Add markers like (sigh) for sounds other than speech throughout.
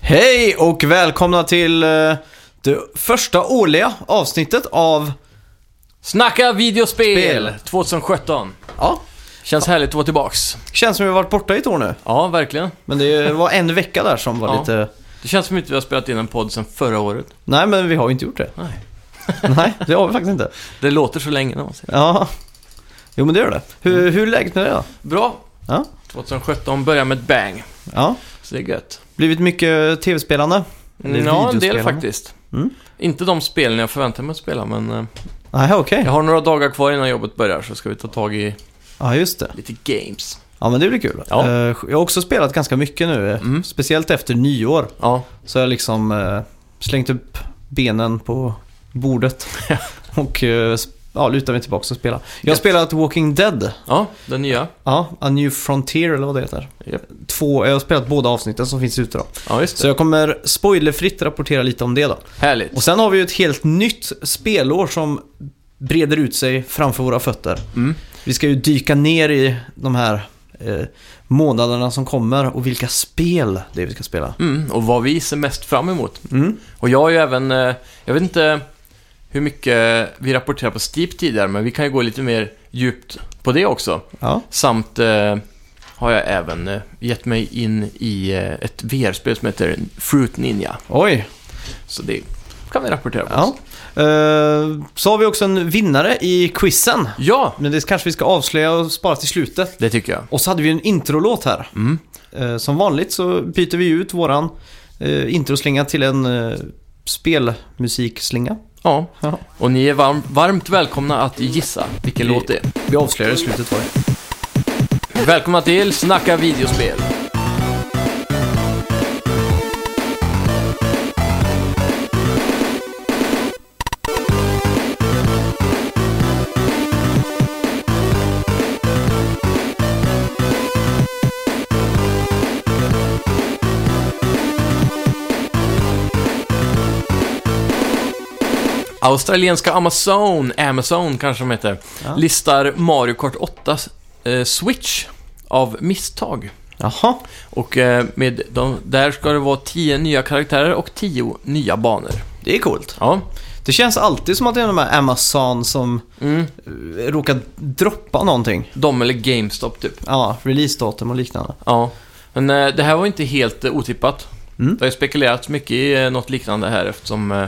Hej och välkomna till eh, det första årliga avsnittet av... Snacka videospel Spel. 2017. Ja, Känns härligt att vara tillbaks. känns som vi har varit borta i ett år nu. Ja, verkligen. Men det var en vecka där som var Ja. lite... Det känns som att vi har spelat in en podd sedan förra året. Nej, men vi har ju inte gjort det. Nej. (laughs) Nej, det har vi faktiskt inte. Det låter så länge när man säger Ja. Jo, men det gör det. Mm. Hur, hur är läget med det då? det. Bra. Ja. 2017 börjar med ett bang. Ja. Så det är gött. Blivit mycket tv-spelande? Eller Ja, en del videospelande. faktiskt. Mm. Inte de spelen jag förväntar mig att spela, men eh, Nej, okej. jag har några dagar kvar innan jobbet börjar så ska vi ta tag i Ja, just det. lite games. Ja, men det blir kul. Ja. Eh, Jag har också spelat ganska mycket nu. eh, Mm. Speciellt efter nyår. Ja, Så har jag liksom eh, slängt upp benen på bordet (laughs) och eh, sp- ja, lutar mig tillbaka och spelar. Jag har Gött. spelat Walking Dead, ja den nya. ja, A New Frontier eller vad det heter. Japp. Två, jag har spelat båda avsnitten som finns ute då. Ja, just Så det. jag kommer spoilerfritt rapportera lite om det då. Härligt. Och sen har vi ju ett helt nytt spelår som breder ut sig framför våra fötter. Mm. Vi ska ju dyka ner i de här eh, månaderna som kommer och vilka spel det är vi ska spela. Mm, och vad vi ser mest fram emot. Mm. Och jag har ju även, eh, jag vet inte hur mycket vi rapporterar på Steep tidigare, men vi kan ju gå lite mer djupt på det också. Ja. Samt eh, har jag även eh, gett mig in i eh, ett VR-spel som heter Fruit Ninja. Oj, Så det kan vi rapportera på. Ja. oss. Eh, så har vi också en vinnare i quizen. ja, Men det kanske vi ska avslöja och spara till slutet. det tycker jag. Och så hade vi en introlåt här. Mm. Eh, som vanligt så byter vi ut våran eh, introslinga till en eh, spelmusikslinga. Ja, Ja. och ni är varm, varmt välkomna att gissa vilken Vi- låt det är. Vi avslöjar i slutet var det. Välkomna till Snacka videospel. Australienska Amazon, Amazon kanske de heter, Ja. listar Mario Kart 8 eh, Switch av misstag. Jaha, Och eh, med de, där ska det vara 10 nya karaktärer och 10 nya banor. det är coolt. Ja, Det känns alltid som att det är de här Amazon som mm. eh, råkar droppa någonting. de eller GameStop typ. Ja, releasedatum och liknande. Ja, men eh, det här var inte helt eh, otippat. Mm. Det har ju spekulerats mycket i eh, något liknande här eftersom eh,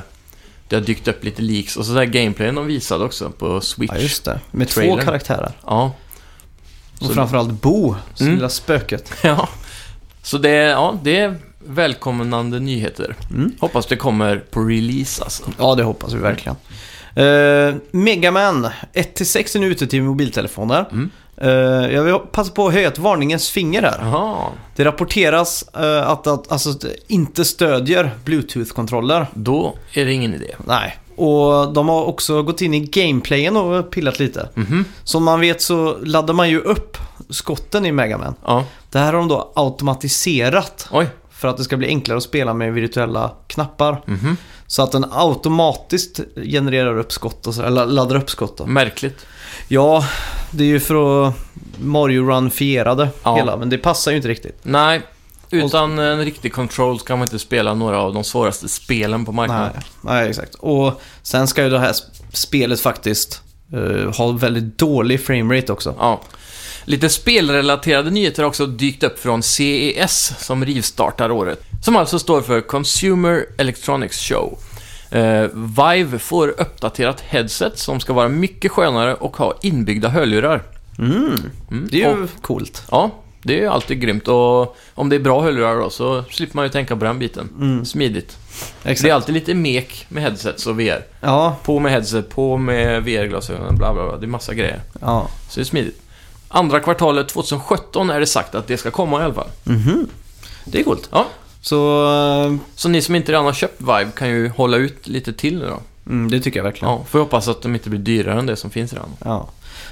det har dykt upp lite leaks och så där gameplayen de visade också på Switch. Ja, just det. Med två Trailern. karaktärer. Ja. Och Så- framförallt Bo, Mm. lilla spöket. (laughs) Ja. Så det, ja, det är välkomnande nyheter. Mm. Hoppas det kommer på release alltså. Ja, det hoppas vi verkligen. Uh, Megaman 1-6 är nu ute till mobiltelefoner. Mm. Eh, jag vill passa på att höja ett varningens finger här. Jaha, Det rapporteras eh, att, att alltså, att det inte stödjer Bluetooth-kontroller. då är det ingen idé. Nej. Och de har också gått in i gameplayen och pillat lite. Mhm. Som man vet så laddar man ju upp skotten i Megaman. Ja, Det här har de då automatiserat oj. för att det ska bli enklare att spela med virtuella knappar. Mhm. Så att den automatiskt genererar upp skott och så, eller laddar upp skott. Då. Märkligt. Ja, det är ju för att Mario Run-fierade Ja. hela, men det passar ju inte riktigt. Nej, utan en riktig control så kan man inte spela några av de svåraste spelen på Nej, marknaden. nej, exakt. Och sen ska ju det här spelet faktiskt eh, ha väldigt dålig framerate också. Ja. Lite spelrelaterade nyheter har också dykt upp från CES som rivstartar året. Som alltså står för Consumer Electronics Show. Eh, Vive får uppdaterat headset som ska vara mycket skönare och ha inbyggda hörlurar. Mm. Det är ju Och, coolt. ja, det är ju alltid grymt och om det är bra hörlurar då så slipper man ju tänka på den biten. Smidigt. Det är Exakt. alltid lite mek med headsets och VR. Ja, På med headset, på med VR-glasögonen, bla bla bla. Det är massa grejer. ja. Så det är smidigt. Andra kvartalet 2017 är det sagt att det ska komma i alla fall. Det är coolt. Ja. Så eh, Så ni som inte redan har köpt Vive kan ju hålla ut lite till nu då. mm, det tycker jag verkligen. Ja, får jag hoppas att de inte blir dyrare än det som finns redan. Ja.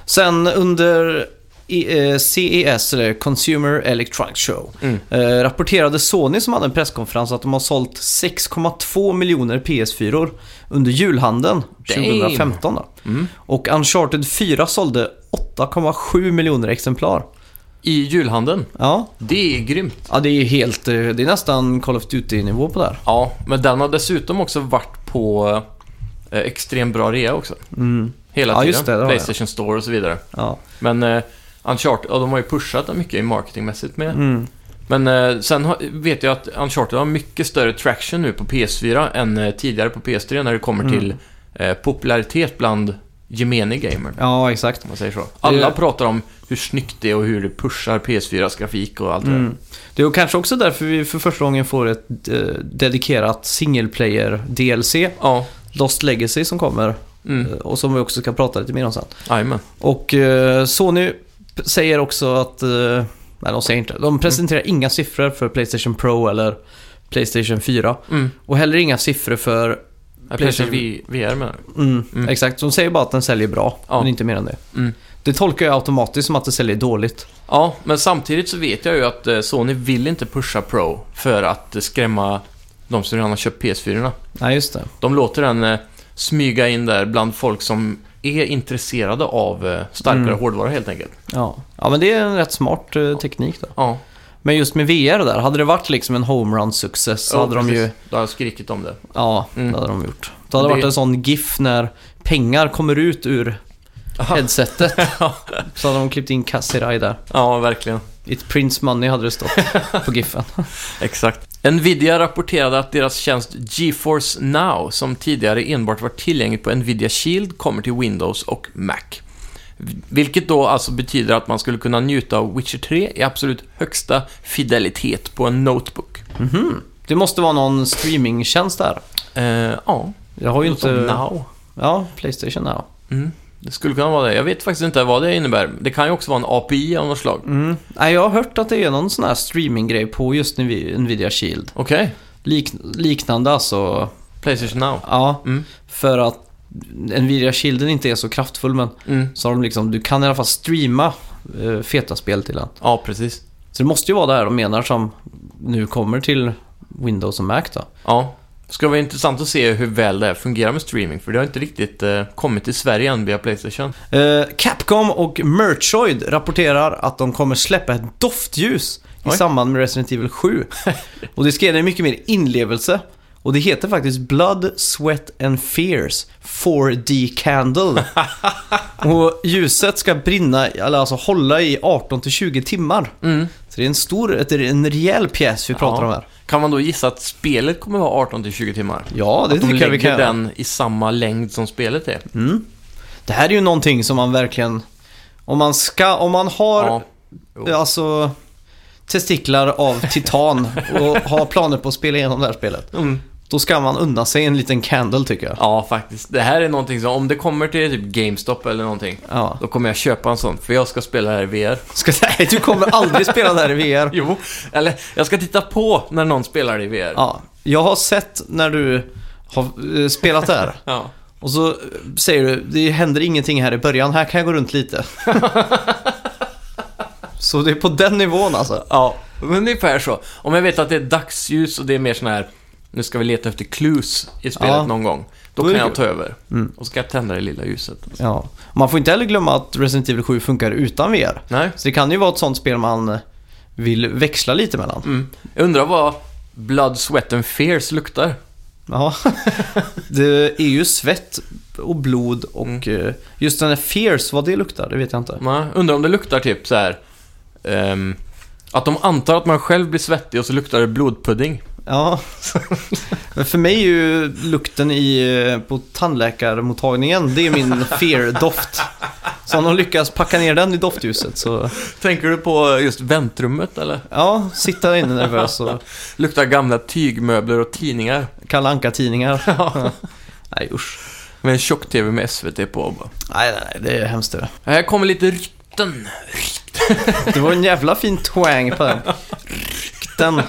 Sen under i- eh, CES, eller Consumer Electronics Show, Mm. eh, rapporterade Sony som hade en presskonferens att de har sålt 6,2 miljoner PS4 under julhandeln Damn. 2015. Då. Mm. Och Uncharted 4 sålde 8,7 miljoner exemplar. i julhandeln. Ja. Det är grymt. ja, det är ju helt... eh, Det är nästan Call of Duty-nivå på det här. Ja, men den har dessutom också varit på eh, extremt bra rea också. Mm. Hela Ja, tiden. just det, det har jag. Playstation Store och så vidare. Ja. Men eh, Uncharted, ja, de har ju pushat den mycket i marketingmässigt med. Mm. Men eh, sen har, vet jag att Uncharted har mycket större traction nu på PS4 än eh, tidigare på PS3 när det kommer Mm. till eh, popularitet bland gemene gamer. ja, exakt. Om man säger så. Alla pratar om hur snyggt det är och hur det pushar PS4s grafik och allt det där. Mm. Det är kanske också därför vi för första gången får ett eh, dedikerat single player DLC, Ja, Lost Legacy, som kommer. mm. eh, Och som vi också ska prata lite mer om sen. Jajamän. Och eh, Sony p- säger också att... Eh, nej, de säger inte. De presenterar Mm. inga siffror för Playstation Pro eller Playstation 4. Mm. Och heller inga siffror för... Ja, Playstation- Playstation V- VR menar du? Mm, Mm. Exakt, de säger bara att den säljer bra, Ja. men inte mer än det. Mm. Det tolkar jag automatiskt som att det säljer dåligt. Ja, men samtidigt så vet jag ju att eh, Sony vill inte pusha Pro för att eh, skrämma de som redan har köpt PS4. Nej, just det. De låter den eh, smyga in där bland folk som är intresserade av eh, starkare Mm. hårdvara helt enkelt. Ja. ja, men det är en rätt smart eh, teknik då. Ja, Men just med VR där, hade det varit liksom en homerun-success så ja, hade de precis. ju... Då har jag skrikit om det. Ja, Mm. det hade de gjort. Då hade det Det- varit en sån GIF när pengar kommer ut ur headsetet. (laughs) så hade de klippt in Kassirai där. Ja, verkligen. It prints money hade det stått på GIFen. Exakt. Nvidia rapporterade att deras tjänst GeForce Now, som tidigare enbart var tillgänglig på Nvidia Shield, kommer till Windows och Mac. Vilket då alltså betyder att man skulle kunna njuta av Witcher 3 i absolut högsta fidelitet på en notebook. Mhm. Det måste vara någon streamingtjänst där. Eh, ja, Jag har ju inte... som Now. Ja, Playstation Now. Mm. Det skulle kunna vara det. Jag vet faktiskt inte vad det innebär. Det kan ju också vara en API av något slag. Mm. Nej, jag har hört att det är någon sån här streaminggrej på just Nvi- Nvidia Shield. Okej, Lik, liknande alltså. Playstation Now. Ja, Mm. för att Nvidia Shielden inte är så kraftfull men Mm. så har de liksom, du kan i alla fall streama eh, feta spel till den. Ja, precis. Så det måste ju vara det här de menar som nu kommer till Windows och Mac då. Ja. Det ska vara intressant att se hur väl det här fungerar med streaming, för det har inte riktigt eh, kommit till Sverige än via Playstation. Eh, Capcom och Merchoid rapporterar att de kommer släppa ett doftljus i Oj. samband med Resident Evil (laughs) 7. och det ska ge dig mycket mer inlevelse. Och det heter faktiskt Blood, Sweat and Fears 4D (laughs) Candle. och ljuset ska brinna, eller alltså hålla i 18-20 timmar. Mm. Så det är en stor, ett- en rejäl pjäs vi pratar Ja. om här. Kan man då gissa att spelet kommer vara 18-20 timmar? Ja, det att tycker de jag vi lägger kan göra. den i samma längd som spelet är? Mm. Det här är ju någonting som man verkligen... Om man ska, om man har Ja. Jo. Alltså testiklar av titan (laughs) och har planer på att spela igenom det här spelet. Mm. Då ska man unna sig en liten candle tycker jag. ja, faktiskt. Det här är någonting som, om det kommer till typ GameStop eller någonting, Ja. då kommer jag köpa en sån, för jag ska spela det här i VR. Ska, (laughs) nej, du kommer aldrig spela det här i VR. (laughs) Jo, eller jag ska titta på när någon spelar det i VR. Ja, jag har sett när du har eh, spelat där. Ja. Och så eh, säger du, det händer ingenting här i början, här kan jag gå runt lite. (laughs) Så det är på den nivån alltså. Ja, men ungefär så. Om jag vet att det är dagsljus och det är mer sån här, nu ska vi leta efter clues i spelet Ja. någon gång. Då, Då är kan det jag kul. ta över. Mm. Och så ska jag tända det lilla ljuset. Ja. Man får inte heller glömma att Resident Evil 7 funkar utan VR. Nej. Så det kan ju vara ett sånt spel man eh, vill växla lite mellan. Mm. Jag undrar vad Blood, Sweat and Fears luktar. Ja, det är ju svett och blod och eh, just den här fears, vad det luktar, det vet jag inte. Nej, undrar om det luktar typ så här. ehm, att de antar att man själv blir svettig och så luktar det blodpudding. Ja, men för mig är ju lukten i, eh, på tandläkarmottagningen, det är min fear-doft. Så om de lyckas packa ner den i doftljuset så, Tänker du på just väntrummet eller? ja, sitta där inne nervös och Luktar gamla tygmöbler och tidningar. Kalle Anka-tidningar. Ja. (laughs) Nej usch. Med en tjock-tv med SVT på. bara. Nej, nej, nej, det är hemskt det. Här kommer lite rykten. Det var en jävla fin twang på den. Den,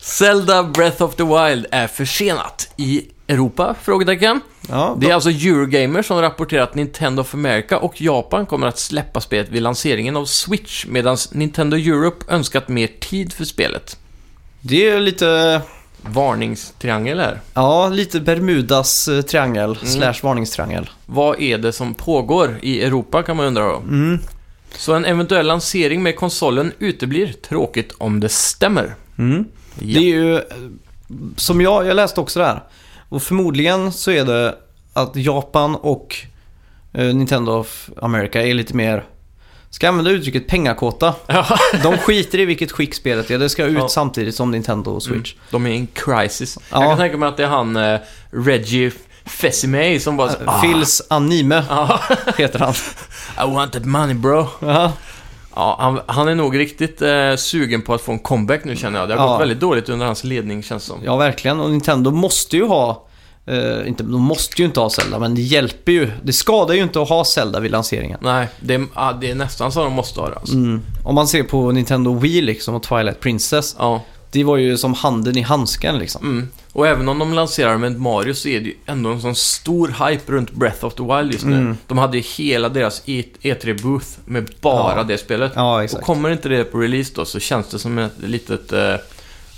Zelda Breath of the Wild är försenat i Europa? Frågetecken. ja, Det är alltså Eurogamer som rapporterar att Nintendo of America och Japan kommer att släppa spelet vid lanseringen av Switch, medan Nintendo Europe önskat mer tid för spelet. det är lite Varningstriangel här. Ja, lite Bermudas eh, Mm. triangel slash varningstriangel. Mm. Vad är det som pågår i Europa kan man undra då. Så en eventuell lansering med konsolen uteblir. Tråkigt om det stämmer. Mm. Det Ja. är ju, eh, som jag, jag läste också det här. Och förmodligen så är det att Japan och eh, Nintendo of America är lite mer, ska jag använda uttrycket pengakåta. Ja. (laughs) De skiter i vilket skick spelet är, det ska ut Ja. samtidigt som Nintendo och Switch. (laughs) De är i en crisis. Ja. Jag kan tänka mig att det är han eh, Reggie Fessime som bara... så- Phils anime Ja. heter (laughs) han. I want that money bro. Ja. Ja, han, han är nog riktigt eh, sugen på att få en comeback nu känner jag. Det har Ja. gått väldigt dåligt under hans ledning känns det som. Ja, verkligen. Och Nintendo måste ju ha... Eh, inte, de måste ju inte ha Zelda, men det hjälper ju. Det skadar ju inte att ha Zelda vid lanseringen. Nej, det är, ja, det är nästan så de måste ha det alltså. Mm. Om man ser på Nintendo Wii liksom och Twilight Princess. Ja. Det var ju som handen i handsken liksom. Mm. Och även om de lanserar med Mario så är det ju ändå en sån stor hype runt Breath of the Wild just nu. Mm. De hade ju hela deras E- E3-booth med bara Ja. det spelet. Ja, och exakt. kommer inte det på release då så känns det som ett litet eh,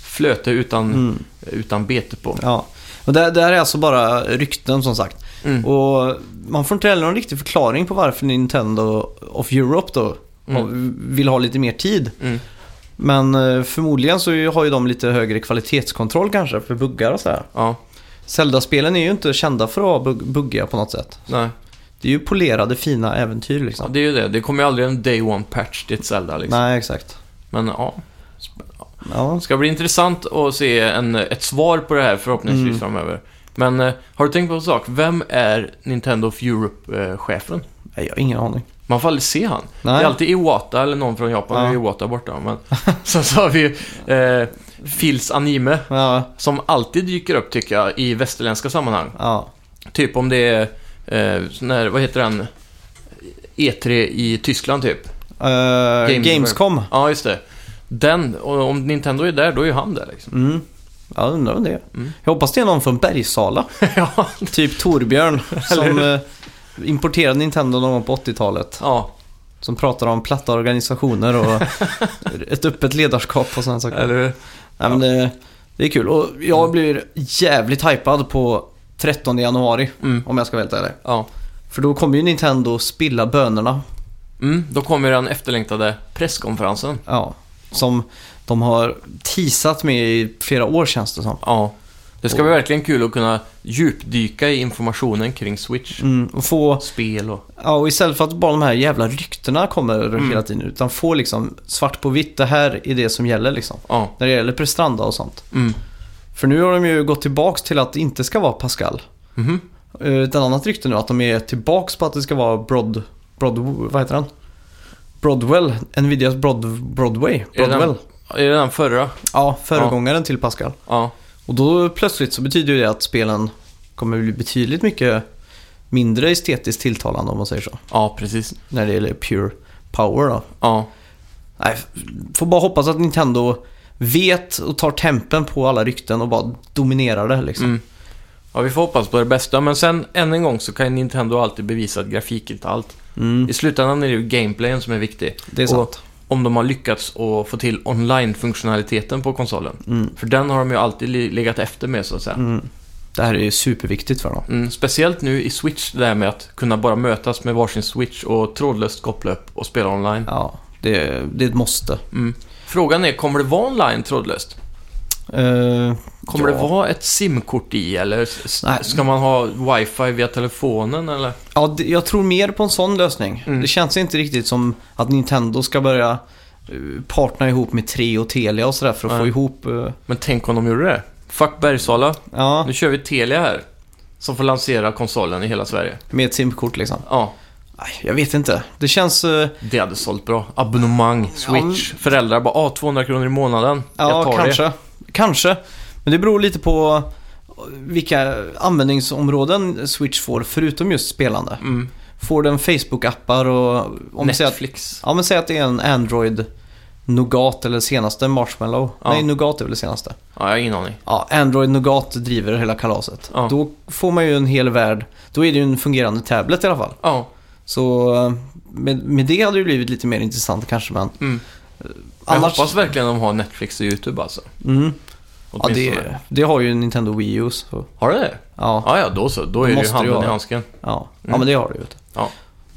flöte utan, Mm. utan bete på. Ja. Och det, det här är alltså bara rykten som sagt. Mm. Och man får inte heller någon riktig förklaring på varför Nintendo of Europe då vill ha lite mer tid. Mm. Men eh, förmodligen så har ju de lite högre kvalitetskontroll kanske för buggar och sådär. Ja, Zelda-spelen är ju inte kända för att vara bug- buggiga på något sätt. nej. Det är ju polerade fina äventyr Ja, liksom. det är ju det. Det kommer ju aldrig en Day One Patch till ett Zelda liksom. Nej, exakt. Men ja. Ja. Det ska bli intressant att se en, ett svar på det här förhoppningsvis Mm. framöver. Men eh, har du tänkt på en sak? Vem är Nintendo of Europe-chefen? Nej, Jag har ingen aning. Man får aldrig se han. Det Nej. är alltid Iwata eller någon från Japan. Ja. Nu är Iwata borta. Men... (laughs) Sen så har vi ju eh, Phils anime. Ja, Som alltid dyker upp tycker jag i västerländska sammanhang. ja. Typ om det är, eh, sån här, vad heter den? E3 i Tyskland typ. Eh, Games- Gamescom. Ja, just det. Den, och om Nintendo är där, då är ju han där (laughs) liksom. Mm. Jag undrar om det är. Mm. Jag hoppas det är någon från (laughs) Bergsala. ja, typ Torbjörn som Eller eh, importerade Nintendo någon gång på 80-talet. ja, Som pratar om platta organisationer (laughs) och ett öppet ledarskap och sådana saker. eller Mm. hur? Nej, men det, det är kul. Och jag blir jävligt hypad på 13 januari. Mm. Om jag ska vara helt ärlig. Ja. För då kommer ju Nintendo spilla bönorna. Mm, då kommer den efterlängtade presskonferensen. Ja. Som de har teasat med i flera år känns det som. Ja. Det ska Och- bli verkligen kul att kunna djupdyka i informationen kring Switch. Mm, och få, Spel och... ja, och istället för att bara de här jävla ryktena kommer Mm. hela tiden. Utan få liksom svart på vitt, det här är det som gäller liksom. Ja. När det gäller prestanda och sånt. Mm. För nu har de ju gått tillbaks till att det inte ska vara Pascal. Mhm. Eh, Ett annat rykte nu att de är tillbaks på att det ska vara Broad... Broad... Vad heter han? Broadwell. Nvidias Broad, Broadway. Är det Broadwell. Är det den förra? Ja, föregångaren till Pascal. Ja. Och då plötsligt så betyder ju det att spelen kommer bli betydligt mycket mindre estetiskt tilltalande om man säger så. Ja, precis. När det gäller pure power då. Ja. Nej, f- får bara hoppas att Nintendo vet och tar tempen på alla rykten och bara dominerar det liksom. Mm. Ja, vi får hoppas på det bästa. Men sen, än en gång, så kan Nintendo alltid bevisa att grafik inte är allt. Mm, I slutändan är det ju gameplayen som är viktig. det är och- sant. Om de har lyckats att få till online-funktionaliteten på konsolen. Mm. För den har de ju alltid li- legat efter med, så att säga. Mm. Det här är ju superviktigt för dem. Mm, speciellt nu i Switch, det där med att kunna bara mötas med varsin Switch och trådlöst koppla upp och spela online. Ja, det, det är ett måste. Mm. Frågan är, kommer det vara online trådlöst? Eh, Kommer Ja. det vara ett simkort i eller s- Nej. ska man ha wifi via telefonen eller? ja, det, jag tror mer på en sån lösning. Mm. Det känns inte riktigt som att Nintendo ska börja eh, partna ihop med Tre och Telia och sådär för att få Nej. ihop... eh, Men tänk om de gjorde det? Fuck Bergsala, ja, nu kör vi Telia här. Som får lansera konsolen i hela Sverige. med ett simkort liksom. Ja, Nej, jag vet inte. Det känns... eh, det hade sålt bra. Abonnemang, Switch, föräldrar bara ah, 200 kronor i månaden. Jag ja, tar kanske. det. Kanske. Men det beror lite på eh, vilka användningsområden Switch får förutom just spelande. Mm. Får den Facebook-appar och... Om vi säger att Netflix. Ja men säg att det är en Android Nougat eller senaste Marshmallow. Ja. Nej, Nougat är väl det senaste. Ja, jag har ingen aning. Ja, Android Nougat driver hela kalaset. Ja. Då får man ju en hel värld. Då är det ju en fungerande tablet i alla fall. Ja, Så eh, med, med det hade det blivit lite mer intressant kanske men eh, mm. Jag annars... hoppas verkligen de har Netflix och YouTube alltså. Mm. Ja, Åtminstone. det, det har ju Nintendo Wii U så... Har du det? Ja, Ja, ja, då så. Då är det ju måste det handen vara. i handsken. ja. ja Mm. men det har det ju. vet du. Ja.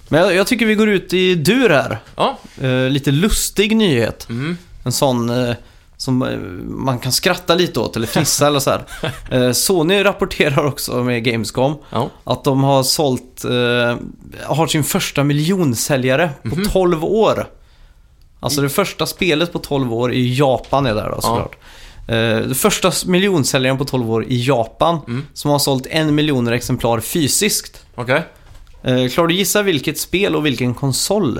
Men jag, jag tycker vi går ut i dur här. Ja, Eh, lite lustig nyhet. mm. En sån eh, som eh, man kan skratta lite åt eller fnissa eller så här. (laughs) Eh, Sony rapporterar också med Gamescom ja. att de har sålt, eh, har sin första miljonsäljare Mhm. på 12 år. Alltså det första spelet på 12 år i Japan är där då såklart. Eh, det första s- miljonsäljaren på 12 år i Japan Mm. som har sålt en miljoner exemplar fysiskt. okej. Eh, klarar du gissa vilket spel och vilken konsol?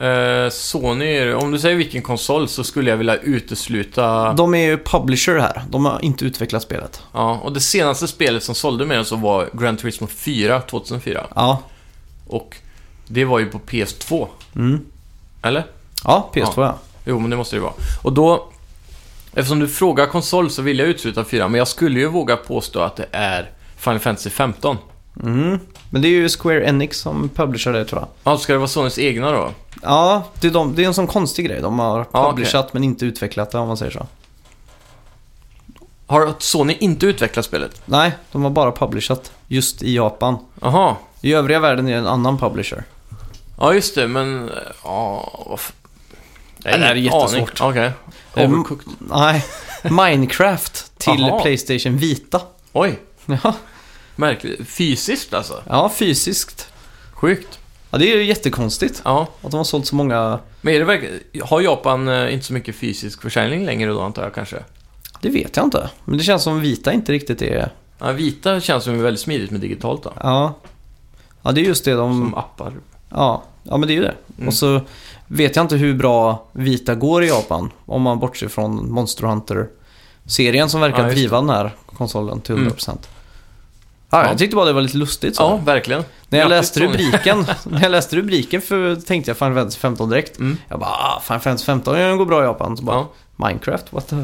Eh, Sony, är det- om du säger vilken konsol så skulle jag vilja utesluta... De är ju publisher här. De har inte utvecklat spelet. Ja, och det senaste spelet som sålde mer än så var Gran Turismo 4, 2004. Ja, Och det var ju på PS2, mm. eller? ja PS2 ja. Jo, men det måste det vara. Och då... Eftersom du frågar konsol så vill jag utesluta 4, men jag skulle ju våga påstå att det är Final Fantasy 15. Mm. Men det är ju Square Enix som publisherar det tror jag. Ja, ska det vara Sonys egna då? Ja, det är, de, det är en sån konstig grej. De har Ja, publishat men inte utvecklat det om man säger så. Har Sony inte utvecklat spelet? Nej, de har bara publishat just i Japan. Aha. I övriga världen är det en annan publisher. Ja, just det, men... eh, Ja, vad f- Det här är Ingen jättesvårt. aning. Okej. Om- Overcooked. Nej, Minecraft till Aha. Playstation Vita. Oj, Ja, märkligt. Fysiskt alltså? ja fysiskt. Sjukt. Ja, det är ju jättekonstigt Ja. att de har sålt så många. Men är det verkligen... Har Japan eh, inte så mycket fysisk försäljning längre då, antar jag kanske? Det vet jag inte. Men det känns som Vita inte riktigt är... Ja, vita känns som väldigt smidigt med digitalt då. Ja, ja det är just det de... Som appar. Ja, ja men det är ju det. Mm. Och så vet jag inte hur bra Vita går i Japan. Om man bortser från Monster Hunter-serien som verkar Ja, just driva den här konsolen till Mm. 100%. Ja, Ja. jag tyckte bara det var lite lustigt. Så. Ja, verkligen. när, jag grattis, läste Sony. (laughs) rubriken, när jag läste rubriken för, tänkte jag Final Fantasy 15 direkt. Mm. Jag bara, ah, Final Fantasy 15 ja, den går bra i Japan. Så bara, Ja. Minecraft, what the...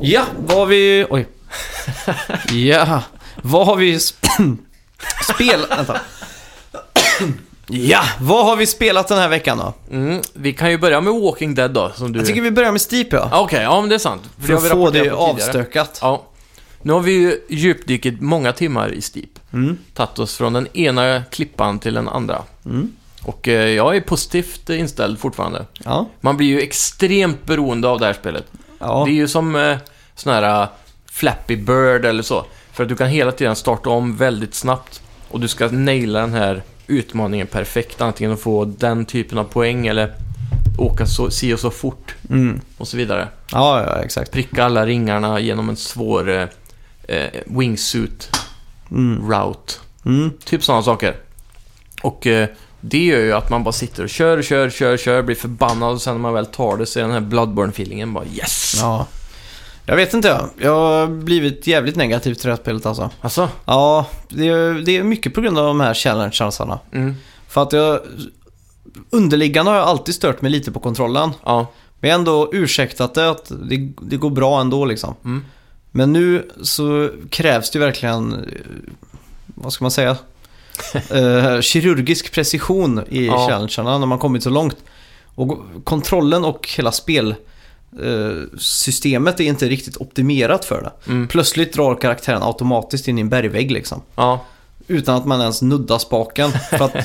Ja, vad har vi... (laughs) Oj. Ja, vad har vi... sp- (clears throat) Spel... Vänta. Ja, vad har vi spelat den här veckan då? Mm, vi kan ju börja med Walking Dead då, som du... Jag tycker vi börjar med Steep ja. Ja, Okej, ja men det är sant. För För har vi att få rapporterat det på tidigare. avstökat. Ja. Nu har vi ju djupdykt många timmar i Steep. Mm. Tagit oss från den ena klippan till den andra. Mm. Och eh, jag är positivt inställd fortfarande. Ja. Man blir ju extremt beroende av det här spelet. ja. Det är ju som eh, sån här eh, Flappy Bird eller så. För att du kan hela tiden starta om väldigt snabbt. Och du ska naila den här utmaningen perfekt. Antingen att få den typen av poäng eller åka så, si och så fort Mm. och så vidare. Ja, ja, exakt. Pricka alla ringarna genom en svår eh, eh, wingsuit Mm. route. Mm. Typ sådana saker. Och eh, det gör ju att man bara sitter och kör, kör, kör, kör, blir förbannad och sen när man väl tar det så är den här Bloodborne-feelingen bara yes! Ja. Jag vet inte jag. Jag har blivit jävligt negativ till det här spelet alltså. Alltså? Ja, det är, det är mycket på grund av de här challenge-chansarna. Mm. För att jag... Underliggande har jag alltid stört mig lite på kontrollen. Ja. Men jag har ändå ursäktat det att det, det går bra ändå liksom. Mm. Men nu så krävs det ju verkligen, eh, vad ska man (laughs) säga, eh, kirurgisk precision i Ja. challengerna när man kommit så långt. Och kontrollen och hela spelsystemet systemet är inte riktigt optimerat för det. Mm. Plötsligt drar karaktären automatiskt in i en bergvägg liksom. Ja. Utan att man ens nuddar spaken. För (laughs) att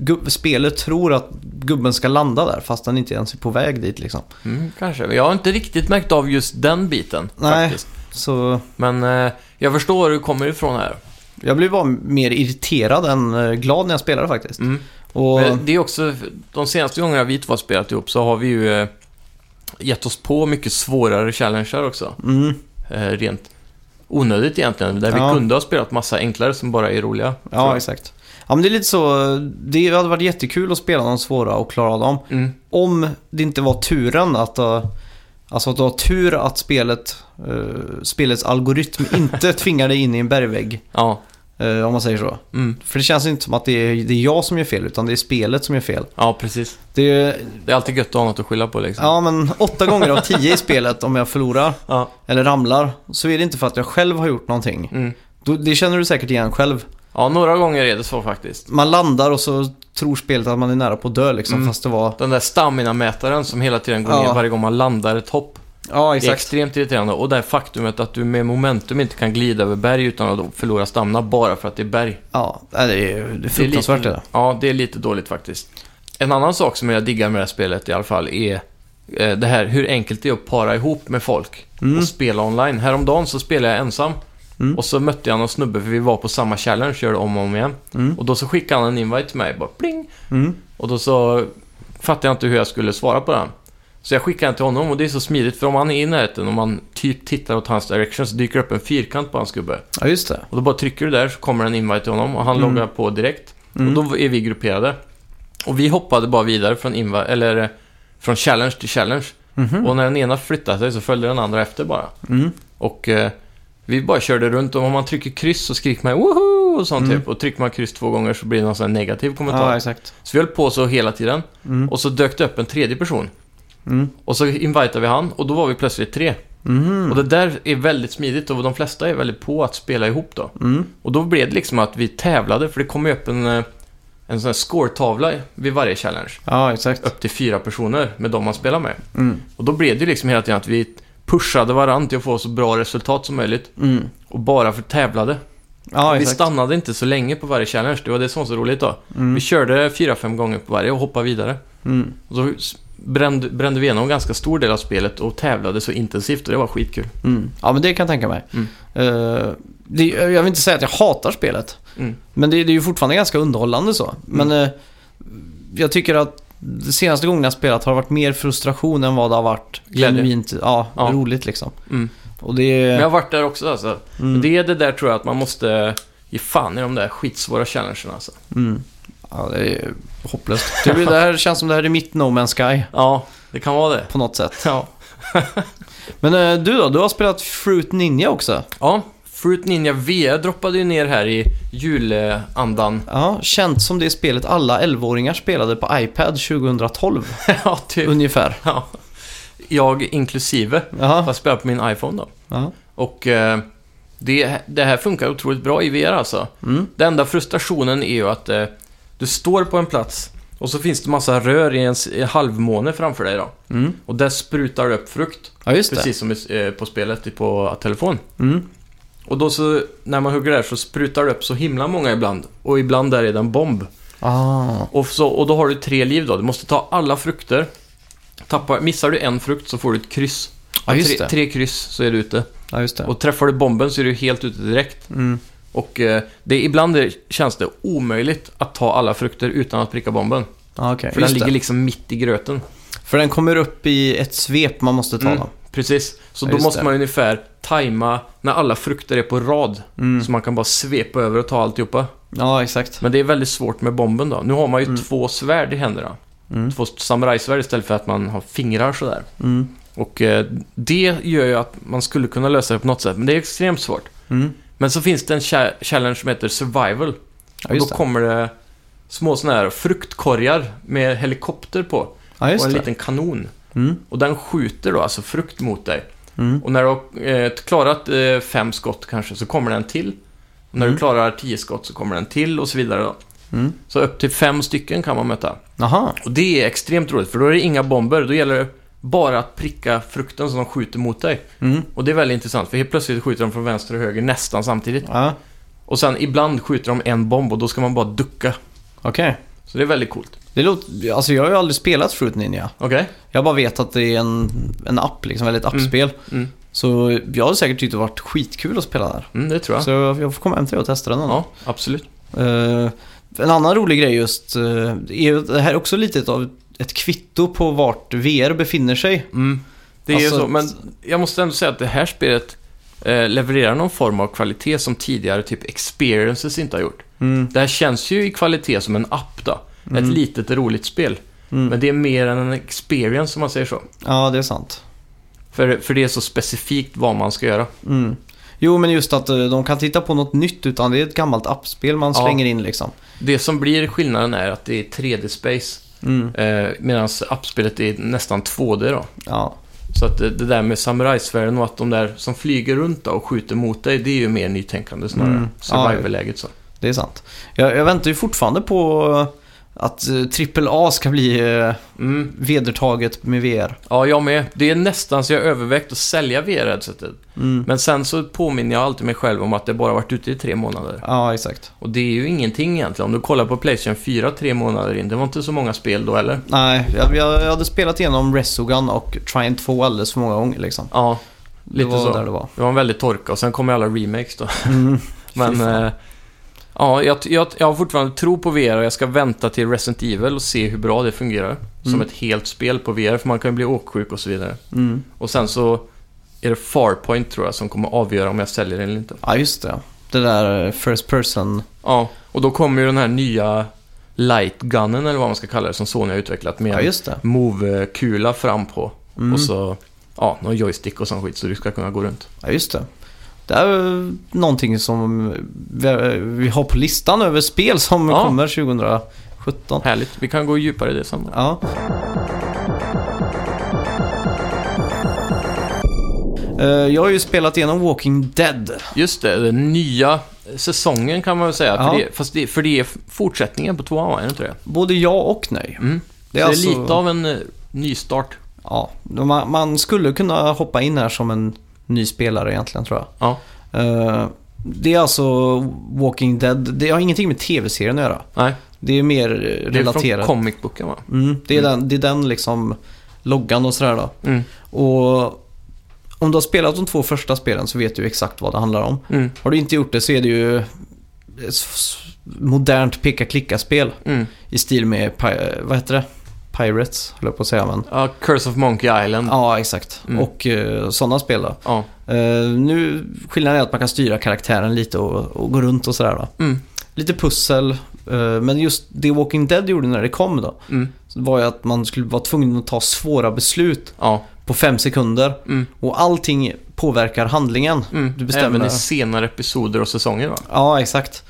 gu- spelet tror att gubben ska landa där fast han inte ens är på väg dit liksom. Mm, kanske. Men Jag har inte riktigt märkt av just den biten Nej. faktiskt. Så Men eh, jag förstår var du kommer ifrån här. Jag blev bara mer irriterad än eh, glad när jag spelade faktiskt. Mm. Och, Men Det är också, de senaste gångerna vi två har spelat ihop så har vi ju eh, gett oss på mycket svårare challenger också. mm, Eh, rent onödigt egentligen. Där Ja. vi kunde ha spelat massa enklare som bara är roliga. tror ja, jag. exakt. Ja, men det är lite så. Det hade varit jättekul att spela de svåra och klara av dem. Mm. Om det inte var turen att... eh, Alltså att du har tur att spelet, eh, spelets algoritm (laughs) inte tvingar dig in i en bergvägg. Ja. eh, om man säger så. Mm. För det känns inte som att det är, det är jag som gör fel, utan det är spelet som gör fel. Ja, precis. Det är, Det är alltid gött att ha något att skylla på liksom. ja men åtta gånger av tio i spelet om jag förlorar Ja. eller ramlar så är det inte för att jag själv har gjort någonting. Mm. Då, det känner du säkert igen själv. ja, några gånger är det så faktiskt. Man landar och så tror spelet att man är nära på att dö liksom, Mm. fast det var... Den där stamina-mätaren som hela tiden går Ja. ner varje gång man landar ett hopp. Ja, Det är exakt. extremt irriterande och det här faktumet att du med momentum inte kan glida över berg utan att då förlora stamina bara för att det är berg. Ja, nej, det är, det är fruktansvärt det, lite, där. Ja, det är lite dåligt faktiskt. En annan sak som jag diggar med det här spelet i alla fall är eh, det här hur enkelt det är att para ihop med folk och spela online. Häromdagen så spelade jag ensam Mm. och så mötte jag någon snubbe för vi var på samma challenge körde om och om igen. Mm. Och då så skickade han en invite till mig, bara pling! Mm. Och då så fattade jag inte hur jag skulle svara på den. Så jag skickade den till honom och det är så smidigt för om han är i närheten och man typ tittar åt hans direction så dyker det upp en fyrkant på hans gubbe. Ja, just det. Och då bara trycker du där så kommer en invite till honom och han Mm. loggar på direkt. Mm. Och då är vi grupperade. Och vi hoppade bara vidare från, inva- eller, eh, från challenge till challenge. Mhm. Och när den ena flyttade sig så följde den andra efter bara. Mm. Och eh, vi bara körde runt och om man trycker kryss så skriker man woho och sånt Mm. typ. Och trycker man kryss två gånger så blir det någon sån här negativ kommentar. Ja, exakt. så vi höll på så hela tiden. Mm. Och så dök det upp en tredje person. Mm. Och så invitade vi han och då var vi plötsligt tre. Mhm. Och det där är väldigt smidigt och de flesta är väldigt på att spela ihop då. Mm. Och då blev det liksom att vi tävlade för det kom ju upp en, eh, en sån här scoretavla vid varje challenge. Ja, exakt. Upp till fyra personer med de man spelar med. Mm. Och då blev det ju liksom hela tiden att vi pushade varandra till att få så bra resultat som möjligt. Mm. Och bara för tävlade. Ja, vi exakt. stannade inte så länge på varje challenge. Det var det som var så roligt då. Mm. Vi körde fyra, fem gånger på varje och hoppade vidare. Mm. Och så s- brände, brände vi igenom en ganska stor del av spelet och tävlade så intensivt och det var skitkul. Mm. Ja, men det kan jag tänka mig. Mm. Eh, det, jag vill inte säga att jag hatar spelet. Mm. Men det, det är ju fortfarande ganska underhållande så. Men eh, jag tycker att de senaste gångerna jag spelat har det varit mer frustration än vad det har varit Glädje. genuint ja, Ja. roligt liksom. Mm. Och det Men är... jag har varit där också alltså. Mm, Det är det där tror jag att man måste ge fan i de där skitsvåra challengerna alltså. mm. Ja, det är hopplöst. Det, blir, det här känns som det här är mitt No Man's Sky Ja, det kan vara det. på något sätt. (laughs) Ja. Men eh, du då? Du har spelat Fruit Ninja också. ja. Fruit Ninja V droppade ju ner här i julandan. Ja, känt som det spelet alla 11-åringar spelade på iPad (laughs) 2012 (laughs) ja, typ. ungefär. Ja. Jag inklusive. Ja, Fast spelar på min iPhone då. ja. Och eh, det, det här funkar otroligt bra i VR alltså. Mm. Den enda frustrationen är ju att eh, du står på en plats och så finns det massa rör i en, s- en halvmåne framför dig då. Mm. Och där sprutar det upp frukt, ja just det. precis som i- eh, på spelet i- på telefon. Mm. Och då så, när man hugger där så sprutar det upp så himla många ibland. Och ibland där är det en bomb. Ah. Och, så, och då har du tre liv då. Du måste ta alla frukter. Tappar, missar du en frukt så får du ett kryss. Ja, just tre, det. tre kryss så är du ute. Ja, just det. Och träffar du bomben så är du helt ute direkt. Mm. Och eh, det, är- ibland är, känns det omöjligt att ta alla frukter utan att pricka bomben. Ja, Ah, okej. För Just den ligger det. liksom mitt i gröten. För den kommer upp i ett svep man måste ta Mm. dem. Precis. Så Ja, då just måste det. man ungefär tajma när alla frukter är på rad. Mm. Så man kan bara svepa över och ta alltihopa. Ja, exakt. Men det är väldigt svårt med bomben då. Nu har man ju två svärd i händerna. Mm. Två samurajsvärd istället för att man har fingrar sådär. Mm. Och eh, det gör ju att man skulle kunna lösa det på något sätt, men det är extremt svårt. Mm. Men så finns det en cha- challenge som heter survival. Ja, Och då just det. kommer det små sådana här fruktkorgar med helikopter på. Ja, och just en det. liten kanon. Mm. Och den skjuter då alltså frukt mot dig. Mm. Och när du har eh, klarat eh, fem skott kanske så kommer det en till. Och när Mm. du klarar tio skott så kommer det en till och så vidare. Då. Mm. Så upp till fem stycken kan man möta. Aha. Och det är extremt roligt för då är det inga bomber. Då gäller det bara att pricka frukten som de skjuter mot dig. Mm. Och det är väldigt intressant för helt plötsligt skjuter de från vänster och höger nästan samtidigt. Ja, Och sen ibland skjuter de en bomb och då ska man bara ducka. okej. Så det är väldigt coolt. Det låter... Alltså jag har ju aldrig spelat Fruit Ninja. Okej? Jag bara vet att det är en, en app liksom, eller ett appspel. Mm. Så jag hade säkert tyckt det varit skitkul att spela där. Mm, det tror jag. Så jag jag får komma hem till dig och testa den någon Ja, absolut. Eh, en annan rolig grej just, eh, det är ju- det här är också lite ett av ett kvitto på vart VR befinner sig. Mm. Det är ju Alltså, så, men jag måste ändå säga att det här spelet eh, levererar någon form av kvalitet som tidigare typ experiences inte har gjort. Mm, Det här känns ju i kvalitet som en app då. Ett litet roligt spel. Mm. Men det är mer än en experience om man säger så. ja, det är sant. För, för det är så specifikt vad man ska göra. Mm. Jo, men just att eh, de kan titta på något nytt utan det är ett gammalt appspel man Ja. slänger in liksom. Det som blir skillnaden är att det är 3D-space. Mm. Eh, Medan appspelet är nästan 2D då. Ja. Så att det det där med samurajsvärden och att de där som flyger runt då och skjuter mot dig, det är ju mer nytänkande snarare. Mm. Ja, Survival-läget så. Det är sant. Jag, jag väntar ju fortfarande på eh, att AAA ska bli eh, Mm. vedertaget med VR. Ja, jag med. Det är nästan så jag övervägt att sälja VR-headsetet. Mm. Men sen så påminner jag alltid mig själv om att det bara varit ute i tre månader. Ja, exakt. Och det är ju ingenting egentligen. Om du kollar på Playstation 4 tre månader in, det var inte så många spel då eller? Nej, jag, jag hade spelat igenom Resogun och Trine 2 alldeles för många gånger liksom. Ja, det lite var så. där det var. Det var en väldigt torka och sen kom ju alla remakes då. (laughs) Mm. Men... Eh, ja, jag, jag, jag har fortfarande tro på VR och jag ska vänta till Resident Evil och se hur bra det fungerar. Som Mm. ett helt spel på VR, för man kan ju bli åksjuk och så vidare. Mm. Och sen så är det Farpoint tror jag som kommer avgöra om jag säljer den eller inte. Ja, just det. Det där eh, First Person. Ja, och då kommer ju den här nya Lightgunnen eller vad man ska kalla det som Sony har utvecklat Ja, med just det. Move-kula fram på. Mm. Och så, ja, någon joystick och sån skit så du ska kunna gå runt. Ja, just det. Det är eh, någonting som eh, vi- vi har på listan över spel som Ja. kommer 2017. Härligt, vi kan gå djupare i det sen. då. Ja. Eh, Jag har ju spelat igenom Walking Dead. Just det, den nya säsongen kan man väl säga. Ja. För, det, fast det, för det är fortsättningen på tvåan, va? är det inte det? Både ja och nej. Mm. Det Det är är, alltså- lite av en eh, nystart. Ja, man, man skulle kunna hoppa in här som en ny spelare egentligen tror jag. Ja. Eh, det är alltså Walking Dead. Det har ingenting med tv-serien att göra. Nej, Det är mer eh, det är relaterat. från comic booken va? mm, det, är den, det är den liksom loggan och sådär då. Mm. Och om du har spelat de två första spelen så vet du ju exakt vad det handlar om. Mm. Har du inte gjort det så är det ju ett s- modernt peka-klicka-spel Mm. i stil med, pi- vad heter det? Pirates, höll jag på att säga. Men... Ja, Curse of Monkey Island. Ja, exakt. Mm. Och uh, sådana spel då. Ja. Eh, nu, skillnaden är att man kan styra karaktären lite och, och gå runt och sådär va. Mm. Lite pussel, eh, men just det Walking Dead gjorde när det kom då, Mm. var ju att man skulle vara tvungen att ta svåra beslut Ja. på fem sekunder. Mm. Och allting påverkar handlingen. Mm. Du bestämmer. Även i senare episoder och säsonger va? Ja, exakt.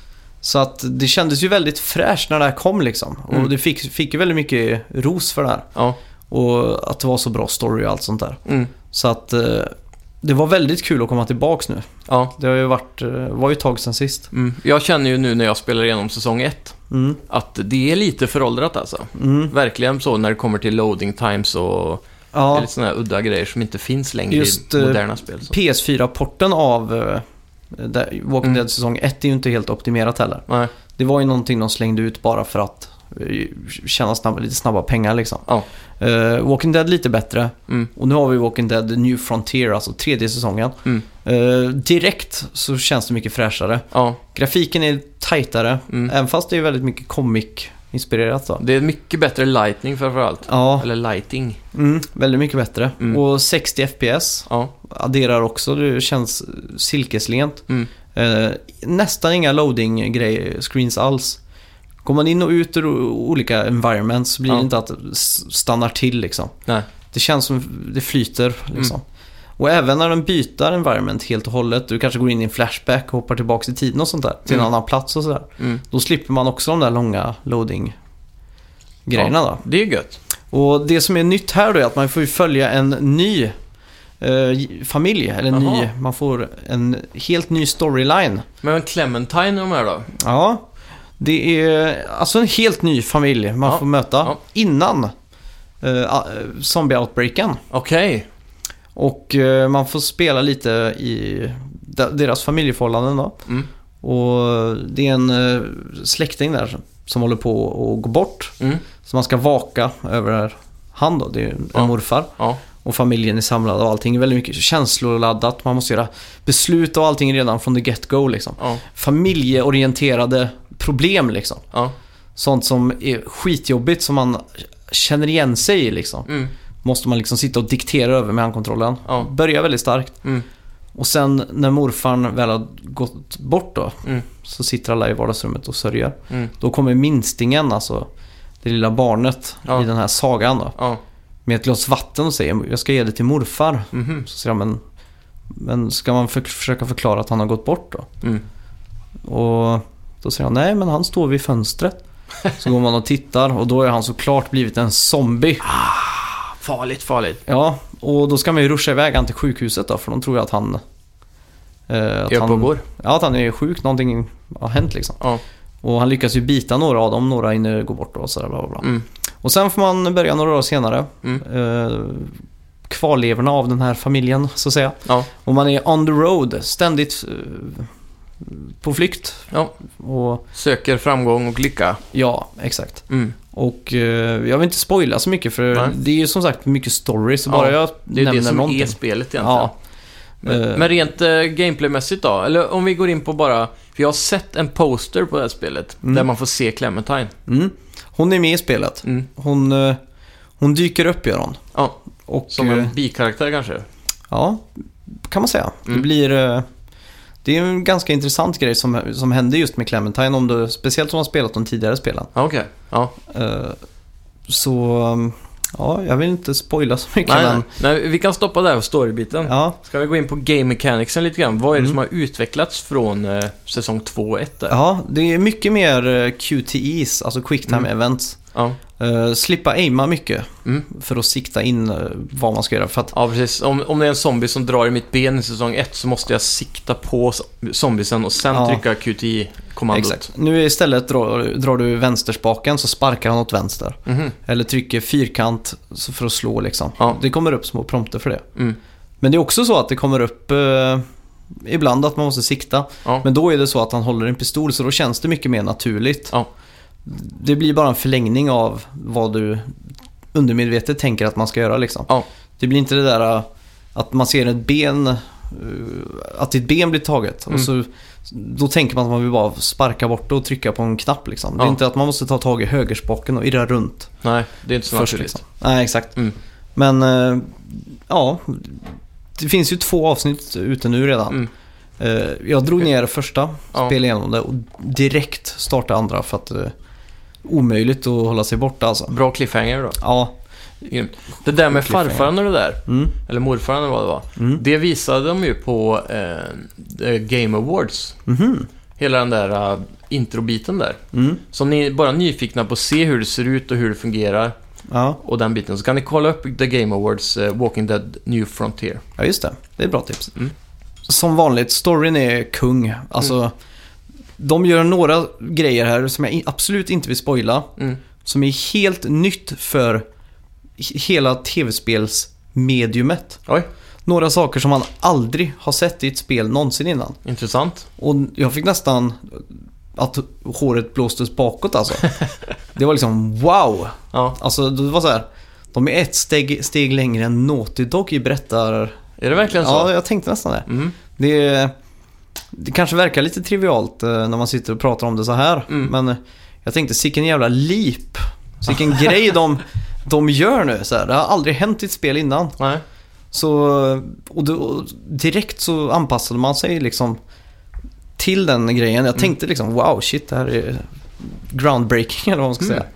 Så att det kändes ju väldigt fräscht när det här kom liksom. Mm. Och det fick, fick ju väldigt mycket ros för det här. Ja. Och att det var så bra story och allt sånt där. Mm. Så att eh, det var väldigt kul att komma tillbaks nu. ja. Det har ju varit, eh, var ju ett tag sedan sist. Mm. Jag känner ju nu när jag spelar igenom säsong 1 Mm, att det är lite föråldrat alltså. mm. Verkligen så när det kommer till loading times och det är Ja, lite sådana här udda grejer som inte finns längre Just, i eh, moderna spel. Så. PS4-porten av eh, där- Walking Mm. Dead säsong 1 är ju inte helt optimerat heller. Nej. Det var ju någonting de slängde ut bara för att eh, tjäna snabba, lite snabba pengar liksom. Ja. Eh, Walking Dead lite bättre. Mm. Och nu har vi Walking Dead New Frontier, alltså tredje säsongen. Mm. Eh, direkt så känns det mycket fräschare. Ja. Grafiken är tajtare, Mm. även fast det är väldigt mycket comic-inspirerat då. Det är mycket bättre lightning framförallt. Ja, Eller lighting. mm, väldigt mycket bättre. Mm. Och 60 FPS Ja. adderar också, det känns eh, silkeslent. Mm. Eh, nästan inga loading-screens alls. Går man in och ut ur o- olika environments så blir det Ja. inte att det s- stannar till liksom. Nej. Mm. Det känns som det flyter liksom. Och även när den byter environment helt och hållet, du kanske går in i en flashback och hoppar tillbaks i tiden och sånt där, till en Mm. annan plats och sådär. Mm. Då slipper man också de där långa loading-grejerna då. Det är gött. Och det som är nytt här då är att man får ju följa en ny eh, familj, eller Jaha. ny, man får en helt ny storyline. Men Clementine och de här då? Ja, det är alltså en helt ny familj man Ja. får möta Ja. innan eh, zombie-outbreaken. Okej. Och eh, man får spela lite i de- deras familjeförhållanden då. Mm. Och det är en eh, släkting där som håller på att gå bort. Mm. Så man ska vaka över han då, det är en Ja. morfar. Ja. Och familjen är samlad och allting är väldigt mycket känsloladdat. Man måste göra beslut och allting redan från the get-go liksom. Ja. Familjeorienterade problem liksom. Ja. Sånt som är skitjobbigt som man känner igen sig i liksom. Mm. Måste man liksom sitta och diktera över med handkontrollen. Ja. Börjar väldigt starkt. Mm. Och sen när morfarn väl har gått bort då, Mm. så sitter alla i vardagsrummet och sörjer. Mm. Då kommer minstingen, alltså det lilla barnet Ja. i den här sagan då, Ja. med ett glas vatten och säger jag ska ge det till morfar. Mhm. Så säger jag, men, men ska man för- försöka förklara att han har gått bort då? Mm. Och då säger han nej men han står vid fönstret. Så går man och tittar och då är han såklart blivit en zombie. Farligt, farligt. Ja, och då ska man ju ruscha iväg han till sjukhuset då för de tror ju att han... eh, att Jag på han går. Ja, att han är sjuk. Någonting har hänt liksom. Ja. Och han lyckas ju bita några av dem, några hinner gå bort och sådär bla bla bla. Mm. Och sen får man börja några år senare. Mm. Eh, kvarlevorna av den här familjen så att säga. Ja. Och man är on the road, ständigt eh, på flykt. ja. Och Söker framgång och lycka. ja, exakt. Mm. Och eh, jag vill inte spoila så mycket för Nej. det är ju som sagt mycket story. Så Ja, bara jag Det är ju nämner det som någonting. är spelet egentligen. Ja, Men, Eh. men rent eh, gameplaymässigt då? Eller om vi går in på bara... För jag har sett en poster på det här spelet Mm. där man får se Clementine. mm. Hon är med i spelet. Mm. Hon, eh, hon dyker upp gör hon. Ja, Och, som eh, en bikaraktär kanske. Ja, kan man säga. Det Mm. blir... eh, Det är en ganska intressant grej som, som hände just med Clementine, om du, speciellt om man spelat de tidigare spelen. Ja, okej. Ja. Eh, Så, um, ja, jag vill inte spoila så mycket Nej, men... nej. nej, vi kan stoppa där på storybiten. Ja, Ska vi gå in på game mechanicsen lite grann? Vad är det Mm. som har utvecklats från eh, säsong 2 och 1 där? ja, det är mycket mer eh, QTEs, alltså Quick Time Mm. Events. Ja. Eh, slippa aima mycket Mm. för att sikta in eh, vad man ska göra. För att, Ja, precis. Om, om det är en zombie som drar i mitt ben i säsong 1 så måste jag sikta på zombisen och sen Ja. trycka QTI-kommandot. exakt. Nu istället drar, drar du vänsterspaken så sparkar han åt vänster. Mhm. Eller trycker fyrkant så för att slå liksom. Ja. Det kommer upp små prompter för det. Mm. Men det är också så att det kommer upp eh, ibland att man måste sikta. Ja. Men då är det så att han håller en pistol så då känns det mycket mer naturligt. Ja. Det blir bara en förlängning av vad du undermedvetet tänker att man ska göra liksom. Ja. Det blir inte det där eh, att man ser ett ben, eh, att ditt ben blir taget. Mm. Och så, då tänker man att man vill bara sparka bort det och trycka på en knapp liksom. Det är Ja. inte att man måste ta tag i högerspaken och irra runt Nej, det är inte så först. naturligt. Liksom. Nej, exakt. Mm. Men eh, ja, det finns ju två avsnitt ute nu redan. Mm. Eh, jag drog ner första, Ja. spelade igenom det och direkt startade andra för att eh, omöjligt att hålla sig borta alltså. Bra cliffhanger då. Ja, Grymt. Det där med Cliffhanger. farfaren och det där, mm, eller morfaren eller vad det var. mm, Det visade de ju på eh, The Game Awards. mhm, Hela den där eh, introbiten där. mm, Så om ni är bara nyfikna på att se hur det ser ut och hur det fungerar ja. och den biten så kan ni kolla upp The Game Awards eh, Walking Dead New Frontier. ja, just det. Det är bra tips. Mm. Som vanligt, storyn är kung. Alltså, de gör några grejer här som jag i- absolut inte vill spoila. Mm. Som är helt nytt för he- hela tv-spelsmediumet. Oj, Några saker som man aldrig har sett i ett spel någonsin innan. intressant. Och jag fick nästan att håret blåstes bakåt alltså. Det var liksom wow! Ja, Alltså det var så här. De är ett steg, steg längre än Naughty Dog i berättar... är det verkligen så? Ja, jag tänkte nästan det. Mm. Det, det kanske verkar lite trivialt eh, när man sitter och pratar om det så här. Mm. Men eh, jag tänkte, sicken jävla leap. Sicken (laughs) grej de, de gör nu. Så här. Det har aldrig hänt i ett spel innan. Nej. Så, eh, och då, och direkt så anpassade man sig liksom till den grejen. Mm. Jag tänkte liksom wow shit det här är groundbreaking (laughs) eller vad man ska Mm. säga.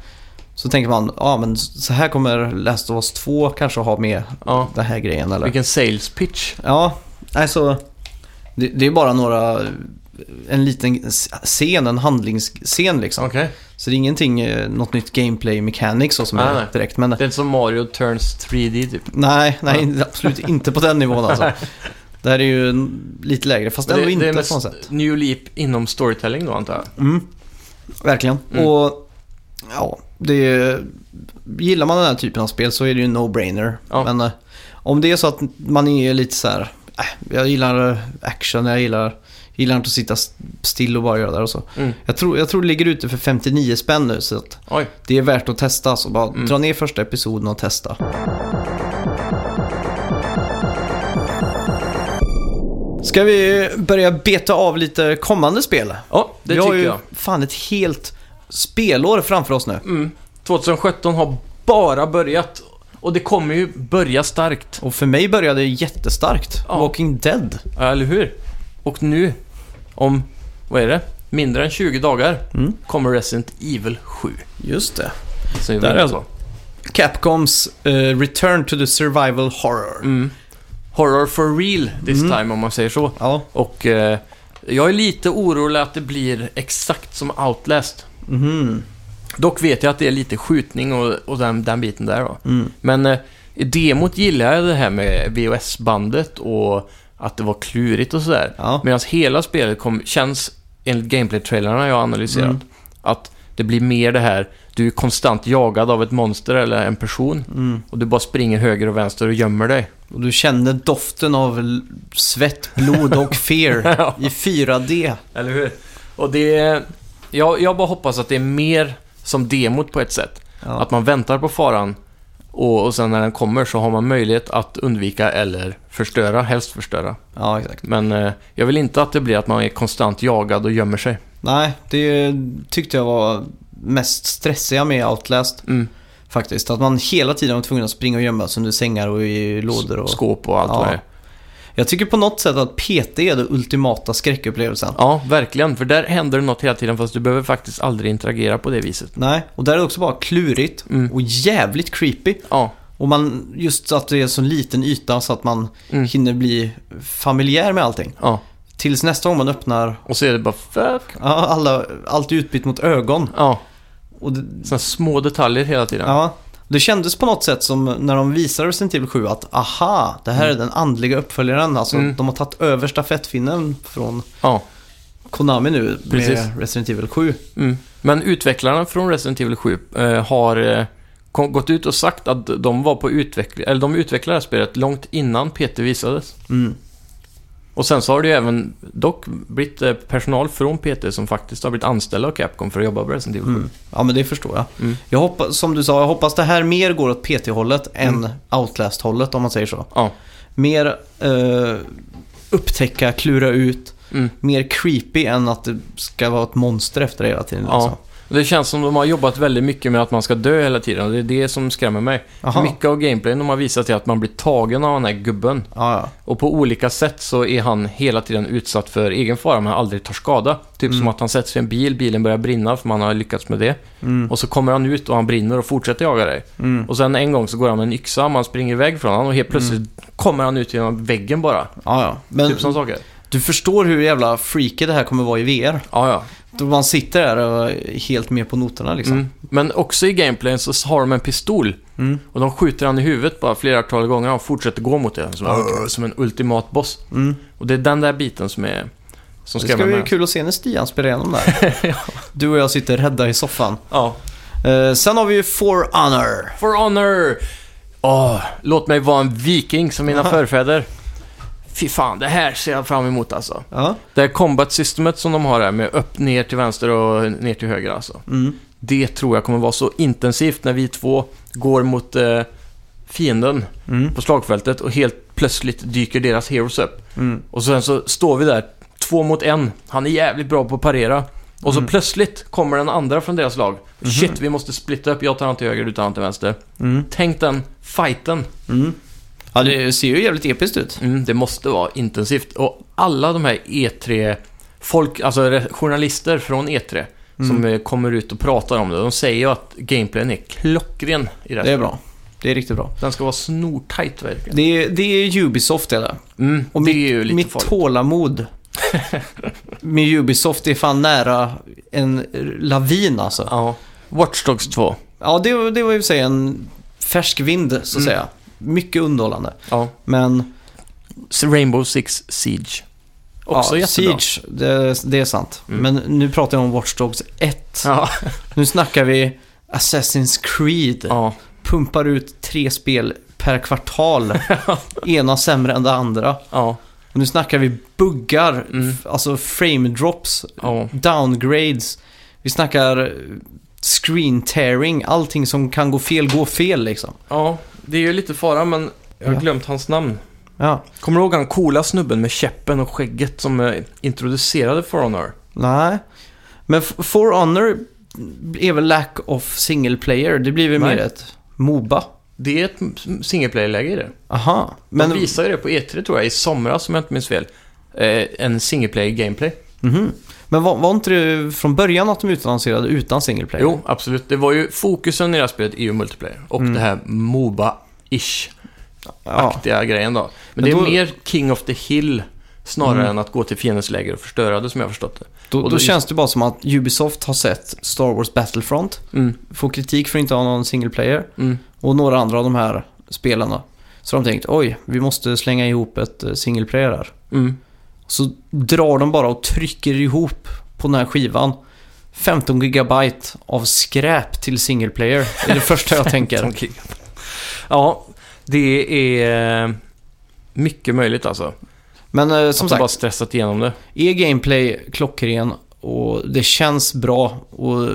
Så tänker man, ja men så här kommer Last of Us 2 kanske ha med Ja. den här grejen eller? Vilken sales pitch. Ja, alltså det, det är bara några, en liten scen, en handlingsscen liksom. Okej. Så det är ingenting, eh, något nytt gameplay mechanics och som Nej, är nej. direkt. Men Det är inte som Mario Turns 3D typ. Nej, nej absolut inte på den nivån (laughs) alltså. Det här är ju n- lite lägre, fast Men ändå inte på mest något sätt. New Leap inom storytelling då antar jag. Mm. Verkligen. Mm. Och ja, det är, gillar man den här typen av spel så är det ju en no-brainer. Ja. Men eh, om det är så att man är lite så här, äh, jag gillar eh, action, jag gillar, gillar inte att sitta s- still och bara göra det där och så. Mm. Jag tror, jag tror det ligger ute för 59 spänn nu så att Oj. det är värt att testa. Så bara Mm. dra ner första episoden och testa. Ska vi börja beta av lite kommande spel? Ja, det vi har tycker ju jag. fan ett helt spelår framför oss nu. Mm. 2017 har bara börjat. Och det kommer ju börja starkt. Och för mig började det jättestarkt. Ja. Walking Dead. Ja, eller hur? Och nu, om, vad är det? Mindre än 20 dagar Mm. kommer Resident Evil 7. Just det. Så vi Där vet är så. Capcoms eh, Return to the Survival Horror. Mm. Horror for real this Mm. time om man säger så. Ja, Och eh, jag är lite orolig att det blir exakt som Outlast. mhm. Dock vet jag att det är lite skjutning och, och den, den biten där då. Mm. Men eh, i demot gillar jag det här med VHS-bandet och att det var klurigt och sådär. Ja. Medan hela spelet kom, känns, enligt gameplay-trailerna jag har analyserat, Mm. Att det blir mer det här, du är konstant jagad av ett monster eller en person Mm. och du bara springer höger och vänster och gömmer dig. Och du kände doften av l- svett, blod och fear (laughs) Ja. i 4D. Eller hur? Och det är... Jag, jag bara hoppas att det är mer som demot på ett sätt. Ja. Att man väntar på faran och, och sen när den kommer så har man möjlighet att undvika eller förstöra, helst förstöra. ja, exakt. Men eh, jag vill inte att det blir att man är konstant jagad och gömmer sig. Nej, det tyckte jag var mest stressiga med Outlast Mm. faktiskt. Att man hela tiden var tvungen att springa och gömma sig under sängar och i lådor och... Skåp och allt Ja. vad det är. Jag tycker på något sätt att PT är den ultimata skräckupplevelsen. Ja, verkligen. För där händer det något hela tiden fast du behöver faktiskt aldrig interagera på det viset. Nej, och där är det också bara klurigt Mm. och jävligt creepy. Ja, Och man, just att det är så liten yta så att man Mm. hinner bli familjär med allting. ja. Tills nästa gång man öppnar, Och så är det bara fuck. ja, alla, allt är utbytt mot ögon. Ja, Och det, sådana små detaljer hela tiden. Ja, det kändes på något sätt som när de visade Resident Evil 7 att aha, det här är den andliga uppföljaren. Alltså Mm. de har tagit över stafettfinnen från ja. Konami nu med Precis. Resident Evil 7. Mm. Men utvecklarna från Resident Evil 7 eh, har eh, kom, gått ut och sagt att de var på utveckling, eller de utvecklade det här spelet långt innan PT visades. Mm. Och sen så har det ju även dock blivit eh, personal från PT som faktiskt har blivit anställda av Capcom för att jobba på Resident Evil 7. Mm. Ja, men det förstår jag. Mm. Jag hoppas, som du sa, jag hoppas det här mer går åt PT-hållet Mm. än Outlast-hållet om man säger så. Ja. Mer eh, upptäcka, klura ut, Mm. mer creepy än att det ska vara ett monster efter dig hela tiden. Ja. Liksom. Det känns som de har jobbat väldigt mycket med att man ska dö hela tiden och det är det som skrämmer mig. Aha. Mycket av gameplayen de har visat är att man blir tagen av den här gubben. Ja, ja. Och på olika sätt så är han hela tiden utsatt för egen fara men aldrig tar skada. Typ som att han sätts i en bil, bilen börjar brinna för man har lyckats med det. Mm. Och så kommer han ut och han brinner och fortsätter jaga dig. Mm. Och sen en gång så går han med en yxa, man springer iväg från honom och helt plötsligt kommer han ut genom väggen bara. ja, ja. Mm. Men Typ sådana saker. Du förstår hur jävla freaky det här kommer vara i VR. Ja, ja. Då man sitter där och är helt med på noterna liksom. Mm. Men också i gameplayen så har de en pistol Mm. och de skjuter han i huvudet bara flertal gånger och han fortsätter gå mot det. Som, som en ultimat boss. Mm. Och det är den där biten som är... Det ska Som skrämmer bli mig. kul att se när Stian spelar igenom där. (laughs) Du och jag sitter rädda i soffan. Ja. Eh, sen har vi ju For Honor. For honor! Åh, låt mig vara en viking som mina förfäder. Fy fan, det här ser jag fram emot alltså. Ja. Det här combat systemet som de har här med upp, ner till vänster och ner till höger alltså. Mm. Det tror jag kommer vara så intensivt när vi två går mot eh, fienden Mm. på slagfältet och helt plötsligt dyker deras heroes upp. Mm. Och sen så står vi där, två mot en. Han är jävligt bra på att parera. Och så plötsligt kommer den andra från deras lag. Shit, vi måste splitta upp. Jag tar han till höger, du tar han till vänster. Mm. Tänk den fighten. Mm. Ja, det ser ju jävligt episkt ut. Mm, det måste vara intensivt. Och alla de här E3, folk, alltså re- journalister från E3, som eh, kommer ut och pratar om det. De säger ju att gameplayen är klockren i det, Det här. är bra. Det är riktigt bra. Den ska vara snortajt verkligen. Det är, det är Ubisoft är det. Mm, Och det mitt, är ju lite mitt farligt. (laughs) tålamod med Ubisoft är fan nära en lavin alltså. Ja. Watch Dogs 2. Ja, det, det var ju sig en färsk vind så att Mm. säga. Mycket underhållande. Ja. Men Rainbow Six Siege. Också ja, jättebra. Siege, det, det är sant. Mm. Men nu pratar jag om Watch Dogs 1. Ja. Nu snackar vi Assassin's Creed. ja. Pumpar ut tre spel per (laughs) kvartal. Ena sämre än det andra. Ja. Och nu snackar vi buggar, Mm. f- alltså frame drops, Ja. downgrades. Vi snackar eh, screen tearing, allting som kan gå fel, går fel liksom. ja. Det är ju lite fara, men jag har Ja. glömt hans namn. Ja, Kommer du ihåg han coola snubben med käppen och skägget som eh, introducerade For Honor? Nej. Men F- For Honor är väl lack of single player. Det blir väl Nej. mer ett Moba. Det är ett m- singleplayer-läge i det. Aha. Men... Men, De visade det på E3 tror jag, i somras om jag inte minns fel. Eh, en singleplayer-gameplay. Mhm. men var, var inte det från början att de utannonserade utan single player? Jo, absolut. Det var ju fokusen i det här spelet är ju multiplayer. Och Mm. det här Moba-ish-aktiga Ja. grejen då. Men, Men det är då- Mm. mer King of the Hill snarare än att gå till fiendens läger och förstöra det som jag har förstått det. Då, Och då, då- känns det bara som att Ubisoft har sett Star Wars Battlefront. Mm, Får kritik för att inte ha någon single player. mm. Och några andra av de här spelarna. Så de tänkt, oj, vi måste slänga ihop ett eh, single player här. Mm. Så drar de bara och trycker ihop på den här skivan. 15 gigabyte av skräp till single player. Det är det första (laughs) jag tänker. Som kick. Ja, det är eh, mycket möjligt alltså. Men eh, som Som att de sagt, bara stressat igenom det. är gameplay klockren och det känns bra och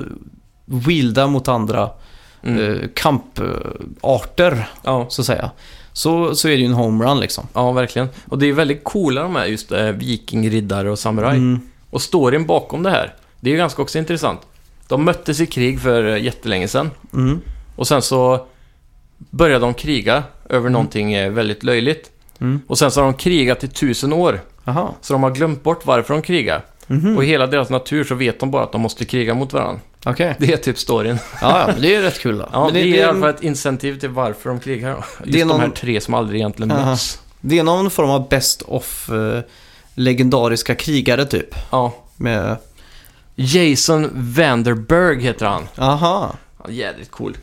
wielda mot andra Mm. eh, kamparter, Ja. så att säga. Så, så är det ju en homerun liksom. ja, verkligen. Och det är väldigt coola de här just eh, viking, riddare och samurai. Mm. Och storyn bakom det här, det är ju ganska också intressant. De möttes i krig för eh, jättelänge sedan. Mm. Och sen så började de kriga över någonting eh, väldigt löjligt. Mm. Och sen så har de krigat i tusen år. Aha. Så de har glömt bort varför de krigar. Mhm. Och i hela deras natur så vet de bara att de måste kriga mot varandra. (laughs) Okej. Det är typ storyn. Ja, ja, men det är ju rätt kul då. (laughs) Ja, Men det, är i alla det, fall är, ett incentiv till varför de krigar. då. Just Det är de här någon- tre som aldrig egentligen Aha. möts. det är någon form av best of eh, legendariska krigare typ. Ja. Med, Jason Vanderberg heter han. aha. han är jädrigt cool.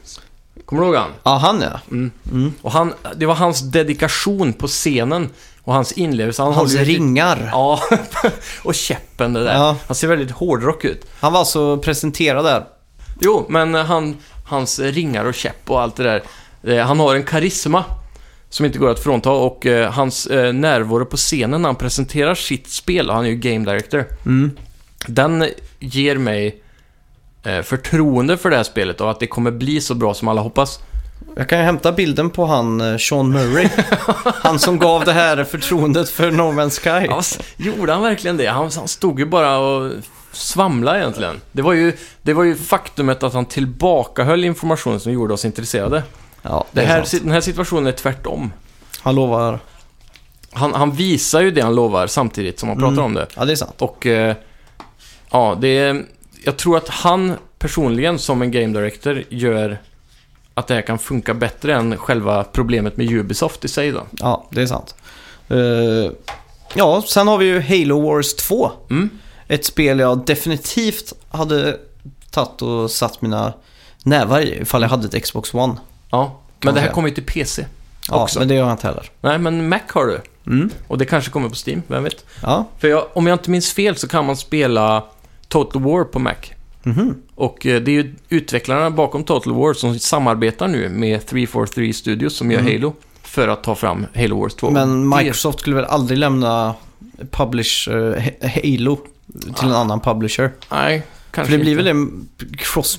Kommer du ihåg han? Ja, han ja. Mm. Mm. Och han, det var hans dedikation på scenen och hans inlevelse. Han Hans håller ju- ringar. Ja, (laughs) och käppen det där. Ja. Han ser väldigt hårdrock ut. Han var alltså presenterad där. Jo, men eh, han, hans ringar och käpp och allt det där. eh, Han har en karisma som inte går att frånta och eh, hans eh, närvaro på scenen när han presenterar sitt spel, och han är ju game director, Mm. den ger mig eh, förtroende för det här spelet och att det kommer bli så bra som alla hoppas. Jag kan ju hämta bilden på han eh, Sean (laughs) Murray. han som gav det här förtroendet för No Man's Sky. Ja, s- gjorde han verkligen det? Han, han stod ju bara och svamlade egentligen. Det var, ju, det var ju faktumet att han tillbakahöll information som gjorde oss intresserade. Ja, Det här, sant. si- den här situationen är tvärtom. Han lovar. Han, han visar ju det han lovar samtidigt som han pratar Mm. om det. Ja, det är sant. Och eh, ja, det är, jag tror att han personligen som en game director gör att det här kan funka bättre än själva problemet med Ubisoft i sig då. Ja, det är sant. Eh, ja, sen har vi ju Halo Wars 2. Mm. Ett spel jag definitivt hade tagit och satt mina nävar i ifall jag hade ett Xbox One. Ja, Kan men det här säga. kommer ju till PC. Ja, Också. men det gör jag inte heller. Nej, men Mac har du. Mm. Och det kanske kommer på Steam, vem vet? Ja. För jag, om jag inte minns fel så kan man spela Total War på Mac. Mhm. Och eh, det är ju utvecklarna bakom Total War som samarbetar nu med 343 Studios som gör Mm. Halo för att ta fram Halo Wars 2. Men Det- Microsoft skulle väl aldrig lämna publish, eh, Ha- Halo till en annan publisher. Nej, Ah. kanske För det blir väl inte. den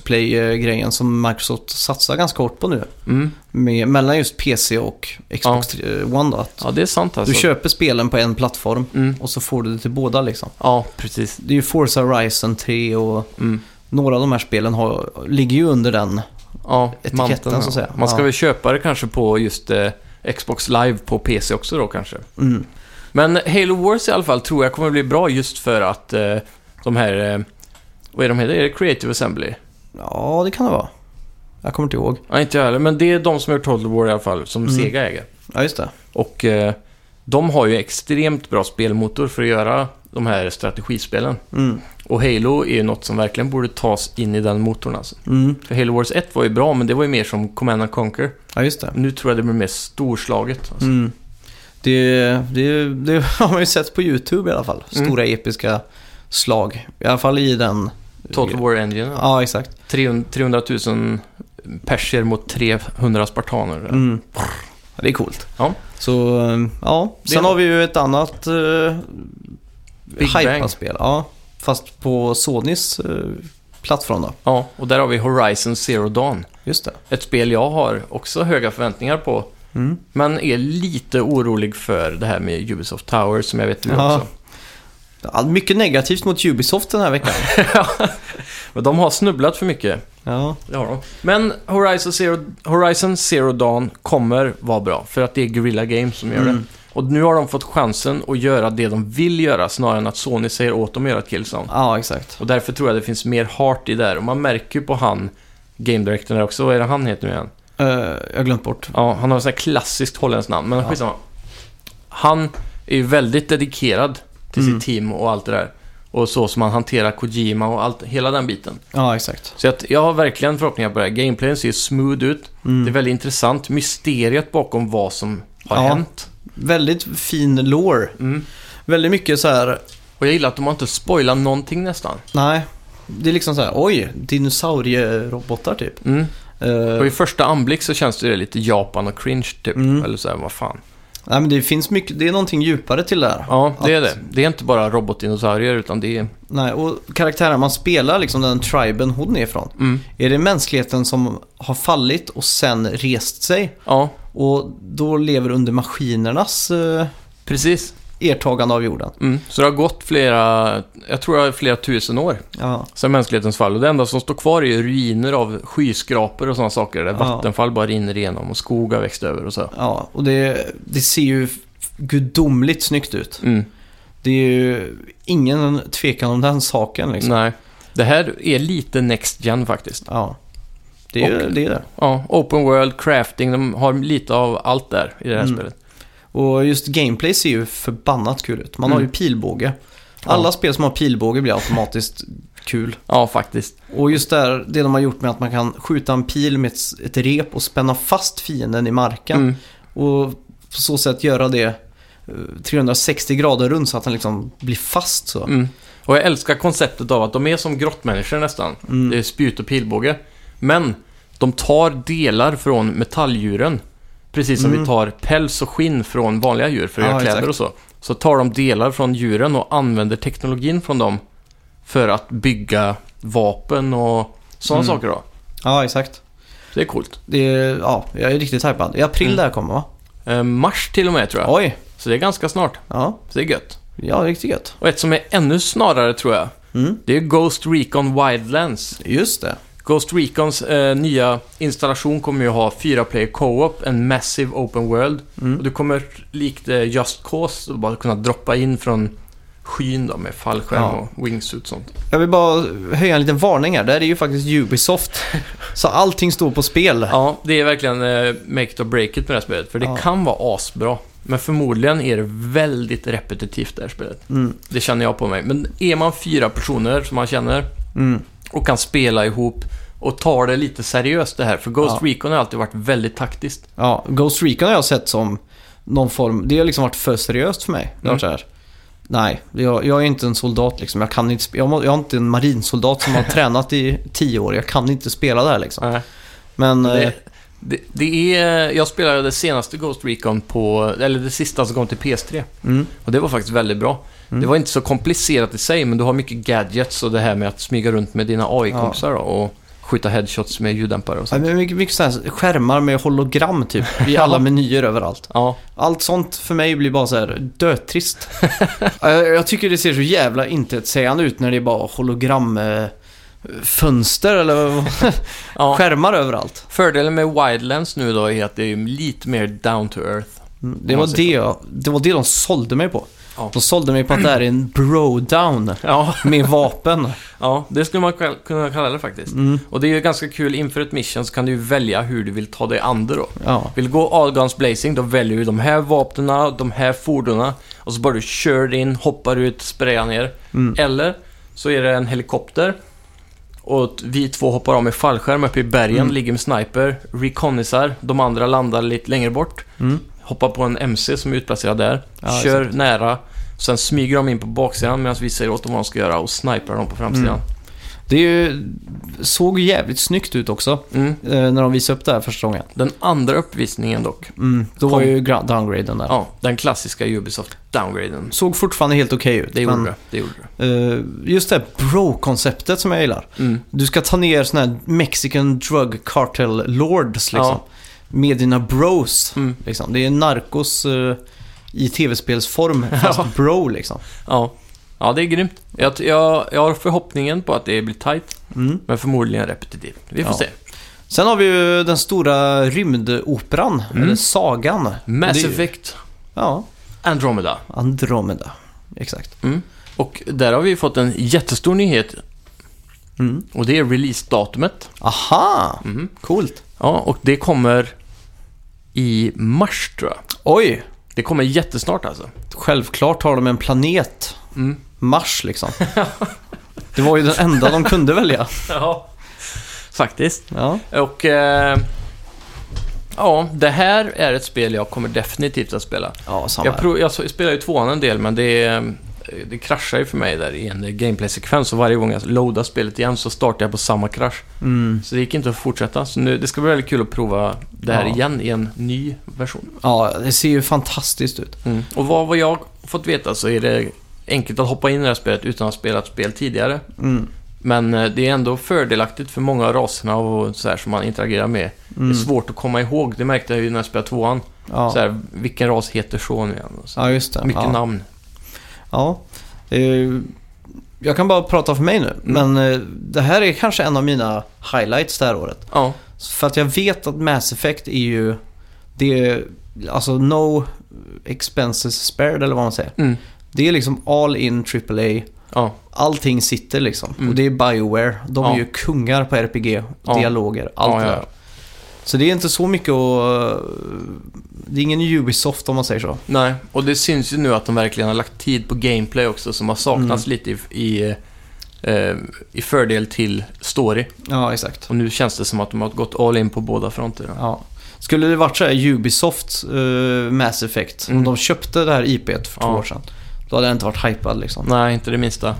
crossplay-grejen som Microsoft satsar ganska hårt på nu. Mm. Med, mellan just PC och Xbox eh, One då. Att Ja, det är sant alltså. Du köper spelen på en plattform Mm. och så får du det till båda liksom. Ja, precis. Det är ju Forza Horizon 3 och Mm. några av de här spelen har, ligger ju under den. Ja, Etiketten, manteln, så ja. att säga. Man ska Ja. väl köpa det kanske på just eh, Xbox Live på PC också då kanske. Mm. Men Halo Wars i alla fall tror jag kommer bli bra just för att eh, de här... Eh, vad är de heter? Är det Creative Assembly? Ja, det kan det vara. Jag kommer inte ihåg. Nej, inte jag heller. Men det är de som har gjort Total War i alla fall, som Mm. Sega äger. Ja, just det. Och eh, de har ju extremt bra spelmotor för att göra de här strategispelen. Mm. Och Halo är ju något som verkligen borde tas in i den motorn alltså. Mm. För Halo Wars 1 var ju bra, men det var ju mer som Command and Conquer. Ja, just det. Nu tror jag det blir mer storslaget. Alltså. Mm. Det, det, det (laughs) har man ju sett på YouTube i alla fall. Mm. Stora episka slag. I alla fall i den... Total War Engine, ja. Ja, exakt. 300 300 000 perser mot 300 spartaner. Mm. Ja, Det är coolt. Ja. Så, eh, ja. Det- Sen har vi ju ett annat uh, Big Bang. hypat-spel. Ja, fast på Sonys eh, plattform då. Ja, och där har vi Horizon Zero Dawn. Just det. Ett spel jag har också höga förväntningar på. Mm. Men är lite orolig för det här med Ubisoft Tower som jag vet du Ja. också. Ja, Mycket negativt mot Ubisoft den här veckan. (laughs) Men de har snubblat för mycket. ja. Det har de. Men Horizon Zero, Horizon Zero Dawn kommer vara bra. För att det är Guerrilla Games som gör det. Mm. Och nu har de fått chansen att göra det de vill göra snarare än att Sony säger åt dem att göra ett Killzone. ja, exakt. Och därför tror jag det finns mer heart i det här. Och man märker ju på han, Game Directorn där också. Vad är det han heter nu igen? Eh, jag har glömt bort. Ja, han har ett sånt här klassiskt holländskt namn, men Ja. skitsamma. Han är ju väldigt dedikerad till Mm. sitt team och allt det där. Och så som han hanterar Kojima och allt, hela den biten. Ja, exakt. Så att jag har verkligen förhoppningar på det här. Gameplayen ser smooth ut. Mm. Det är väldigt intressant. Mysteriet bakom vad som har Ja. hänt. Väldigt fin lore. Mm. Väldigt mycket så här, Och jag gillar att de har inte spoilat någonting nästan. nej. Det är liksom så här, oj, dinosaurierobotar typ. Mm. Eh, Och i första anblick så känns det ju lite Japan och cringe typ. Mm. Eller så här, vad fan. nej, men det finns mycket, det är någonting djupare till det här. Ja, det är Att- det. Det är inte bara robotdinosaurier utan det är... Nej, och karaktären man spelar, liksom den triben hon är ifrån. Mm. Är det mänskligheten som har fallit och sen rest sig? Ja, Och då lever under maskinernas eh, precis. ertagande av jorden. Mm. Så det har gått flera, jag tror det är flera tusen år Ja, sedan mänsklighetens fall. Och det enda som står kvar är ju ruiner av skyskrapor och sådana saker. Där Ja. vattenfall bara rinner igenom och skog har växt över och så. ja och det, det ser ju gudomligt snyggt ut. Mm. Det är ju ingen tvekan om den saken liksom. Nej. Det här är lite next gen faktiskt. Ja. Det är, Och- det är det. Ja, open world, crafting, de har lite av allt där i det här Mm. spelet. Och just gameplay ser ju förbannat kul ut. Man har ju Mm. pilbåge. Ja. Alla spel som har pilbåge blir automatiskt kul. Ja, faktiskt. Och just där, det de har gjort med att man kan skjuta en pil med ett, ett rep och spänna fast fienden i marken. Mm. Och på så sätt göra det eh, 360 grader runt så att den liksom blir fast så. Mm. Och jag älskar konceptet av att de är som grottmänniskor nästan. Mm. Det är spjut och pilbåge. Men de tar delar från metalldjuren. Precis som Mm. vi tar päls och skinn från vanliga djur för att Ja, göra kläder exakt. och så. Så tar de delar från djuren och använder teknologin från dem för att bygga vapen och sådana Mm. saker då. Ja, exakt. Så det är coolt. Det är, ja, jag är riktigt hypad. I april Mm. det här kommer va? Eh, mars till och med tror jag. Oj! Så det är ganska snart. Ja, Så det är gött. ja riktigt gött. Och ett som är ännu snarare tror jag. Mm. Det är Ghost Recon Wildlands. Just det. Ghost Recons eh, nya installation kommer ju ha fyra player co-op, en massive open world. Och Mm. du kommer likt eh, Just Cause bara kunna droppa in från skyn då med fallskärm Ja. och wingsuit och sånt. Jag vill bara höja en liten varning här. Det här är ju faktiskt Ubisoft. (laughs) så allting står på spel. Ja, det är verkligen eh, make it or break it med det här spelet. För det Ja. kan vara asbra. Men förmodligen är det väldigt repetitivt det här spelet. Mm. Det känner jag på mig. Men är man fyra personer som man känner Mm. och kan spela ihop och tar det lite seriöst det här. För Ghost Ja. Recon har alltid varit väldigt taktiskt. Ja, Ghost Recon har jag sett som någon form, det har liksom varit för seriöst för mig. Det har varit så Mm. här, nej, jag, jag är inte en soldat liksom. Jag, kan inte, sp- jag, må, jag är inte en marinsoldat som har (laughs) tränat i tio år. Jag kan inte spela där liksom. Men eh, Det, det, det är, jag spelade det senaste Ghost Recon på, eller det sista som kom till PS3. mm, Och det var faktiskt väldigt bra. Mm. Det var inte så komplicerat i sig, men du har mycket gadgets och det här med att smyga runt med dina AI-kompisar då, och skjuta headshots med ljuddämpare och ja, sånt. men mycket, mycket så här skärmar med hologram typ (laughs) i alla menyer överallt. Ja, Allt sånt för mig blir bara så här (laughs) dötrist. Ja, jag, jag tycker det ser så jävla intetsägande ut när det är bara hologram eh, fönster eller vad- (laughs) ja. skärmar överallt. Fördelen med Wildlands nu då är att det är lite mer down to earth. Mm, Det Om var man det, jag, det var det de sålde mig på. Ja. De sålde mig på att det här är en bro-down Ja, med (laughs) vapen. ja det skulle man kall- kunna kalla det faktiskt. Mm, Och det är ju ganska kul, inför ett mission så kan du ju välja hur du vill ta dig an det då. ja. Vill du gå all guns blazing, då väljer du de här vapnena, de här fordonen och så bara du kör in, hoppar ut, sprayar ner. Mm. Eller så är det en helikopter och t- vi två hoppar av med fallskärm uppe i bergen, Mm. ligger med sniper, reconnisar, de andra landar lite längre bort, Mm. hoppar på en MC som är utplacerad där, Ja, kör nära, sen smyger de in på baksidan medan vi säger åt dem vad de ska göra och sniprar dem på framsidan. Det är ju, såg ju jävligt snyggt ut också Mm. eh, när de visade upp det här första gången. Den andra uppvisningen dock, Mm, då var Kom. ju gra- downgraden där. ja, den klassiska Ubisoft downgraden. Såg fortfarande helt okej ut. Det gjorde men, det. det, gjorde det. eh, just det här bro-konceptet som jag gillar. Mm. Du ska ta ner såna här Mexican drug cartel lords liksom. Ja. Med dina bros. Mm. Liksom. Det är narkos eh, i tv-spelsform, fast (laughs) Ja. bro liksom. Ja. ja, det är grymt. Jag, jag, jag har förhoppningen på att det blir tight, Mm. men förmodligen repetitivt. Vi får Ja. se. Sen har vi ju den stora rymdoperan, eller sagan. Mm. Mass Det är ju- Effect Ja, Andromeda. Andromeda. Exakt. Mm. Och där har vi fått en jättestor nyhet Mm. och det är releasedatumet. Aha! Mm. Coolt. Ja, och det kommer i mars tror jag. Oj! Det kommer jättesnart alltså. Självklart har de en planet. Mm. Mars (laughs) liksom. Det var ju den enda de kunde välja. Ja, faktiskt. Ja. Och eh, ja, det här är ett spel jag kommer definitivt att spela. Ja, samma Jag, här. prov, jag så- jag spelar ju tvåan en del, men det är... eh, det kraschar ju för mig där i en eh, gameplay-sekvens och varje gång jag loadar spelet igen så startar jag på samma krasch. Mm. Så det gick inte att fortsätta. Så nu, det ska bli väldigt kul att prova det här Ja. igen i en ny version. Mm. Ja, det ser ju fantastiskt ut. Och vad, vad jag fått veta så är det enkelt att hoppa in i det här spelet utan att ha spelat spel tidigare. Mm. Men eh, det är ändå fördelaktigt för många av raserna och så här som man interagerar med. Mm. Det är svårt att komma ihåg, det märkte jag ju när jag spelade tvåan. Ja. Så här, vilken ras heter så nu igen? Och Så. ja, just det. Mycket ja. namn. Ja. Eh, Jag kan bara prata för mig nu, Mm. men eh, det här är kanske en av mina highlights det här året. Ja, För att jag vet att Mass Effect är ju, det är alltså no expenses spared eller vad man säger. mm. Det är liksom all in AAA, ja, allting sitter liksom. Mm. Och det är Bioware, de är Ja. ju kungar på RPG, Ja. dialoger, allt ja, det ja, där. ja. Så det är inte så mycket att, det är ingen Ubisoft om man säger så. Nej, och det syns ju nu att de verkligen har lagt tid på gameplay också som har saknats Mm. lite i, i, eh, i fördel till story. Ja, exakt. Och nu känns det som att de har gått all in på båda fronter. Ja. Skulle det varit så här Ubisoft eh, Mass Effect, om Mm. de köpte det här IPet för två Ja. år sedan, då hade jag inte varit hypad liksom. Nej, inte det minsta.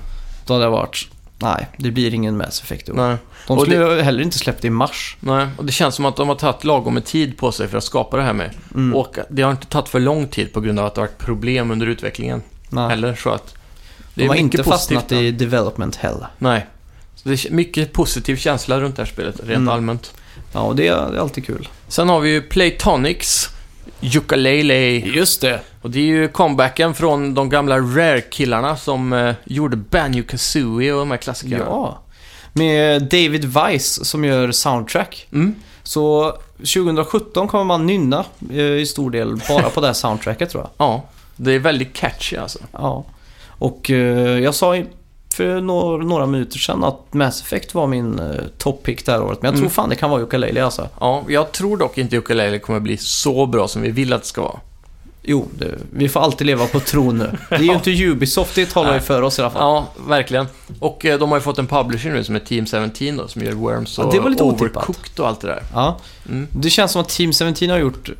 Då hade jag varit, nej, det blir ingen Mass Effect i år. Nej. De och skulle ju heller inte släppt det i mars. Nej, och det känns som att de har tagit lagom med tid på sig för att skapa det här med. Mm. Och det har inte tagit för lång tid på grund av att det har varit problem under utvecklingen. nej. Eller så att... de har mycket inte fastnat positivt. i development hell. Nej. Så det är mycket positiv känsla runt det här spelet, rent Mm. allmänt. Ja, och det är, det är alltid kul. Sen har vi ju Playtonics, Yooka-Laylee. Just det. Och det är ju comebacken från de gamla Rare-killarna som eh, gjorde Banjo Kazooie och de här klassikerna. Ja. Med David Weiss som gör soundtrack. Mm. Så 2017 kommer man nynna eh, i stor del bara på det här soundtracket tror jag. ja. Det är väldigt catchy alltså. Ja. Och eh, jag sa i- för några, några minuter sedan att Mass Effect var min eh, toppick det här året. Men jag tror Mm. fan det kan vara Ukulele alltså. Ja, jag tror dock inte Yooka-Laylee kommer bli så bra som vi vill att det ska vara. Jo, det, vi får alltid leva på tron (laughs) nu. Det är ju inte Ubisoft, det talar ju Nej. för oss i alla fall. Ja, verkligen. Och eh, de har ju fått en publisher nu som är Team 17 då, som gör Worms Ja, och det var lite otippat. Overcooked och allt det där. Ja. Mm. Det känns som att Team 17 har gjort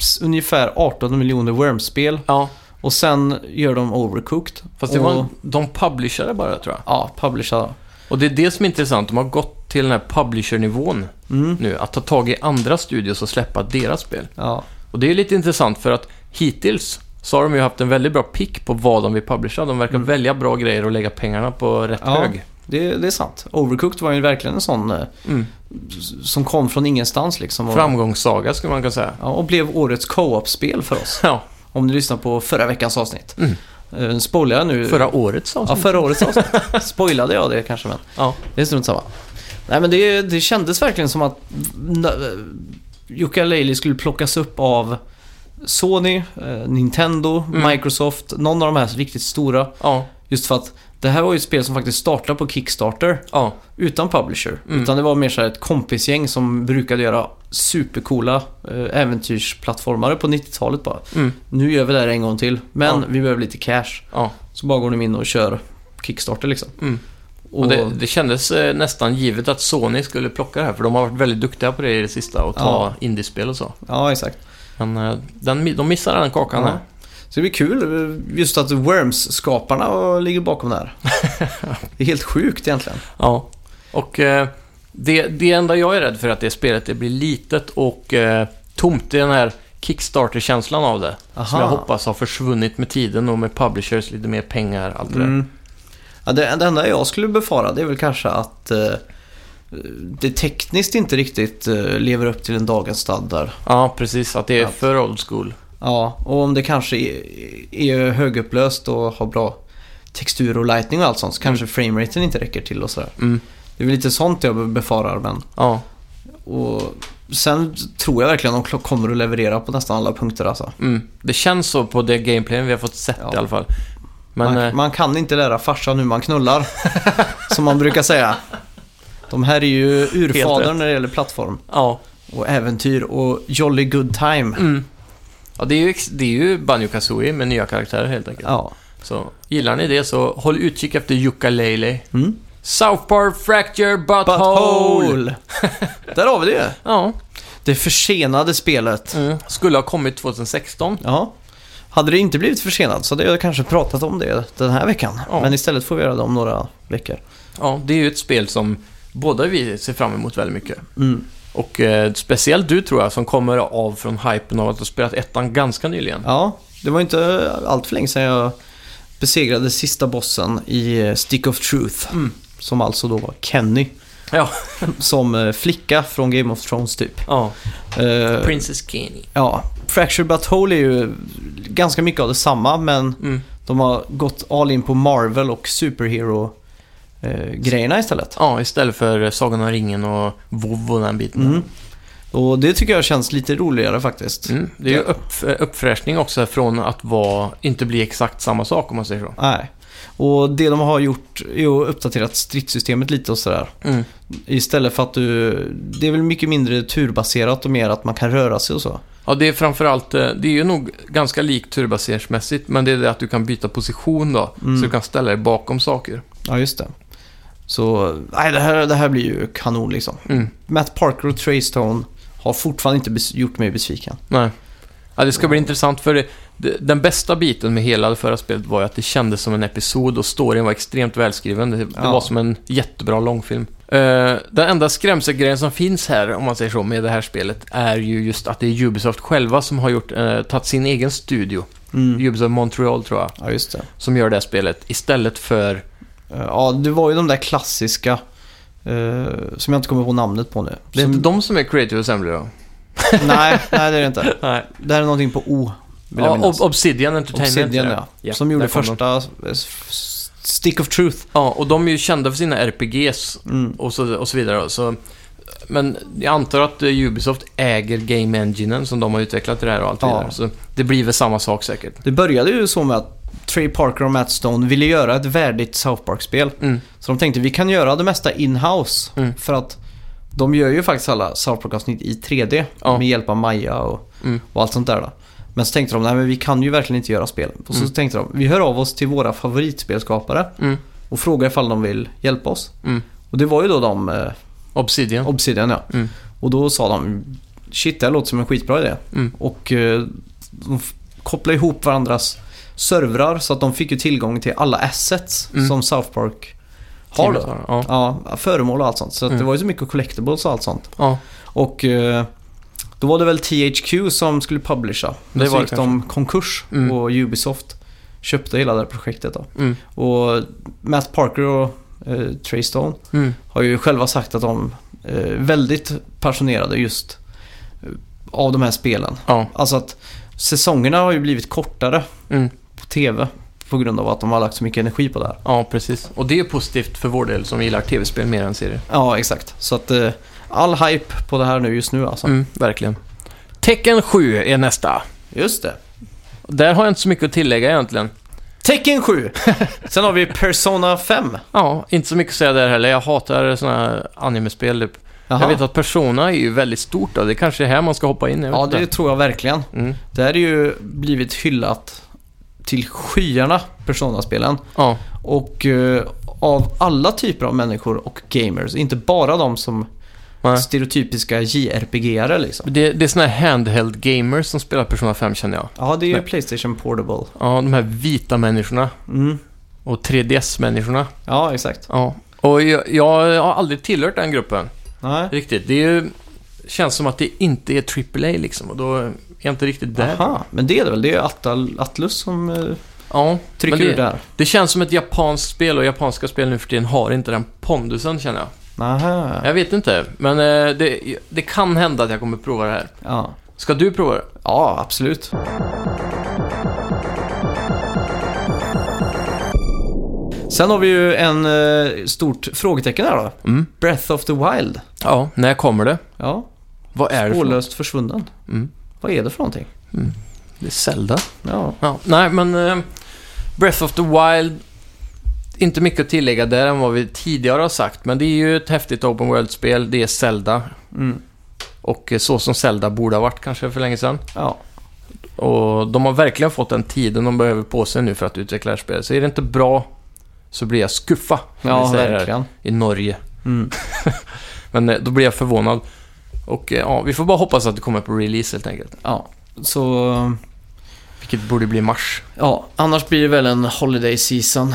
s- ungefär 18 miljoner Worms-spel Ja, och sen gör de Overcooked. fast det och, var en, de publishade bara tror jag. Ja, publishade. Och det är det som är intressant, de har gått till den här publisher-nivån Mm. nu, att ta tag i andra studios och släppa deras spel. Ja. Och det är lite intressant för att hittills så har de ju haft en väldigt bra pick på vad de vill publisha. De verkar välja bra grejer och lägga pengarna på rätt Mm. Ja. hög. Det, det är sant. Overcooked var ju verkligen en sån eh, Mm. s- som kom från ingenstans liksom. Och, Framgångssaga skulle man kunna säga. ja, och blev årets co-op-spel för oss. Ja, Om du lyssnar på förra veckans avsnitt. Mm. Mm. Spoilar jag nu? förra årets ja, avsnitt. förra årets avsnitt. Spoilade jag det kanske, men Ja. det är strunt samma. Nej, men det, det kändes verkligen som att Jukka Leili skulle plockas upp av Sony, eh, Nintendo, Mm. Microsoft, någon av de här riktigt stora. Ja. Just för att det här var ju ett spel som faktiskt startade på Kickstarter ja. utan publisher. Mm. Utan det var mer så här ett kompisgäng som brukade göra supercoola eh, äventyrsplattformare på 90-talet bara. Mm. Nu gör vi det här en gång till, men Ja. vi behöver lite cash. ja. Så bara går de in och kör Kickstarter liksom. Mm. Och, Och det, det kändes eh, nästan givet att Sony skulle plocka det här, för de har varit väldigt duktiga på det i det sista, och ta indiespel och så. Ja, exakt. Men eh, den, mi- de missar den kakan Ja. här. Så det blir kul eh, just att Worms-skaparna ligger bakom det här. det är helt sjukt egentligen. Ja. Och eh, det, det enda jag är rädd för är att det spelet det blir litet och eh, tomt. Det är den här Kickstarter-känslan av det. Som jag hoppas har försvunnit med tiden och med publishers, lite mer pengar, allt det där. Mm. Ja, det, det enda jag skulle befara det är väl kanske att eh, det tekniskt inte riktigt eh, lever upp till en dagens standard. Ja, precis. Att det är Att- för old school. Ja, och om det kanske är, är högupplöst och har bra textur och lightning och allt sånt så kanske frameraten inte räcker till och sådär. Mm. Det är väl lite sånt jag befarar men. Ja. Och sen tror jag verkligen att de kommer att leverera på nästan alla punkter alltså. Mm. Det känns så på det gameplayen vi har fått sett Ja. i alla fall. Men... eh, man, man kan inte lära farsan hur man (laughs) knullar. som man brukar säga. De här är ju Helt urfader rätt. när det gäller plattform Ja. och äventyr och jolly good time. Mm. Ja, det är ju, ex- det är ju Banjo Kazooie med nya karaktärer helt enkelt. Ja. Så gillar ni det så håll utkik efter Jukka Leili. Mm. South Park Fracture Butthole! (laughs) Butthole! Där har vi det Ja, Det försenade spelet. mm. skulle ha kommit 2016. Ja. Hade det inte blivit försenat så hade jag kanske pratat om det den här veckan. Ja. Men istället får vi göra det om några veckor. Ja, det är ju ett spel som båda vi ser fram emot väldigt mycket. Mm. Och eh, speciellt du tror jag, som kommer av från hypen av att ha spelat ettan ganska nyligen. Ja, det var inte allt för länge sedan jag besegrade sista bossen i eh, Stick of Truth. Mm. Som alltså då var Kenny. Ja, Som eh, flicka från Game of Thrones typ. (laughs) ja. Eh, Princess Kenny. Ja, Fracture But Whole är ju ganska mycket av detsamma men Mm. de har gått all in på Marvel och superhero-grejerna istället. Ja, istället för eh, Sagan om ringen och WoW och den biten. Mm. Och det tycker jag känns lite roligare faktiskt. Mm. Det är ju upp, uppfräschning också från att vara, inte bli exakt samma sak om man säger så. Nej. Och det de har gjort är att uppdaterat stridssystemet lite och sådär. Mm. Istället för att du... Det är väl mycket mindre turbaserat och mer att man kan röra sig och så. Ja, det är framförallt, eh, det är ju nog ganska likt turbaseringsmässigt, men det är det att du kan byta position då, Mm. så du kan ställa dig bakom saker. Ja, just det. Så, nej det här, det här blir ju kanon liksom. Mm. Matt Parker och Trey Stone har fortfarande inte bes- gjort mig besviken. Nej. Ja, det ska bli intressant för det, det, den bästa biten med hela det förra spelet var ju att det kändes som en episod och storyn var extremt välskriven. Det, det Ja. var som en jättebra långfilm. Eh, den enda skrämselgrejen som finns här, om man säger så, med det här spelet är ju just att det är Ubisoft själva som har gjort, eh, tagit sin egen studio, Mm. Ubisoft Montreal tror jag, Ja, just det. som gör det här spelet istället för... Eh, Ja, det var ju de där klassiska, eh, som jag inte kommer på namnet på nu. Det är som, (laughs) inte de som är Creative Assembly då? nej, nej, det är det inte. Nej. Det här är någonting på O, vill jag Ja, minnas. Ob- Obsidian Entertainment. Obsidian, ja. Som gjorde där kom de. första eh, s- Stick of Truth. Ja, och de är ju kända för sina RPGs Mm. och så, och så vidare. Så, men jag antar att eh, Ubisoft äger Game Enginen som de har utvecklat det här och allt Ja. vidare. Så det blir väl samma sak säkert. Det började ju så med att Trey Parker och Matt Stone ville göra ett värdigt South Park-spel. Mm. Så de tänkte vi kan göra det mesta in-house. Mm. För att de gör ju faktiskt alla South Park-avsnitt i 3D Ja. med hjälp av Maya och, Mm. och allt sånt där. Då. Men så tänkte de, nej men vi kan ju verkligen inte göra spel. Och så Mm. tänkte de, vi hör av oss till våra favoritspelskapare Mm. och frågar ifall de vill hjälpa oss. Mm. Och det var ju då de, eh, Obsidian. Obsidian ja. Mm. Och då sa de, shit det här låter som en skitbra idé. Mm. Och eh, de f- kopplade ihop varandras servrar så att de fick ju tillgång till alla assets Mm. som South Park har då. Ja. Ja, föremål och allt sånt. Så att det Mm. var ju så mycket collectibles och allt sånt. ja. Och eh, då var det väl THQ som skulle publisha. Men Det så var det gick de konkurs Mm. och Ubisoft köpte hela det här projektet då. Mm. Och Matt Parker och eh, Trey Stone Mm. har ju själva sagt att de eh, väldigt passionerade just eh, av de här spelen. Ja. Alltså att säsongerna har ju blivit kortare Mm. på TV på grund av att de har lagt så mycket energi på det här. ja, precis. Och det är positivt för vår del som gillar tv-spel mer än serier. Ja, exakt. Så att eh, all hype på det här nu just nu alltså. Mm, verkligen. Tecken 7 är nästa. Just det. Där har jag inte så mycket att tillägga egentligen. Tecken (laughs) 7! Sen har vi Persona 5. Ja, inte så mycket att säga där heller. Jag hatar såna här animespel typ. Jaha. Jag vet att Persona är ju väldigt stort då. Det kanske är här man ska hoppa in. jag vet ja, inte. det tror jag verkligen. Mm. Det här är ju blivit hyllat till skyarna, Persona-spelen. Ja. Och eh, av alla typer av människor och gamers, inte bara de som Nej. stereotypiska JRPG-are liksom. Det, det är såna här handheld gamers som spelar Persona 5 känner jag. Ja, det är ju Nej. Playstation Portable. Ja, de här vita människorna Mm. och 3DS-människorna. Ja, exakt. Ja. Och jag, jag har aldrig tillhört den gruppen Nej. riktigt. Det är ju, känns som att det inte är AAA liksom och då är jag inte riktigt där. Aha, men det är det väl? Det är Atal- Atlus som eh, Ja, trycker men ur det, där. det känns som ett japanskt spel och japanska spel nu för tiden har inte den pondusen känner jag. Aha. Jag vet inte, men eh, det, det kan hända att jag kommer prova det här. Ja. Ska du prova det? ja, absolut. Sen har vi ju en eh, stort frågetecken här då. Mm. Breath of the Wild. Ja, när kommer det? Ja, Vad är det för något? spårlöst försvunnen. Mm. Vad är det för någonting? Det är Zelda. Ja. Ja, nej, men eh, Breath of the Wild, inte mycket att tillägga där än vad vi tidigare har sagt, men det är ju ett häftigt Open World-spel, det är Zelda. Mm. Och eh, så som Zelda borde ha varit kanske för länge sedan. ja. Och de har verkligen fått den tiden de behöver på sig nu för att utveckla det här spelet. Så är det inte bra så blir jag skuffa, som Ja, vi säger här verkligen. i Norge. Mm. Men eh, då blir jag förvånad. Och eh, ja, vi får bara hoppas att det kommer på release helt enkelt. Ja, så... Vilket borde bli mars. Ja, annars blir det väl en holiday season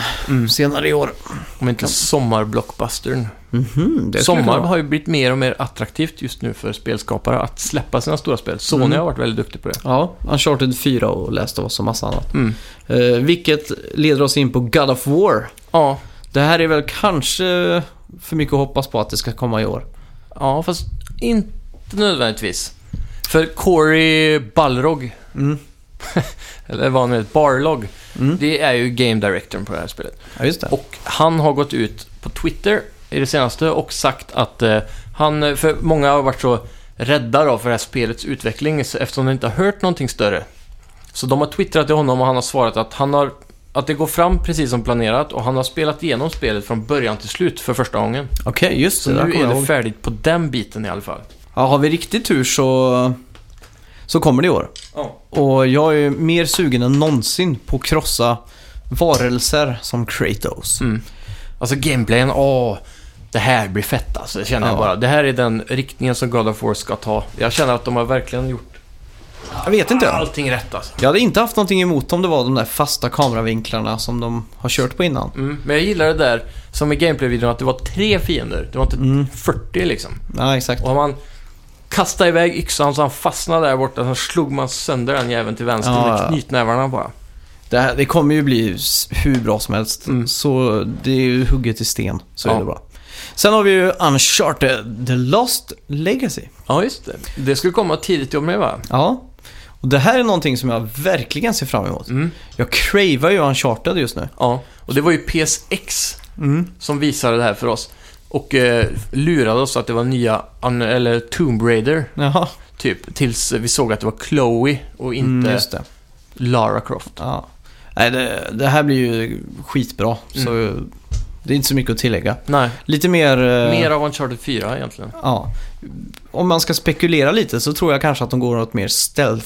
senare i år. Om inte sommarblockbustern. Mhm, det skulle Sommar kunna vara. har ju blivit mer och mer attraktivt just nu för spelskapare att släppa sina stora spel. Sony Mm. har varit väldigt duktig på det. Ja, Uncharted 4 och Last of Us och massa annat. Mm. Eh, vilket leder oss in på God of War. Ja, Det här är väl kanske för mycket att hoppas på att det ska komma i år. ja, fast inte nödvändigtvis. För Corey Balrog, Mm. (laughs) eller vad han nu heter, Barlog, Mm. det är ju Game Directorn på det här spelet. Ja, just det. Och han har gått ut på Twitter i det senaste och sagt att eh, han, för många har varit så rädda då för det här spelets utveckling så- eftersom de inte har hört någonting större. Så de har twittrat till honom och han har svarat att han har att det går fram precis som planerat och han har spelat igenom spelet från början till slut för första gången. Okej, just Så det. där nu kommer är jag det ihåg. färdigt på den biten i alla fall. Ja, har vi riktigt tur så, så kommer det i år. Och jag är mer sugen än någonsin på att krossa varelser som Kratos. Mm. Alltså gameplayen, åh. Det här blir fett alltså, det känner jag Ja. bara. Det här är den riktningen som God of War ska ta. Jag känner att de har verkligen gjort Jag vet inte. Jag. allting rätt alltså. jag hade inte haft någonting emot om det var de där fasta kameravinklarna som de har kört på innan. Mm, men jag gillar det där, som i gameplay-videon, att det var tre fiender. Det var inte 40 liksom. Ja, exakt. Och om man kastade iväg yxan så han fastnade där borta, så slog man sönder den jäveln till vänster Ja, med ja. knytnävarna bara. Det, här, det kommer ju bli s- hur bra som helst. Mm. Så det är ju hugget i sten. Så Ja. är det bra. Sen har vi ju Uncharted The Lost Legacy. Ja, just det. Det skulle komma tidigt i år med va? Ja. Och det här är någonting som jag verkligen ser fram emot. Mm. Jag cravar ju Uncharted just nu. Ja, Mm. och det var ju PSX som visade det här för oss. Och eh, lurade oss att det var nya, un- eller Tomb Raider, Jaha, typ. Tills vi såg att det var Chloe och inte mm, just det. Lara Croft. Ja. Nej, det, det här blir ju skitbra. Så det är inte så mycket att tillägga. Nej, Lite mer... eh, Mm. mer av Uncharted 4 egentligen. Ja. Om man ska spekulera lite så tror jag kanske att de går åt mer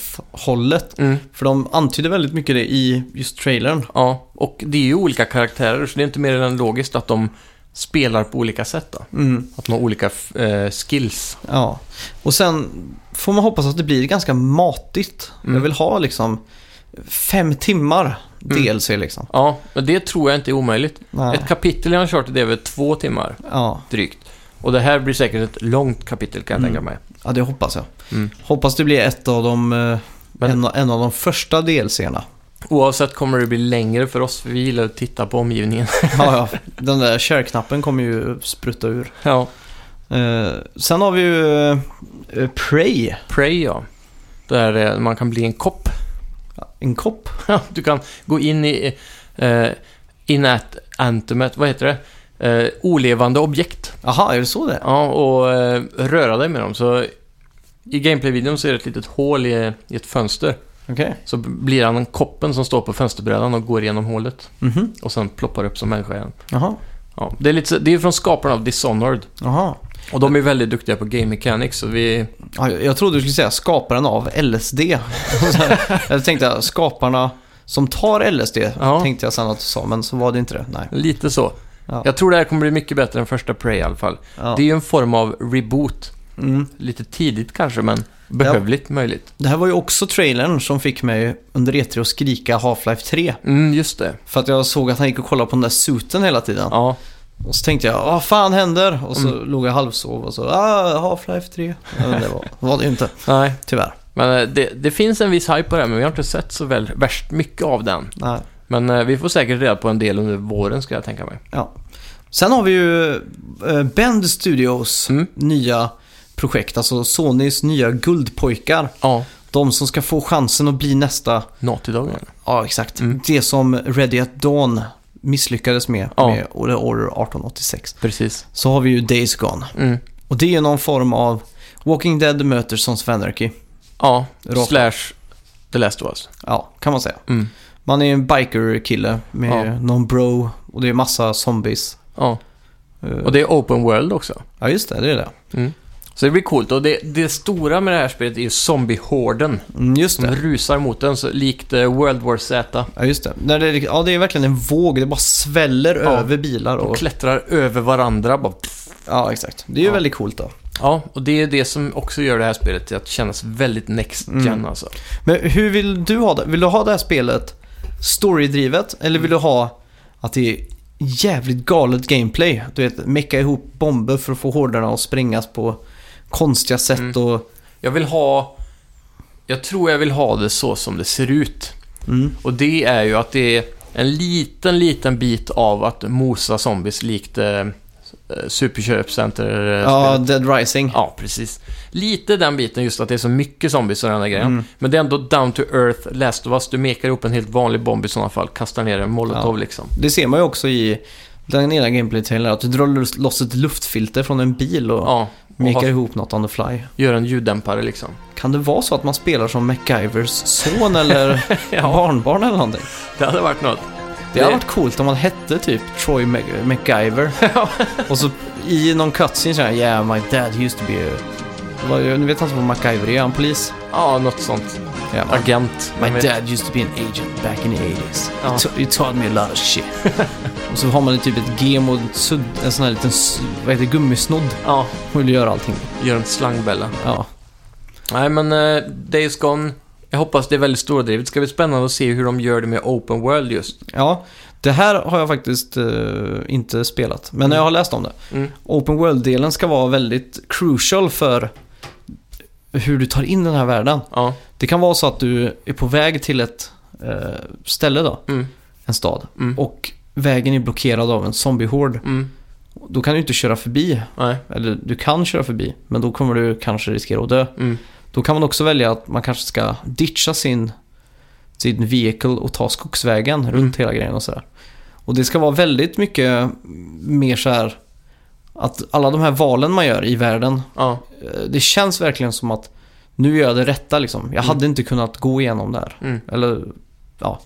stealth-hållet. Mm. För de antyder väldigt mycket det i just trailern. Ja, och det är ju olika karaktärer, så det är inte mer än logiskt att de spelar på olika sätt då. Mm, Att de har olika f- eh, skills. ja. Och sen får man hoppas att det blir ganska matigt. Mm. Jag vill ha liksom fem timmar DLC liksom. Ja, men det tror jag inte är omöjligt. Nej. Mm. Ett kapitel i Uncharted är väl två timmar, Ja. drygt. Och det här blir säkert ett långt kapitel kan jag Mm. tänka mig. ja, det hoppas jag. Mm. Hoppas det blir ett av de, eh, Men- en, en av de första DLC-erna. Oavsett kommer det bli längre för oss, för vi gillar att titta på omgivningen. (laughs) Ja, ja. Den där share-knappen kommer ju sprutta ur. ja, Eh, sen har vi ju eh, Prey, Prey ja. Där eh, man kan bli en kopp. (laughs) en kopp. du kan gå in i eh, Inat Antemet, vad heter det? Eh, olevande objekt. Jaha, är det så det är? Ja, och eh, röra dig med dem. Så i gameplay-videon så är det ett litet hål i, i ett fönster. Okej. Så b- blir han koppen som står på fönsterbrädan och går igenom hålet. Mhm. Och sen ploppar upp som människa igen. Jaha. Ja, det, är lite, så- det är från skaparna av Dishonored. Jaha. Och de är väldigt duktiga på game mechanics. Så vi, Ja, jag jag trodde du skulle säga skaparen av LSD. (laughs) Och sen- jag tänkte skaparna som tar LSD, Ja. tänkte jag sen att du sa, men så var det inte det. Nej. lite så. Ja. Jag tror det här kommer bli mycket bättre än första Prey i alla fall. Ja. Det är ju en form av reboot. Mm. Lite tidigt kanske, men behövligt möjligt. Det här var ju också trailern som fick mig under E3 att skrika Half-Life 3. Mm, just det. För att jag såg att han gick och kollade på den där suten hela tiden. Ja. Mm. Och så tänkte jag, vad fan händer? Och så låg jag halvsov och så, ah, Half-Life 3. Ja, Men det var, var det ju inte, Nej, tyvärr. men eh, det, det finns en viss hype på det här, men vi har inte sett så väl, värst mycket av den. Nej. Men eh, vi får säkert reda på en del under våren ska jag tänka mig. Ja. Sen har vi ju eh, Bend Studios Mm. nya projekt, alltså Sonys nya guldpojkar. Ja. De som ska få chansen att bli nästa, Naughty Dog eller? ja exakt, Mm. det som Ready at Dawn misslyckades med, Ja. med år 1886. Precis. Så har vi ju Days Gone. Mm. Och det är ju någon form av Walking Dead möter Sons of Anarchy. Ja, Rakt. slash The Last of Us. Ja, kan man säga. Mm. Man är en biker-kille med Ja. någon bro och det är massa zombies. Ja, Eh, och det är open world också. Ja, just det, det är det. Så det blir coolt. Och det, det stora med det här spelet är ju zombiehorden Mm, just som det. rusar mot den, så likt eh, World War Z. Ja, just det. När det, är- ja, det är verkligen en våg. Det bara sväller Ja. över bilar. De Och, klättrar över varandra bara. ja, exakt. Det är ju Ja. väldigt coolt då. Ja, och det är det som också gör det här spelet till att kännas väldigt next gen Mm. alltså. Men hur vill du ha det? Vill du ha det här spelet storydrivet eller vill du ha att det är jävligt galet gameplay? Du vet, mecka ihop bomber för att få hårdarna att sprängas på konstiga sätt Mm. och... Jag vill ha... Jag tror jag vill ha det så som det ser ut. Mm. Och det är ju att det är en liten, liten bit av att mosa zombies likt eh, eh, Superköpcenter... eh, Ja, spelet. Dead Rising. ja, precis. Lite den biten, just att det är så mycket zombies och den där grejen. Mm. Men det är ändå down to earth, last of us. Du mekar ihop en helt vanlig bomb i sådana fall, kastar ner en molotov Ja. liksom. Det ser man ju också i den ena gameplay-trailern, att du drar los- loss ett luftfilter från en bil och Ja, och mekar har, ihop något on the fly. gör en ljuddämpare liksom. Kan det vara så att man spelar som MacGyvers son eller (laughs) Ja, barnbarn eller någonting? det hade varit något. Det hade varit coolt om man hette typ Troy Mac- (laughs) MacGyver. och så i någon cutscene såhär, yeah my dad used to be a... Vad- Jag vet inte vad MacGyver är, är han polis? Ja, något sånt. Ja. Agent. My Men- dad used to be an agent back in the 80s. Ja. You, ta- you taught me a lot of (laughs) shit. och så har man typ ett gem och ett sudd, en sån här liten s- vad heter det, gummisnodd. Ja, Hon vill göra allting. gör en slangbella. Ja. Nej, men eh, Days Gone. Jag hoppas det är väldigt stordrivet. Det ska bli spännande att se hur de gör det med Open World just. ja, det här har jag faktiskt eh, inte spelat. Men jag har läst om det. Mm. Open World-delen ska vara väldigt crucial för hur du tar in den här världen. Ja. Det kan vara så att du är på väg till ett eh, ställe då, Mm. en stad. Mm. Och vägen är blockerad av en zombiehord. Mm. Då kan du inte köra förbi, Nej. eller du kan köra förbi, men då kommer du kanske riskera att dö. Mm. Då kan man också välja att man kanske ska ditcha sin, sin vehicle och ta skogsvägen runt hela grejen och sådär. Och det ska vara väldigt mycket mer så här att alla de här valen man gör i världen, Ja. eh, det känns verkligen som att nu gör jag det rätta liksom. Jag hade inte kunnat gå igenom det här. Mm. Eller, ja.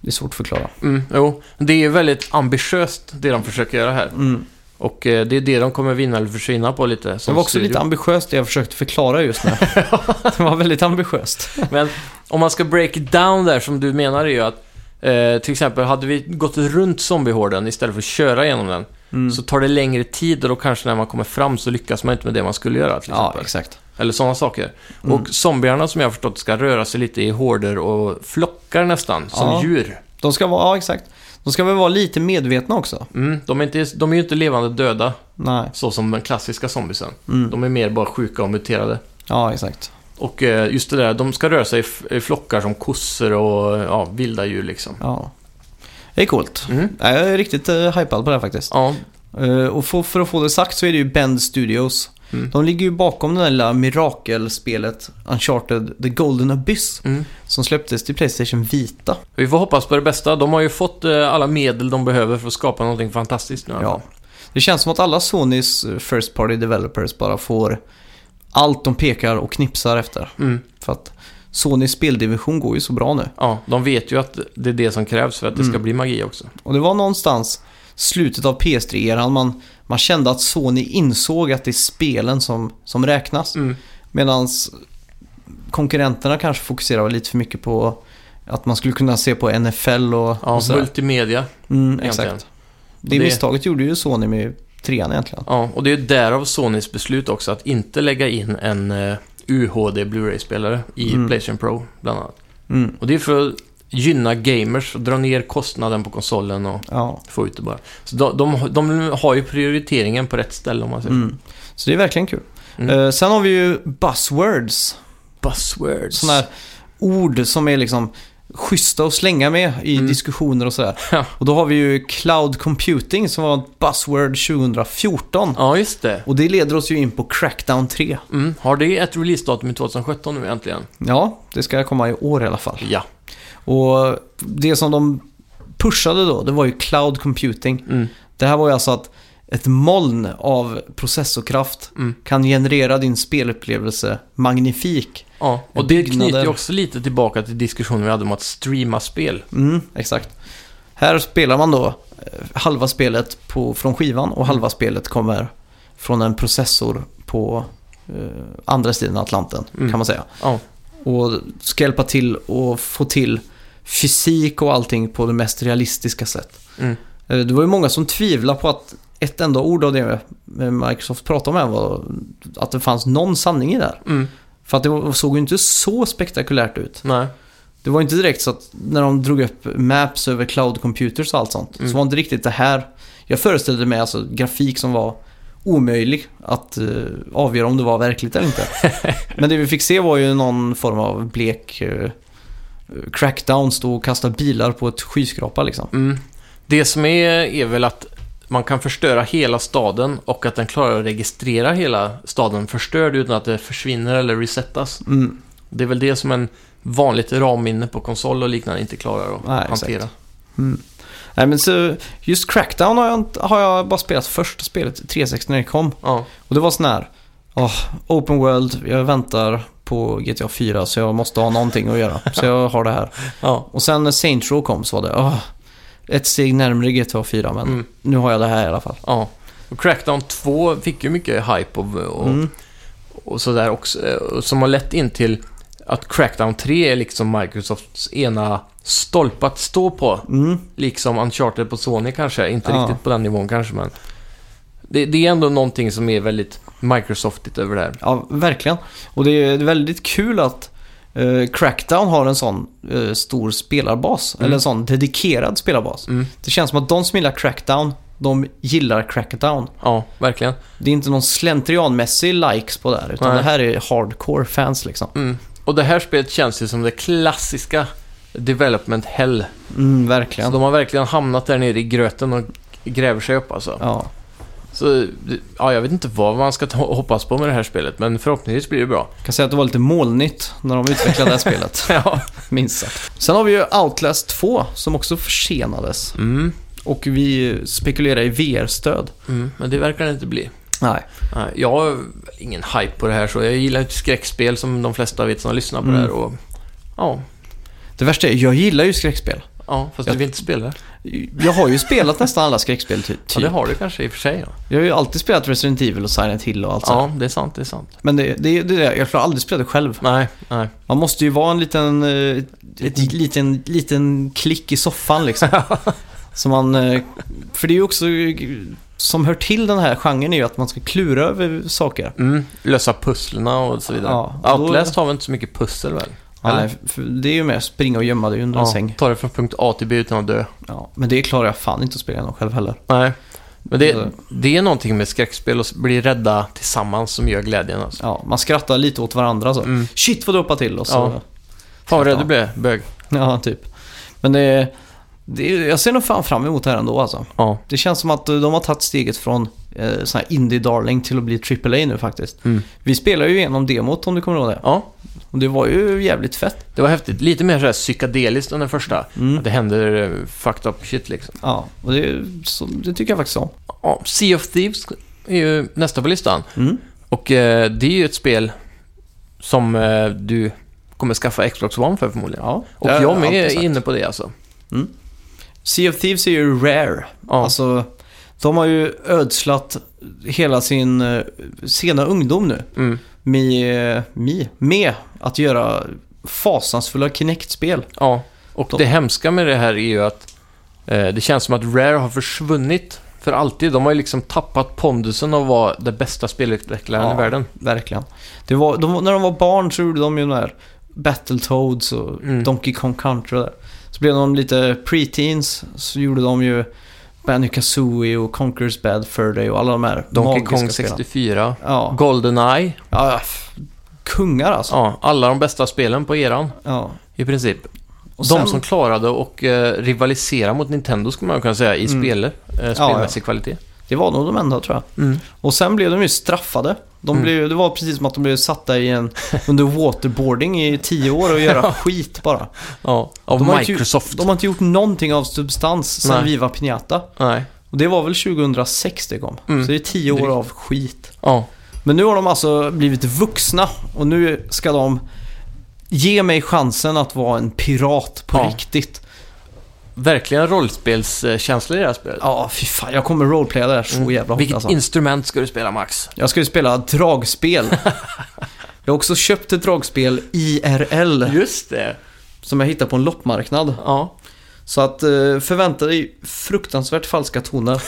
Det är svårt att förklara. Mm. Jo, det är väldigt ambitiöst det de försöker göra här. Mm. Och eh, det är det de kommer vinna eller försvinna på lite. Det som var också studio. lite ambitiöst det jag försökte förklara just (laughs) nu. det var väldigt ambitiöst. Men om man ska break it down där som du menar är ju att eh, till exempel hade vi gått runt zombiehorden istället för att köra igenom den Mm. så tar det längre tid och då kanske när man kommer fram så lyckas man inte med det man skulle göra till ja, exempel. exakt. Eller sådana saker. Mm. Och zombierna som jag har förstått ska röra sig lite i horder och flockar nästan, som Ja. djur. De ska vara, ja exakt. De ska väl vara lite medvetna också. Mm, de, är inte, de är ju inte levande döda, Nej. så som den klassiska zombisen. Mm. De är mer bara sjuka och muterade. Ja, exakt. Och eh, just det där, de ska röra sig i f- i flockar som kossor och ja, vilda djur liksom. Ja. Det är coolt. Mm. Nej, Jag är riktigt uh, hypad på det här faktiskt. Ja, Eh, och för, för att få det sagt så är det ju Bend Studios. Mm. De ligger ju bakom det där lilla mirakelspelet Uncharted The Golden Abyss. mm. Som släpptes till Playstation Vita. Vi får hoppas på det bästa. De har ju fått eh, alla medel de behöver för att skapa någonting fantastiskt nu. i alla Ja. fall. Det känns som att alla Sonys eh, First Party Developers bara får allt de pekar och knipsar efter. Mm. För att Sonys speldivision går ju så bra nu. ja, de vet ju att det är det som krävs för att det ska Mm. bli magi också. Och det var någonstans slutet av PS3-eran man, man kände att Sony insåg att det är spelen som, som räknas. Mm. Medan konkurrenterna kanske fokuserade lite för mycket på att man skulle kunna se på NFL och, Ja, och sådär. multimedia. Mm, egentligen. exakt. Det, Det- misstaget gjorde ju Sony med trean egentligen. Ja, och det är ju därav Sonys beslut också att inte lägga in en eh, UHD Blu-ray-spelare i Mm. Playstation Pro, bland annat. Mm, Och det är för att gynna gamers, och dra ner kostnaden på konsolen och ja. få ut det bara. Så de, de, de har ju prioriteringen på rätt ställe om man säger. Mm. Så det är verkligen kul. Mm. Eh, sen har vi ju buzzwords. Buzzwords. Sådana här ord som är liksom schyssta att slänga med i Mm. diskussioner och (laughs) sådär. Ja. Och då har vi ju cloud computing som var ett buzzword 2014. Ja, just det. Och det leder oss ju in på Crackdown 3. Mm. Har det ett releasedatum i 2017 nu äntligen? Ja, det ska komma i år i alla fall. Ja. Och det som de pushade då, det var ju cloud computing. Mm. Det här var ju alltså att ett moln av processorkraft Mm. kan generera din spelupplevelse magnifik. Ja, och det Byggnader. knyter ju också lite tillbaka till diskussionen vi hade om att streama spel. Mm, exakt. Här spelar man då eh, halva spelet på, från skivan Mm. och halva spelet kommer från en processor på eh, andra sidan Atlanten Mm. kan man säga. Ja. Och ska hjälpa till och få till fysik och allting på det mest realistiska sätt. Mm. Eh, det var ju många som tvivlade på att ett enda ord av det Microsoft pratade om här var att det fanns någon sanning i det här. Mm. För att det var- såg ju inte så spektakulärt ut. Nej. Det var inte direkt så att när de drog upp maps över cloud computers och allt sånt. Mm. Så var inte riktigt det här. Jag föreställde mig alltså grafik som var omöjlig att eh, avgöra om det var verkligt eller inte. Men det vi fick se var ju någon form av blek eh, crackdown stå och kasta bilar på ett skyskrapa liksom. Mm. Det som är, är väl att man kan förstöra hela staden och att den klarar att registrera hela staden förstörd utan att det försvinner eller resetas. Mm. Det är väl det som en vanligt RAM-minne på konsol och liknande inte klarar att Nej, exakt. hantera. Nej men så, just crackdown har jag, inte, har jag bara spelat första spelet, 360 när det kom. Ja. Och det var sån här, åh, open world, jag väntar på GTA 4 så jag måste ha någonting att göra. Så jag har det här. Ja. Och sen när Saints Row kom så var det, åh, ett steg närmare GTA 4 men Mm. nu har jag det här i alla fall. ja. Och Crackdown 2 fick ju mycket hype och, och, Mm. och sådär också. eh, och Som har lett in till att Crackdown 3 är liksom Microsofts ena stolpe att stå på. Mm. liksom Uncharted på Sony kanske. Inte Ja. riktigt på den nivån kanske, men... Det, det är ändå någonting som är väldigt Microsoftigt över det här. Ja, verkligen. Och det är väldigt kul att eh, Crackdown har en sån eh, stor spelarbas, Mm. eller en sån dedikerad spelarbas. Mm. Det känns som att de som gillar Crackdown, de gillar Crackdown. Ja, verkligen. Det är inte någon slentrianmässig likes på det här, utan Nej. det här är hardcore fans liksom. Mm. Och det här spelet känns ju som det klassiska Development Hell. Mm, Så verkligen. de har verkligen hamnat där nere i gröten och gräver sig upp alltså. Ja. Så, ja, jag vet inte vad man ska ta- hoppas på med det här spelet, men förhoppningsvis blir det bra. (laughs) Jag kan säga att det var lite molnigt när de utvecklade det här (laughs) spelet, ja. minst sagt. Sen har vi ju Outlast 2 som också försenades. Mm. Och vi spekulerar i VR-stöd. Mm. Men det verkar det inte bli. Nej. Nej, jag har ingen hype på det här så jag gillar ett skräckspel som de flesta vet som lyssnar på Mm. det här och... Ja, Det värsta är, jag gillar ju skräckspel. ja fast Jag- du vill inte spela det. Jag har ju spelat nästan alla skräckspel typ. Ja, det har du kanske i och för sig. Ja, Jag har ju alltid spelat Resident Evil och Silent Hill och allt sånt. ja det är sant, det är sant. Men det, det, det, jag klarar aldrig spela det själv. Nej, nej. Man måste ju vara en liten, eh, ett liten, liten klick i soffan liksom. (laughs) så man, eh, för det är ju också, som hör till den här genren är ju att man ska klura över saker. Mm. Lösa pusslerna och så vidare. Ja, då- Outlast har väl inte så mycket pussel väl? Nej, för det är ju mer springa och gömma dig under en säng. ta det från punkt A till B utan att dö. Ja, men det klarar jag fan inte att spela igenom själv heller. Nej. Men Nej. det, det är någonting med skräckspel och s- bli rädda tillsammans som gör glädjen alltså. Ja, man skrattar lite åt varandra så. Mm. Shit vad du hoppade till och så. Ja. Fan vad rädd du blev, bög. Ja, typ. Men det, det, jag ser nog fan fram emot det här ändå alltså. Ja. Det känns som att eh, de har tagit steget från eh, sån här indie darling till att bli AAA nu faktiskt. Mm. Vi spelade ju igenom demot om du kommer ihåg det. Ja, Och det var ju jävligt fett. det var häftigt. Lite mer sådär psykedeliskt än den första. Mm. Att det händer eh, fucked up shit liksom. Ja, och det, så, det tycker jag faktiskt om. Ja, Sea of Thieves är ju nästa på listan. Mm. Och eh, det är ju ett spel som eh, du kommer skaffa Xbox One för förmodligen. Ja, Och det har jag med alltid är sagt. inne på det alltså. Sea of Thieves är ju rare. Ja, Alltså, de har ju ödslat hela sin eh, sena ungdom nu mm. med, med, med att göra fasansfulla Kinect-spel. ja. och De- det hemska med det här är ju att eh, det känns som att Rare har försvunnit för alltid. De har ju liksom tappat pondusen av att vara den bästa spelutvecklaren Ja. i världen. Verkligen. Det var, de, när de var barn så gjorde de ju de här Battletoads och Mm. Donkey Kong Country och där. Så blev de lite preteens så gjorde de ju Banjo Kazooie och Conquerors Bad Fur Day och alla de här Donkey magiska Kong spelen. 64, Ja. Goldeneye. ja, f- kungar alltså. Ja, alla de bästa spelen på eran Ja. i princip. Och de sen- som klarade och eh, rivalisera mot Nintendo skulle man kunna säga i Mm. spel, eh, spelmässig kvalitet. Det var nog de enda tror jag. Och sen blev de ju straffade. De Mm. blev, det var precis som att de blev satta i en under waterboarding i tio år och (laughs) göra skit bara. Ja, av De har inte Microsoft. De har inte gjort någonting av substans sen Nej. Viva Pinata. Nej. Och det var väl 2006 det kom. Mm. Så det är tio år Drygt. av skit. Ja. Men nu har de alltså blivit vuxna och nu ska de ge mig chansen att vara en pirat på Ja. riktigt. Verkligen rollspelskänsla i det här spelet. Ja, fy fan. Jag kommer roleplaya det här så jävla hårt Mm. Vilket alltså. instrument ska du spela Max? Jag ska ju spela dragspel. (laughs) jag har också köpt ett dragspel IRL Just det. som jag hittade på en loppmarknad. Ja. Så att eh, förvänta dig fruktansvärt falska (laughs) toner.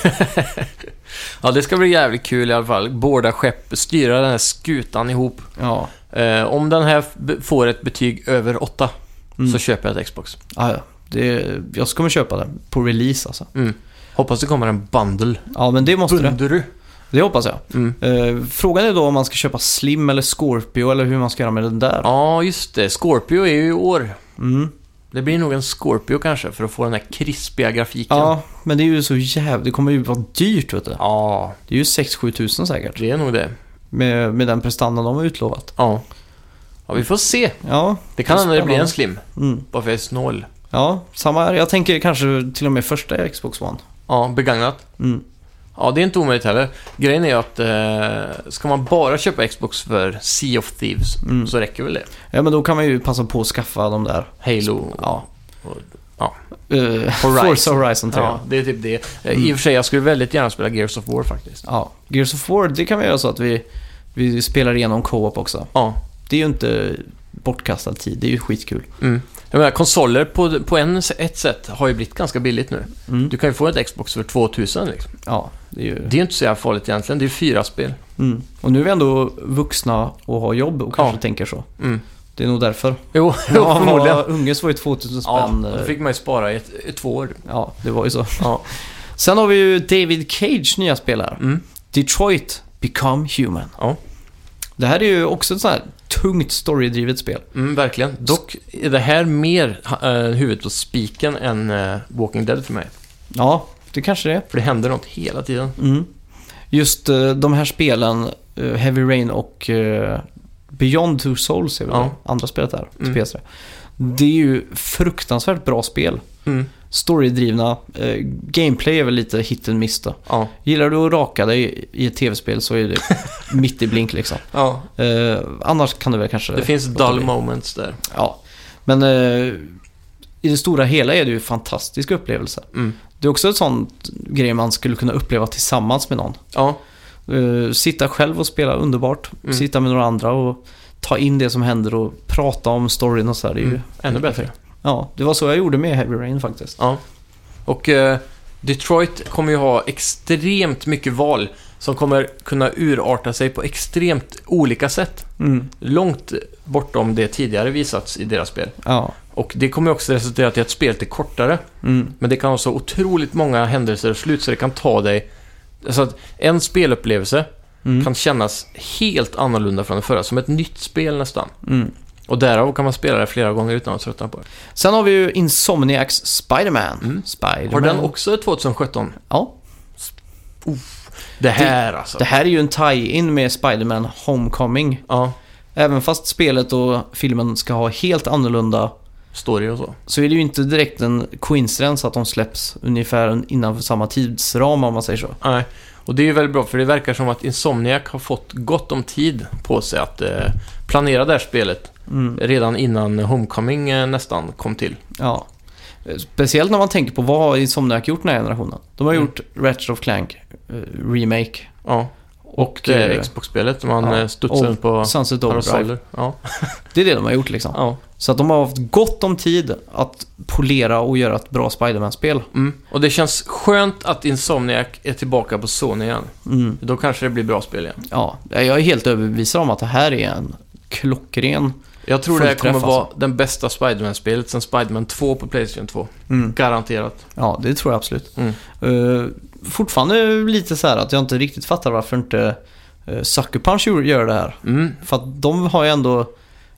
Ja, det ska bli jävligt kul i alla fall. Båda skepp, styra den här skutan ihop. Ja, Eh, om den här f- b- får ett betyg över 8 Mm. så köper jag ett Xbox. ah, ja. Det, jag kommer köpa den på release alltså. Mm. Hoppas det kommer en bundle. Ja, men det måste det. Bundru. Det hoppas jag. Mm. Eh, frågan är då om man ska köpa Slim eller Scorpio eller hur man ska göra med den där. Ja, just det. Scorpio är ju i år. Mm. Det blir nog en Scorpio kanske för att få den här krispiga grafiken. Ja, men det är ju så jävligt. Det kommer ju vara dyrt vet du. ja Det är ju 6-7 tusen säkert. det är nog det. Med, med den prestandan de har utlovat. Ja. ja, vi får se. Ja, Det kan hända det blir Spännande. en Slim. mm. Bara för jag är snål. ja, samma här. Jag tänker kanske till och med första Xbox One. Ja, begagnat. Mm. Ja, det är inte omöjligt heller. Grejen är ju att eh, ska man bara köpa Xbox för Sea of Thieves Mm. så räcker väl det. Ja, men då kan man ju passa på att skaffa de där. Halo. Ja. Och- ja. Eh, Horizon. Forza Horizon 3. Ja, Ja. det är typ det. Eh, Mm. I och för sig, jag skulle väldigt gärna spela Gears of War faktiskt. Gears of War, det kan vi göra så att vi, vi spelar igenom co-op också. Ja. Det är ju inte bortkastad tid, det är ju skitkul. Mm. Jag menar, konsoler på, på en, ett sätt har ju blivit ganska billigt nu. Mm. Du kan ju få ett Xbox för 2000 liksom. Ja, det är ju... Det är ju inte så jävla farligt egentligen. Det är ju fyra spel. Mm. Och nu är vi ändå vuxna och har jobb och kanske Ja. tänker så. Mm. Det är nog (laughs) därför. Jo, Ja, förmodligen. vad- Unges var ju 2000 Ja, spänn. då eh, fick man ju spara i, ett, i två år. Ja, det var ju så. Ja. Sen har vi ju David Cage nya spel här. Mm. Detroit Become Human. Ja. Det här är ju också ett sånt här tungt storydrivet spel. Mm, verkligen. Dock är det här mer eh, huvudet på spiken än eh, Walking Dead för mig. Ja, det kanske det är. För det händer något hela tiden. Mm. Just eh, de här spelen, eh, Heavy Rain och eh, Beyond Two Souls är väl Ja. det andra spelet där till Mm. PS3. Det är ju fruktansvärt bra spel. Mm. Storydrivna. Eh, gameplay är väl lite hit and miss då. Ja. Gillar du att raka dig i ett tv-spel så (laughs) är det mitt i blink liksom. ja. Eh, annars kan du väl kanske... Det finns låta dull bli. moments där. Ja. Men eh, i det stora hela är det ju fantastiska upplevelser. Mm. Det är också ett sånt grej man skulle kunna uppleva tillsammans med någon. Ja. Eh, sitta själv och spela underbart. Mm. Sitta med några andra och ta in det som händer och prata om storyn och så här. Det är ju, Mm. Ännu bättre. Ja, det var så jag gjorde med Heavy Rain faktiskt. Ja. Och eh, Detroit kommer ju ha extremt mycket val som kommer kunna urarta sig på extremt olika sätt. Mm. Långt bortom det tidigare visats i deras spel. Ja. Och det kommer ju också resultera i att spelet är kortare. Mm. Men det kan ha så otroligt många händelser och slut så det kan ta dig... Alltså att en spelupplevelse Mm. kan kännas helt annorlunda från den förra. Som ett nytt spel nästan. Mm. Och därav kan man spela det flera gånger utan att tröttna på det. Sen har vi ju Insomniacs Spider-Man. Mm. Spider-Man. Har den också 2017? Ja. Det här alltså. Det här är ju en tie-in med Spider-Man Homecoming. Ja, Även fast spelet och filmen ska ha helt annorlunda story och så. så är det ju inte direkt en coincidence att de släpps ungefär innanför samma tidsram om man säger så. Nej, och det är ju väldigt bra för det verkar som att Insomniac har fått gott om tid på sig att eh, planera det här spelet Mm. redan innan Homecoming eh, nästan kom till. Ja. Speciellt när man tänker på vad har Insomniac gjort den här generationen. De har Mm. gjort Ratchet of Clank eh, Remake Ja, och, det är eh, Xbox-spelet där man ja. ja. studsar Och runt på Sunset Overdrive. parasoller. Ja. Det är det de har gjort liksom. Ja. Så att de har haft gott om tid att polera och göra ett bra Spider-Man-spel. Mm. Och det känns skönt att Insomniac är tillbaka på Sony igen. Mm. Då kanske det blir bra spel igen. Ja, jag är helt överbevisad om att det här är en klockren... Jag tror det här Full träff, alltså. kommer vara den bästa Spider-Man-spelet sen Spider-Man 2 på Playstation 2. Mm. Garanterat. Ja, det tror jag absolut. Mm. Eh, fortfarande lite så här att jag inte riktigt fattar varför inte uh, Sucker Punch gör- gör det här. Mm. För att de har ju ändå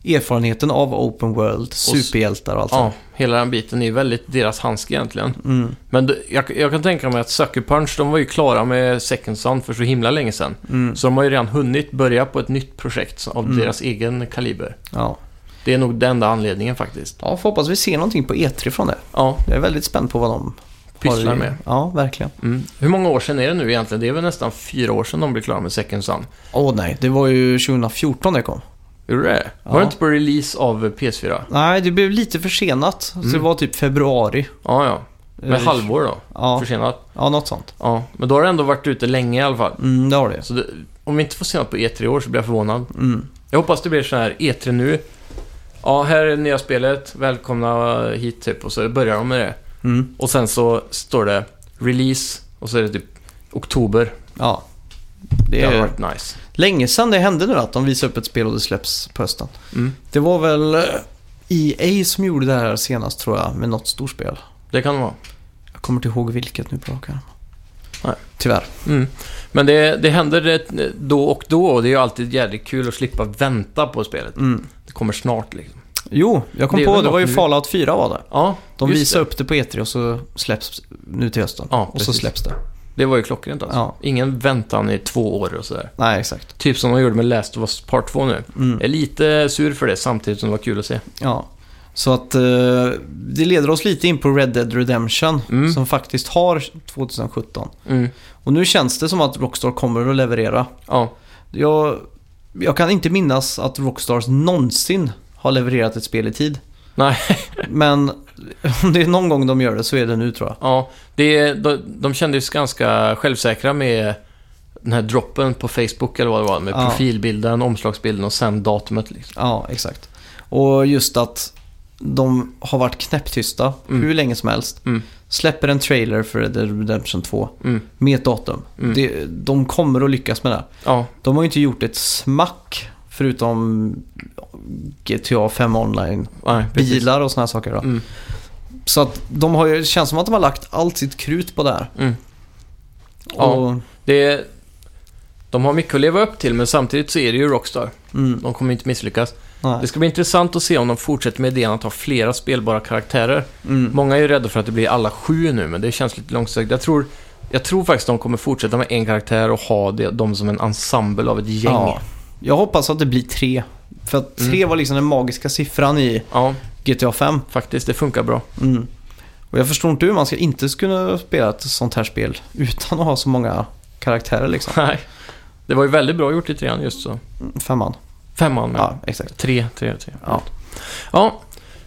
erfarenheten av Open World, s- superhjältar och allt Ja, sånt. hela den biten är ju väldigt deras handske egentligen. Mm, Men d- jag, jag kan tänka mig att Sucker Punch, de var ju klara med Second Son för så himla länge sedan. mm, Så de har ju redan hunnit börja på ett nytt projekt av Mm. deras egen kaliber. ja. Det är nog den enda anledningen faktiskt. ja, får hoppas vi ser någonting på E3 från det. Ja, Jag är väldigt spänd på vad de pysslar i- med. Ja, verkligen. Mm. Hur många år sedan är det nu egentligen? Det är väl nästan fyra år sedan de blev klara med Second Son. Åh nej, det var ju 2014 det kom. Gjorde det? Var Ja. det inte på release av PS4? Nej, det blev lite försenat. Så det var typ februari. Ja, ja. Mm. Med Eh, halvår då? Ja, Försenat? ja något sånt. Ja, men då har det ändå varit ute länge i alla fall. Mm, det har det. Så det, om vi inte får se något på E3 i år så blir jag förvånad. Mm. Jag hoppas det blir så här E E3 nu. Ja, här är det nya spelet. Välkomna hit typ. Och så börjar de med det. Mm. Och sen så står det release och så är det typ oktober. Ja. Det, Det hade är varit nice. länge sedan det hände nu att de visar upp ett spel och det släpps på hösten. Mm. Det var väl eh, EA som gjorde det här senast tror jag, med något storspel. Det kan det vara. Jag kommer inte ihåg vilket nu på rak arm. Nej. Tyvärr. Mm. Men det, det händer det då och då och det är ju alltid jävligt kul att slippa vänta på spelet. Mm. Det kommer snart liksom. Jo, jag kom Det är på, väl det var ju något nu. Fallout 4 var det. Ja, De just visar det. upp det på E3 och så släpps nu till hösten. Ja, och så precis. släpps det. Det var ju klockrent alltså. Ja. Ingen väntan i två år och sådär. Nej, exakt. Typ som de gjorde med Last of Us Part 2 nu. Mm. Jag är lite sur för det samtidigt som det var kul att se. Ja. Så att eh, det leder oss lite in på Red Dead Redemption Mm. som faktiskt har 2017. Mm. Och nu känns det som att Rockstar kommer att leverera. Ja, Jag, jag kan inte minnas att Rockstars någonsin har levererat ett spel i tid. Nej. (laughs) Men om det är någon gång de gör det så är det nu tror jag. ja. Det, de, de kändes ganska självsäkra med den här droppen på Facebook eller vad det var. Med Ja. profilbilden, omslagsbilden och sen datumet liksom. Ja, exakt. Och just att de har varit knäpptysta Mm. hur länge som helst. Mm. Släpper en trailer för Red Dead Redemption 2 Mm. med ett datum. Mm. Det, de kommer att lyckas med det. Ja, De har ju inte gjort ett smack förutom GTA 5 online. nej, precis. Bilar och sådana saker då. Mm. Så att de har ju, det känns som att de har lagt allt sitt krut på det här. Mm. Ja. Och, Det, de har mycket att leva upp till, men samtidigt så är det ju Rockstar. mm, De kommer inte misslyckas. Det nej. ska bli intressant att se om de fortsätter med idén att ha flera spelbara karaktärer. Mm. Många är ju rädda för att det blir alla sju nu, men det känns lite långsökt. Jag tror, jag tror faktiskt de kommer fortsätta med en karaktär och ha det, dem som en ensemble av ett gäng. Ja. Jag hoppas att det blir tre. För att tre Mm. var liksom den magiska siffran i Ja, GTA 5. faktiskt. Det funkar bra. Mm. Och jag förstår inte hur man ska inte kunna spela ett sånt här spel utan att ha så många karaktärer liksom. (laughs) Nej. Det var ju väldigt bra gjort i trean just så. Femman. Femman, men. Ja, exakt. Tre, tre, tre. Ja. Ja,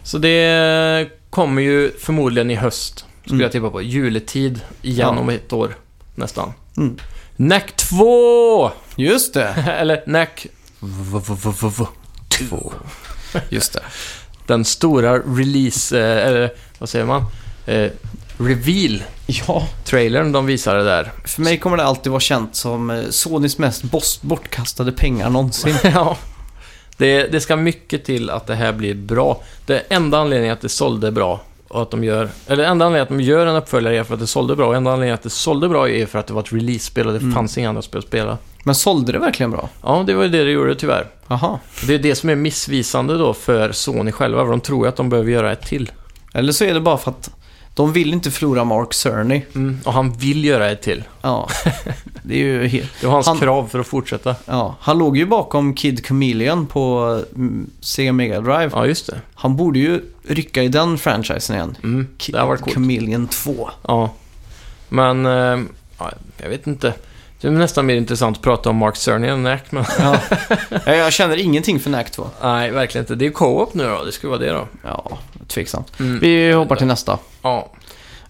så det kommer ju förmodligen i höst, skulle Mm. jag tippa på. Juletid igen Ja. om ett år, nästan. Mm. Nack 2! Just det. (laughs) Eller Nack... v- v- v- v- v- två. Just det. Den stora release, eh, eller vad säger man? Eh, (laughs) Reveal-trailern Ja. de visade där. För mig kommer det alltid vara känt som eh, Sonys mest bos- bortkastade pengar någonsin. (laughs) ja. Det, det ska mycket till att det här blir bra. Det enda anledningen att det sålde bra och att de gör... Eller enda anledningen att de gör en uppföljare är för att det sålde bra. Och enda anledningen att det sålde bra är för att det var ett release-spel och det Mm. fanns inga andra spel att spela. Men sålde det verkligen bra? Ja, det var ju det det gjorde tyvärr. Jaha. Det är det som är missvisande då för Sony själva. för De tror ju att de behöver göra ett till. Eller så är det bara för att de vill inte förlora Mark Cerny. Mm. Och han vill göra ett till. (laughs) Ja. Det är ju helt... Det var hans Han- krav för att fortsätta. Ja. Han låg ju bakom Kid Chameleon på mm, Sega Mega Drive. Ja, just det. Han borde ju rycka i den franchisen igen. Mm. Ki- Det har varit coolt. Chameleon (laughs) 2. Ja. Men, eh, ja, jag vet inte. Det är nästan mer intressant att prata om Mark Cerny än Nack, men... (laughs) Ja. jag känner ingenting för NAC 2. Nej, verkligen inte. Det är co-op nu då. Det skulle vara det då. Ja, tveksamt. Mm. Vi hoppar till nästa. Ja.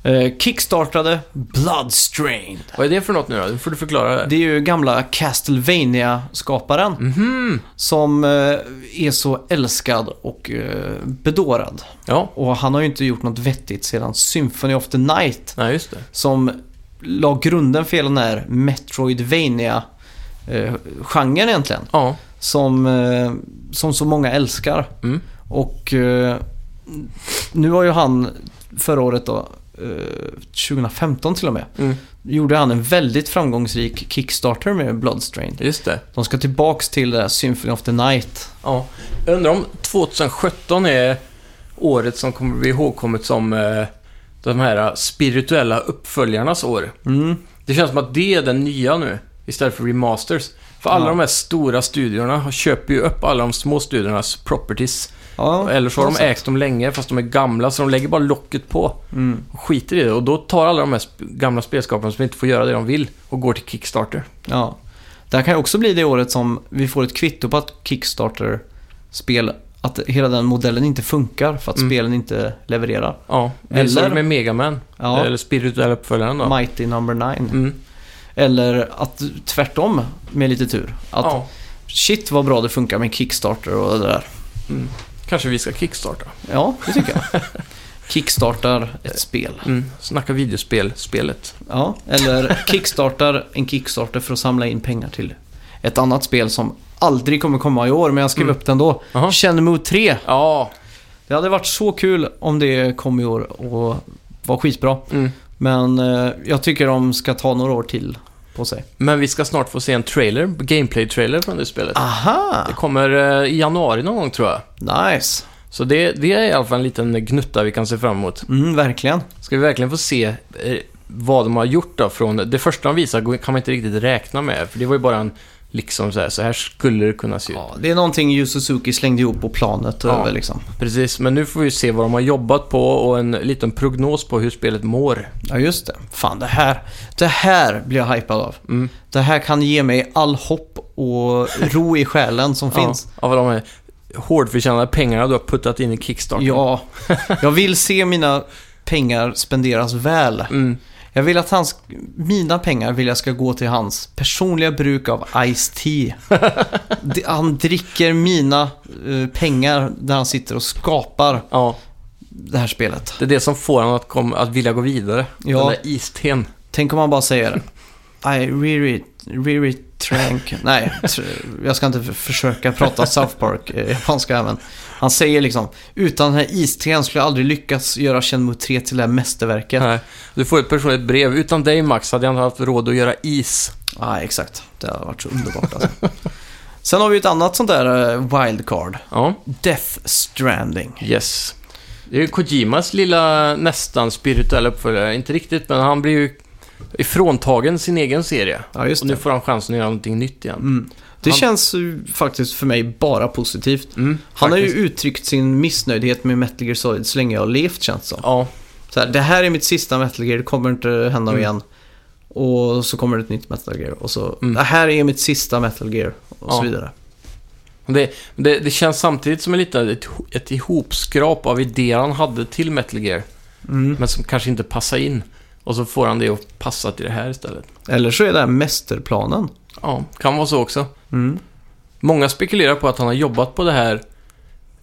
Eh, kickstartade Bloodstrained. Vad är det för något nu då? Det får du förklara. Det... Det är ju gamla Castlevania-skaparen Mhm. som eh, är så älskad och eh, bedårad. Ja. Och han har ju inte gjort något vettigt sedan Symphony of the Night Nej, just det. som la grunden för hela den här Metroidvania-genren eh, egentligen. Ja. som, eh, som så många älskar. Mm. Och eh, nu har ju han förra året då, eh, 2015 till och med, Mm. gjorde han en väldigt framgångsrik Kickstarter med Bloodstrained. Just det. De ska tillbaks till det här Symphony of the Night. Ja. Jag undrar om 2017 är året som kommer bli ihågkommet som eh, de här spirituella uppföljarnas år. Mm. Det känns som att det är den nya nu, istället för remasters. För alla Ja. de här stora studiorna har- köper ju upp alla de små studiornas properties. Ja, Eller så har de någonstans. ägt dem länge, fast de är gamla, så de lägger bara locket på. Mm. och skiter i det. Och då tar alla de här sp- gamla spelskaparna som inte får göra det de vill och går till Kickstarter. Ja. Det här kan ju också bli det året som vi får ett kvitto på att Kickstarter-spel, att hela den modellen inte funkar för att Mm. spelen inte levererar. Ja, det är så Eller- det med Mega Man. Ja. Eller spirituella uppföljaren då. Mighty Number Nine. Mm. Eller att tvärtom med lite tur. Att Ja, shit vad bra det funkar med Kickstarter och det där. kanske vi ska kickstarta. (laughs) Ja, det tycker jag. kickstartar ett spel. Mm, snacka videospel, spelet. Ja, eller kickstartar en kickstarter för att samla in pengar till ett annat spel som aldrig kommer komma i år, men jag skrev Mm. upp den då. Aha. Shenmue 3. Ja, Det hade varit så kul om det kom i år och var skitbra. mm. Men eh, jag tycker de ska ta några år till på sig. men vi ska snart få se en trailer, gameplay-trailer från det spelet. Aha! Det kommer eh, i januari någon gång tror jag. Nice! Så det, det är i alla fall en liten gnutta vi kan se fram emot. Mm, verkligen. Ska vi verkligen få se eh, vad de har gjort då från... Det första de visar går- kan man inte riktigt räkna med, för det var ju bara en liksom så här, så här skulle det kunna se ut. Ja, det är någonting Yu Suzuki slängde ihop på planet Ja. över liksom. Precis, men nu får vi se vad de har jobbat på och en liten prognos på hur spelet mår. Ja, just det. Fan, det här, det här blir jag hypad av. Mm. Det här kan ge mig all hopp och ro i själen som finns. Ja, av de här hårdförtjänade pengarna du har puttat in i Kickstarter. Ja, (laughs) jag vill se mina pengar spenderas väl. Mm. Jag vill att hans, mina pengar vill jag ska gå till hans personliga bruk av Ice-T. Det- Han dricker mina eh, pengar när han sitter och skapar ja, det här spelet. det är det som får honom att, kom, att vilja gå vidare. Ja. Den där isten. Tänk om han bara säger I really, really trank. Nej, tr- jag ska inte f- försöka prata South Park eh, japanska även. Han säger liksom, utan den här isten skulle jag aldrig lyckas göra Shenmue 3 till det här mästerverket. Nej. Du får ett personligt brev. Utan dig Max hade jag inte haft råd att göra is. Nej, exakt. Det har varit så underbart alltså. (laughs) Sen har vi ett annat sånt där eh, wildcard. Ja, Death Stranding. yes. Det är ju Kojimas lilla nästan spirituella uppföljare. Inte riktigt, men han blir ju ifråntagen sin egen serie. Ja, just Och nu det. får han chansen att göra någonting nytt igen. Mm. Det Han- känns ju faktiskt för mig bara positivt. Mm, Han har ju faktiskt. uttryckt sin missnöjdhet med Metal Gear Solid så länge jag har levt känns det som. Ja, Så här, det här är mitt sista Metal Gear, det kommer inte hända Mm. igen. Och så kommer det ett nytt Metal Gear och så, Mm. det här är mitt sista Metal Gear och Ja. så vidare. Det, det, det känns samtidigt som en liten, ett, ett ihopskrap av idéer han hade till Metal Gear, Mm. men som kanske inte passar in. Och så får han det att passa till det här istället. Eller så är det här mästerplanen. Ja, kan vara så också. Mm. Många spekulerar på att han har jobbat på det här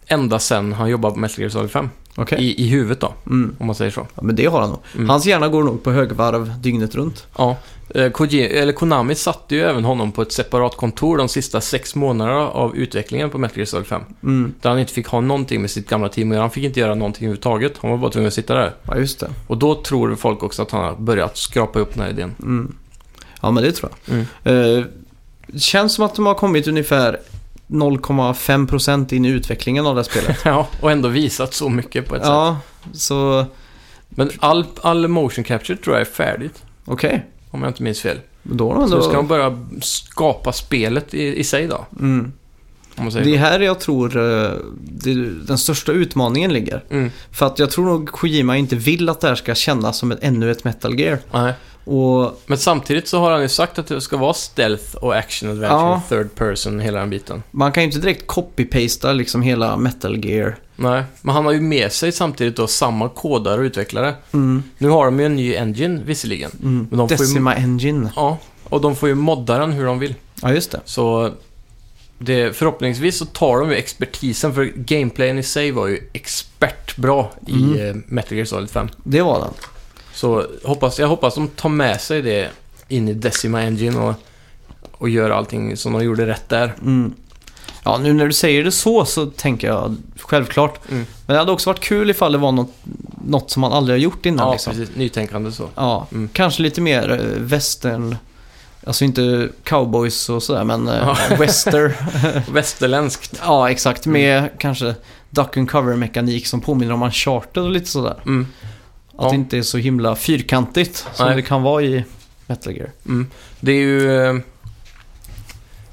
ända sen han jobbade på Metal Gear Solid 5. Okej. I, I huvudet då, Mm. om man säger så. Ja, men det har han nog. Mm. Hans hjärna går nog på högvarv dygnet runt. Ja, eh, Koji, eller Konami satte ju även honom på ett separat kontor de sista sex månaderna av utvecklingen på Metal Gear Solid 5. Mm. Där han inte fick ha någonting med sitt gamla team att göra. Han fick inte göra någonting överhuvudtaget. Han var bara tvungen att sitta där. Ja, just det. Och då tror folk också att han har börjat skrapa upp den (laughs) här idén. Mm. Ja, men det tror jag. Mm. Eh, det känns som att de har kommit ungefär 0,5% in i utvecklingen av det här spelet. ja, och ändå visat så mycket (laughs) på ett sätt. ja, så Men all, all motion capture tror jag är färdigt, okej. om jag inte minns fel. Då har de Så ändå... nu ska de börja skapa spelet i, i sig då, Mm. om man säger Det så. är här jag tror eh, det, den största utmaningen ligger. Mm. För att jag tror nog Kojima inte vill att det här ska kännas som ett, ännu ett Metal Gear. Nej. Och Men samtidigt så har han ju sagt att det ska vara stealth och action adventure, Ja. third person, hela den biten. man kan ju inte direkt copy-pasta liksom hela Metal Gear. Nej, men han har ju med sig samtidigt då samma kodare och utvecklare. Mm. Nu har de ju en ny engine visserligen. Mm. Men de får ju- Decima Engine. Ja, och de får ju modda den hur de vill. Ja, just det. Så det, förhoppningsvis så tar de ju expertisen, för gameplayen i sig var ju expertbra Mm. i eh, Metal Gear Solid 5. Det var den. Så hoppas, jag hoppas de tar med sig det in i Decima Engine och, och gör allting som de gjorde rätt där. Mm. Ja, nu när du säger det så så tänker jag självklart. Mm. Men det hade också varit kul ifall det var något, något som man aldrig har gjort innan. Ja, liksom. precis. Nytänkande så. Ja, Mm. kanske lite mer eh, western. Alltså inte cowboys och sådär, men eh, (laughs) western. Västerländskt. ja, exakt. Med kanske duck and cover-mekanik som påminner om Uncharted och lite sådär. Mm. Att Ja. det inte är så himla fyrkantigt som Nej. det kan vara i Metal Gear. Mm. Det är ju... eh,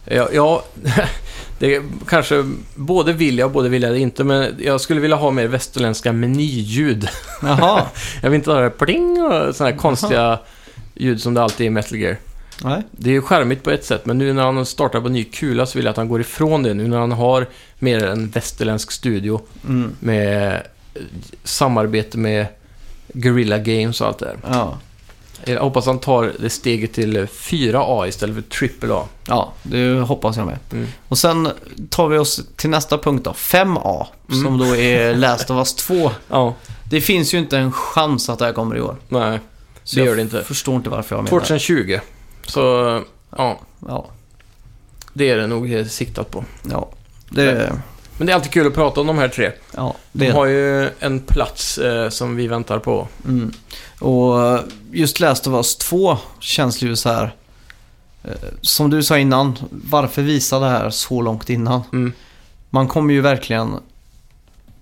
Ja, ja (laughs) det är, kanske både vill jag och både vill jag det inte, men jag skulle vilja ha mer västerländska menyljud. (laughs) Jaha, Jag vill inte ha det här pling och sådana här konstiga ljud som det alltid är i Metal Gear. nej. Det är ju charmigt på ett sätt, men nu när han startar på ny kula så vill jag att han går ifrån det. Nu när han har mer en västerländsk studio Mm. med eh, samarbete med Guerrilla Games och allt det där. Ja. Jag hoppas han tar det steget till 4A istället för triple A. Ja, det hoppas jag med. Mm. Och sen tar vi oss till nästa punkt då, 5A, Mm. som då (laughs) är Last of Us 2. Ja, Det finns ju inte en chans att det här kommer i år. nej. Så det jag gör det inte. förstår inte varför jag menar. 2020. Så, ja. Ja, Det är det nog siktat på. ja. Det, Men det är alltid kul att prata om de här tre. ja, De det har ju en plats eh, som vi väntar på. Mm. Och just Last of Us 2 känns det ju så här. eh, Som du sa innan, varför visa det här så långt innan? Mm. Man kommer ju verkligen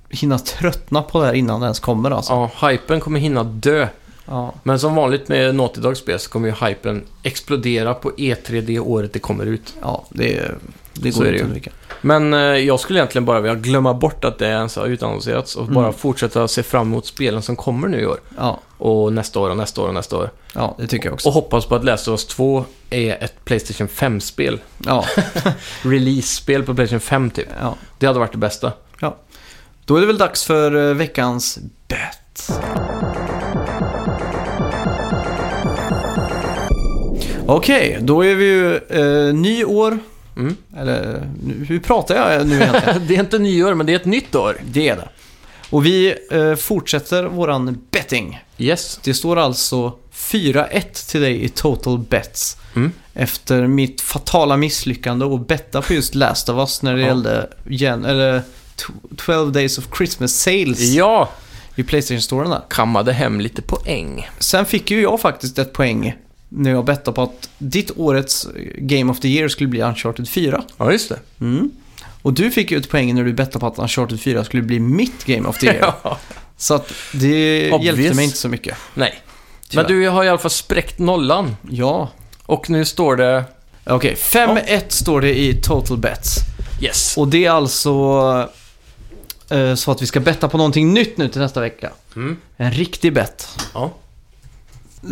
hinna tröttna på det här innan det ens kommer alltså. Ja, hypen kommer hinna dö. Ja. Men som vanligt med Naughty Dog spel så kommer ju hypen explodera på E3 det året det kommer ut. Ja, det, det Så går är det inte ju. att undvika. Men eh, jag skulle egentligen bara vilja glömma bort att det ens har utannonserats och Mm. bara fortsätta se fram emot spelen som kommer nu i år. Ja, Och nästa år och nästa år och nästa år. ja, det tycker jag också. Och hoppas på att Last of Us 2 är ett Playstation 5-spel. Ja, Release-spel på Playstation 5 typ. ja. Det hade varit (laughs) det bästa. Då är det väl dags för eh, veckans bet. Okej, då är vi ju eh, ny år. Mm. Eller nu- hur pratar jag nu (laughs) egentligen? det är inte nyår, men det är ett nytt år. det är det. Och vi eh, fortsätter våran betting. Yes. Det står alltså 4-1 till dig i total bets. Mm. Efter mitt fatala misslyckande och betta på just Last of Us när det Ja. gällde gen- eller tw- 12 Days of Christmas Sales Ja, i Playstation Storen där. kammade hem lite poäng. Sen fick ju jag faktiskt ett poäng när jag bettade på att ditt årets Game of the Year skulle bli Uncharted 4. Ja, just det. Mm. Och du fick ju ett poäng när du bettade på att Uncharted 4 skulle bli mitt Game of the (laughs) Year. Så att det Obvious. hjälpte mig inte så mycket. Nej. Tyvärr. Men du har i alla fall spräckt nollan. Ja. Och nu står det... Okej, 5-1 står det i total bets. Yes. Och det är alltså eh, så att vi ska betta på någonting nytt nu till nästa vecka. Mm. En riktig bett. Ja.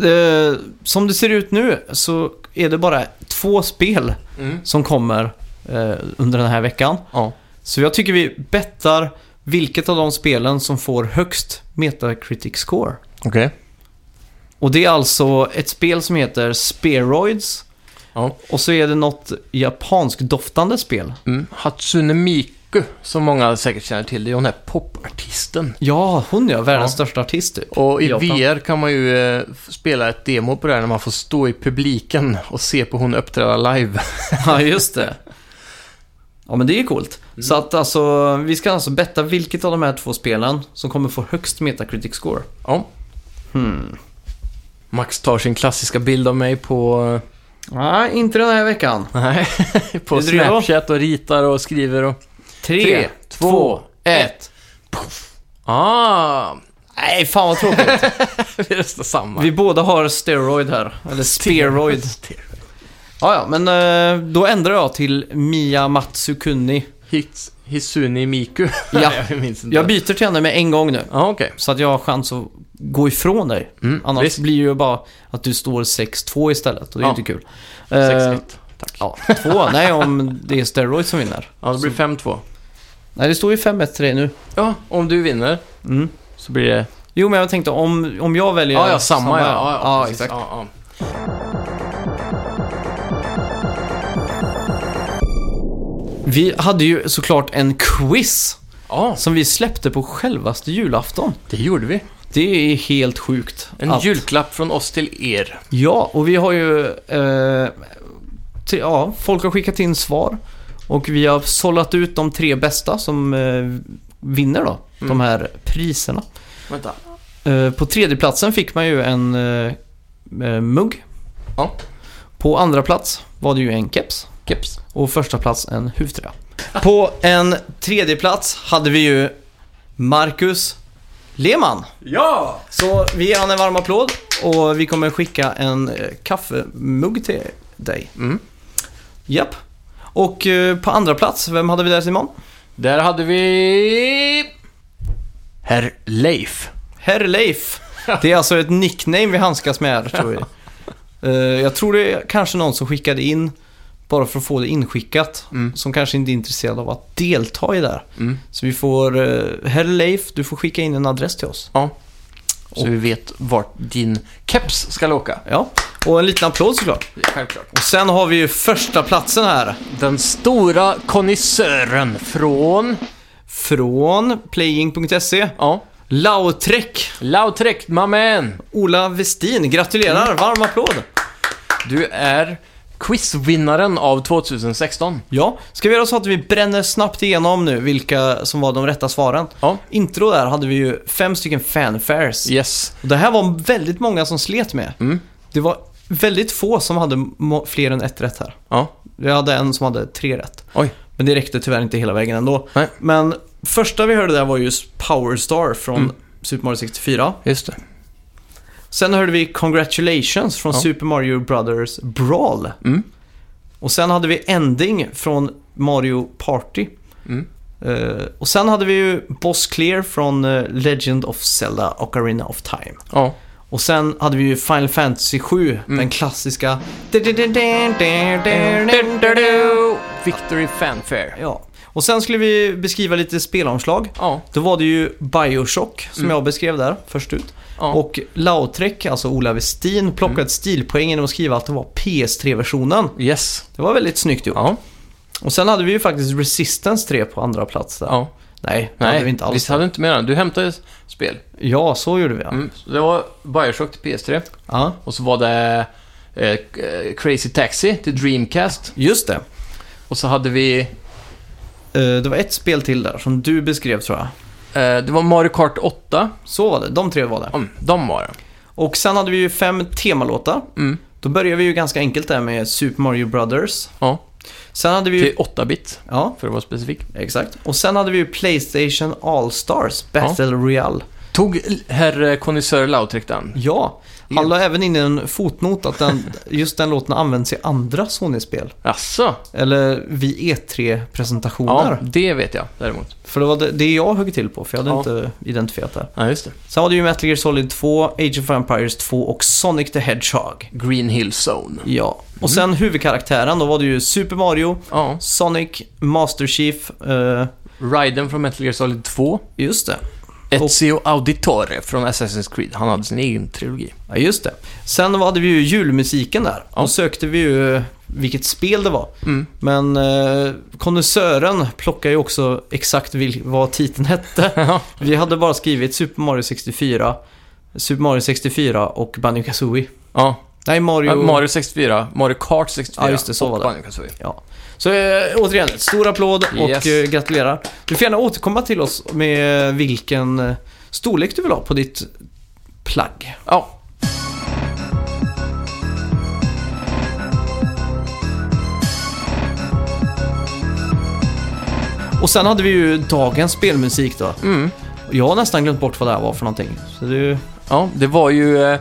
Eh, som det ser ut nu så är det bara två spel Mm. som kommer eh, under den här veckan. Ja. Så jag tycker vi bettar vilket av de spelen som får högst Metacritic score. Okej. Och det är alltså ett spel som heter Spheroids. Ja. Och så är det något japanskdoftande spel. Mm. Hatsune Miku, som många säkert känner till. Det är hon här popartisten. Ja, hon ja, världens Ja. största artist typ. Och i Japan. VR kan man ju eh, spela ett demo på det här när man får stå i publiken och se på hon uppträda live. (laughs) Ja, just det. Ja, men det är coolt. Så att alltså, vi ska alltså betta vilket av de här två spelen som kommer få högst Metacritic score. Ja. Hmm. Max tar sin klassiska bild av mig på... eh, Nej, inte den här veckan. (laughs) Nej, på Är du redo? Snapchat och ritar och skriver och... Tre, Tre, två, två, ett. Ah! Nej, fan vad tråkigt. Vi röstar (laughs) samma. vi båda har steroid här. Eller speroid. Ja, ja, men eh, då ändrar jag till Mia Matsukunni. Hits, Hisuni Miku. (laughs) Ja. jag minns inte. Jag byter till henne med en gång nu. Ja, okej. Så att jag har chans att gå ifrån dig. Mm, Annars visst. blir det ju bara att du står 6-2 istället och det är Ja. inte kul. Eh, 6-1. Tack. Ja, två. Nej, om det är steroid som vinner. Ja, det blir 5-2. Nej, det står ju 5-1 till dig nu. Ja, om du vinner Mm. så blir det... Jo, men jag tänkte om, om jag väljer... Ja, ja, samma, ja. Ja, ja, ja precis. exakt. Ja, ja. Vi hade ju såklart en quiz ja, som vi släppte på självaste julafton. det gjorde vi. Det är helt sjukt. En att- julklapp från oss till er. Ja, och vi har ju... Eh, till, ja, folk har skickat in svar. Och vi har sållat ut de tre bästa som eh, vinner då, Mm. de här priserna. Vänta. Eh, på tredjeplatsen fick man ju en eh, eh, mugg. Ja. På andra plats var det ju en keps. Keps. Och första plats en huvtröja. På en tredje plats hade vi ju Marcus Lehmann. Ja! Så vi ger honom en varm applåd och vi kommer skicka en eh, kaffemugg till dig. Mm. Japp. Och eh, på andra plats, vem hade vi där Simon? Där hade vi... Herr Leif. Herr (laughs) Leif. Det är alltså ett nickname vi handskas med här tror vi. Eh, Jag tror det är kanske någon som skickade in bara för att få det inskickat. Mm. Som kanske inte är intresserad av att delta i det här. Mm. Så vi får, eh, herr Leif, du får skicka in en adress till oss. Ja. Så vi vet vart din keps ska åka. Ja, och en liten applåd såklart. Självklart. Och sen har vi ju första platsen här. Den stora konnässören från... Från playing.se. Ja. Lautrec, Lautrec, my man! Ola Westin. Mm. Gratulerar, varm applåd. Du är quizvinnaren av 2016. Ja, ska vi göra så att vi bränner snabbt igenom nu vilka som var de rätta svaren? Ja. Intro där hade vi ju fem stycken fanfares. Yes. Och det här var väldigt många som slet med. Mm. Det var väldigt få som hade må- fler än ett rätt här. Ja. Jag hade en som hade tre rätt. Oj. Men det räckte tyvärr inte hela vägen ändå. Nej. Men första vi hörde där var just Power Star från Mm. Super Mario 64. Just det. Sen hörde vi Congratulations från Ja. Super Mario Brothers Brawl. Mm. Och sen hade vi Ending från Mario Party. Mm. Eh, och sen hade vi ju Boss Clear från eh, Legend of Zelda och Arena of Time. Ja. Och sen hade vi ju Final Fantasy 7, Mm. den klassiska... Victory Fanfare. Ja. Och sen skulle vi beskriva lite spelomslag. Ja. Då var det ju Bioshock som jag beskrev där först ut. Mm. Ja. Mm. Och Lautrec, alltså Ola Westin, plockade ett stilpoäng genom att skriva att det var PS3-versionen. Yes. Det var väldigt snyggt gjort. Ja. Och sen hade vi ju faktiskt Resistance 3 på andra plats där. Ja. Nej, det hade Nej, vi inte visst alls. hade du inte med den? Du hämtade spel. Ja, så gjorde vi. ja. Mm. Så det var Bioshock till PS3. Ja. Och så var det eh, eh, Crazy Taxi till Dreamcast. Just det. Och så hade vi... Eh, Det var ett spel till där som du beskrev tror jag. Eh, det var Mario Kart 8. Så var det, de tre var det. Mm, de var det. Och sen hade vi ju fem temalåtar. Mm. Då började vi ju ganska enkelt där med Super Mario Brothers. Ja, Sen hade vi ju... till 8-bit Ja, för att vara specifik. exakt. Och sen hade vi ju Playstation All-Stars Battle Royale. Tog herr konnässör Lautrec den? Ja, han la även in en fotnot att (laughs) den, just den låten används i andra Sony-spel. Jaså? Eller vid Ja, E3-presentationer. det vet jag däremot. För det var det, det jag högg till på, för jag hade Ja. inte identifierat det. här. Ja, just det. Sen var det ju Metal Gear Solid 2, Age of Empires 2 och Sonic the Hedgehog. Green Hill Zone. Ja, Mm. och sen huvudkaraktären, då var det ju Super Mario, Ja, Sonic, Master Chief, eh, Raiden från Metal Gear Solid 2. just det. Ezio Auditore från Assassin's Creed. Han hade sin egen trilogi. Ja, just det. Sen hade vi ju julmusiken där. Då Ja. sökte vi ju eh, vilket spel det var. Mm. Men eh, konnässören plockade ju också exakt vil- vad titeln (laughs) hette. Ja, Vi hade bara skrivit Super Mario 64, Super Mario 64 och Banjo Kazooie. ja. Nej, Mario... Ja, Mario 64, Mario Kart 64 Ja, just det, så och var det. Banjo Kazooie. Ja. Så eh, återigen, ett stor applåd och Yes. eh, gratulerar. Du får gärna återkomma till oss med vilken eh, storlek du vill ha på ditt plagg. Ja. Och sen hade vi ju dagens spelmusik då. Mm. Jag har nästan glömt bort vad det här var för någonting. Så det är ju... ja, det var ju eh,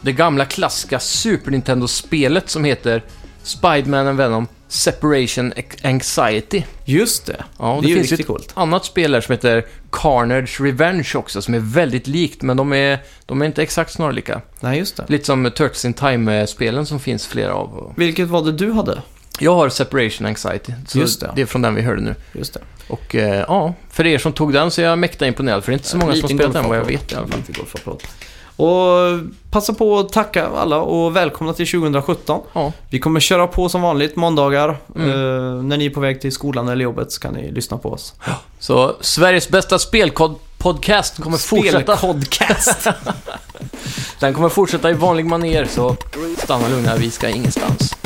det gamla klassiska Super Nintendo-spelet som heter Spiderman and Venom Separation Ex- Anxiety. Just det. Ja, och det, är ju finns ju riktigt ett coolt. annat spel här som heter Carnage Revenge också, som är väldigt likt, men de är, de är inte exakt snarlika. Nej, just det. Lite som Turtles in Time-spelen som finns flera av. och- Vilket var det du hade? Jag har Separation Anxiety, så Just det. det är från den vi hörde nu. Just det. Och eh, ja, för er som tog den så är jag mäkta imponerad, för det är inte så många som har Liten spelat den vad jag golfapplåd. vet i alla fall. Liten golfapplåd. Och passa på att tacka alla och välkomna till 2017. Ja, Vi kommer köra på som vanligt måndagar. Mm. Eh, när ni är på väg till skolan eller jobbet så kan ni lyssna på oss. så Sveriges bästa spelpodcast kommer fortsätta. (laughs) Spelpodcast. Den kommer fortsätta i vanlig manér, så stanna lugna, vi ska ingenstans.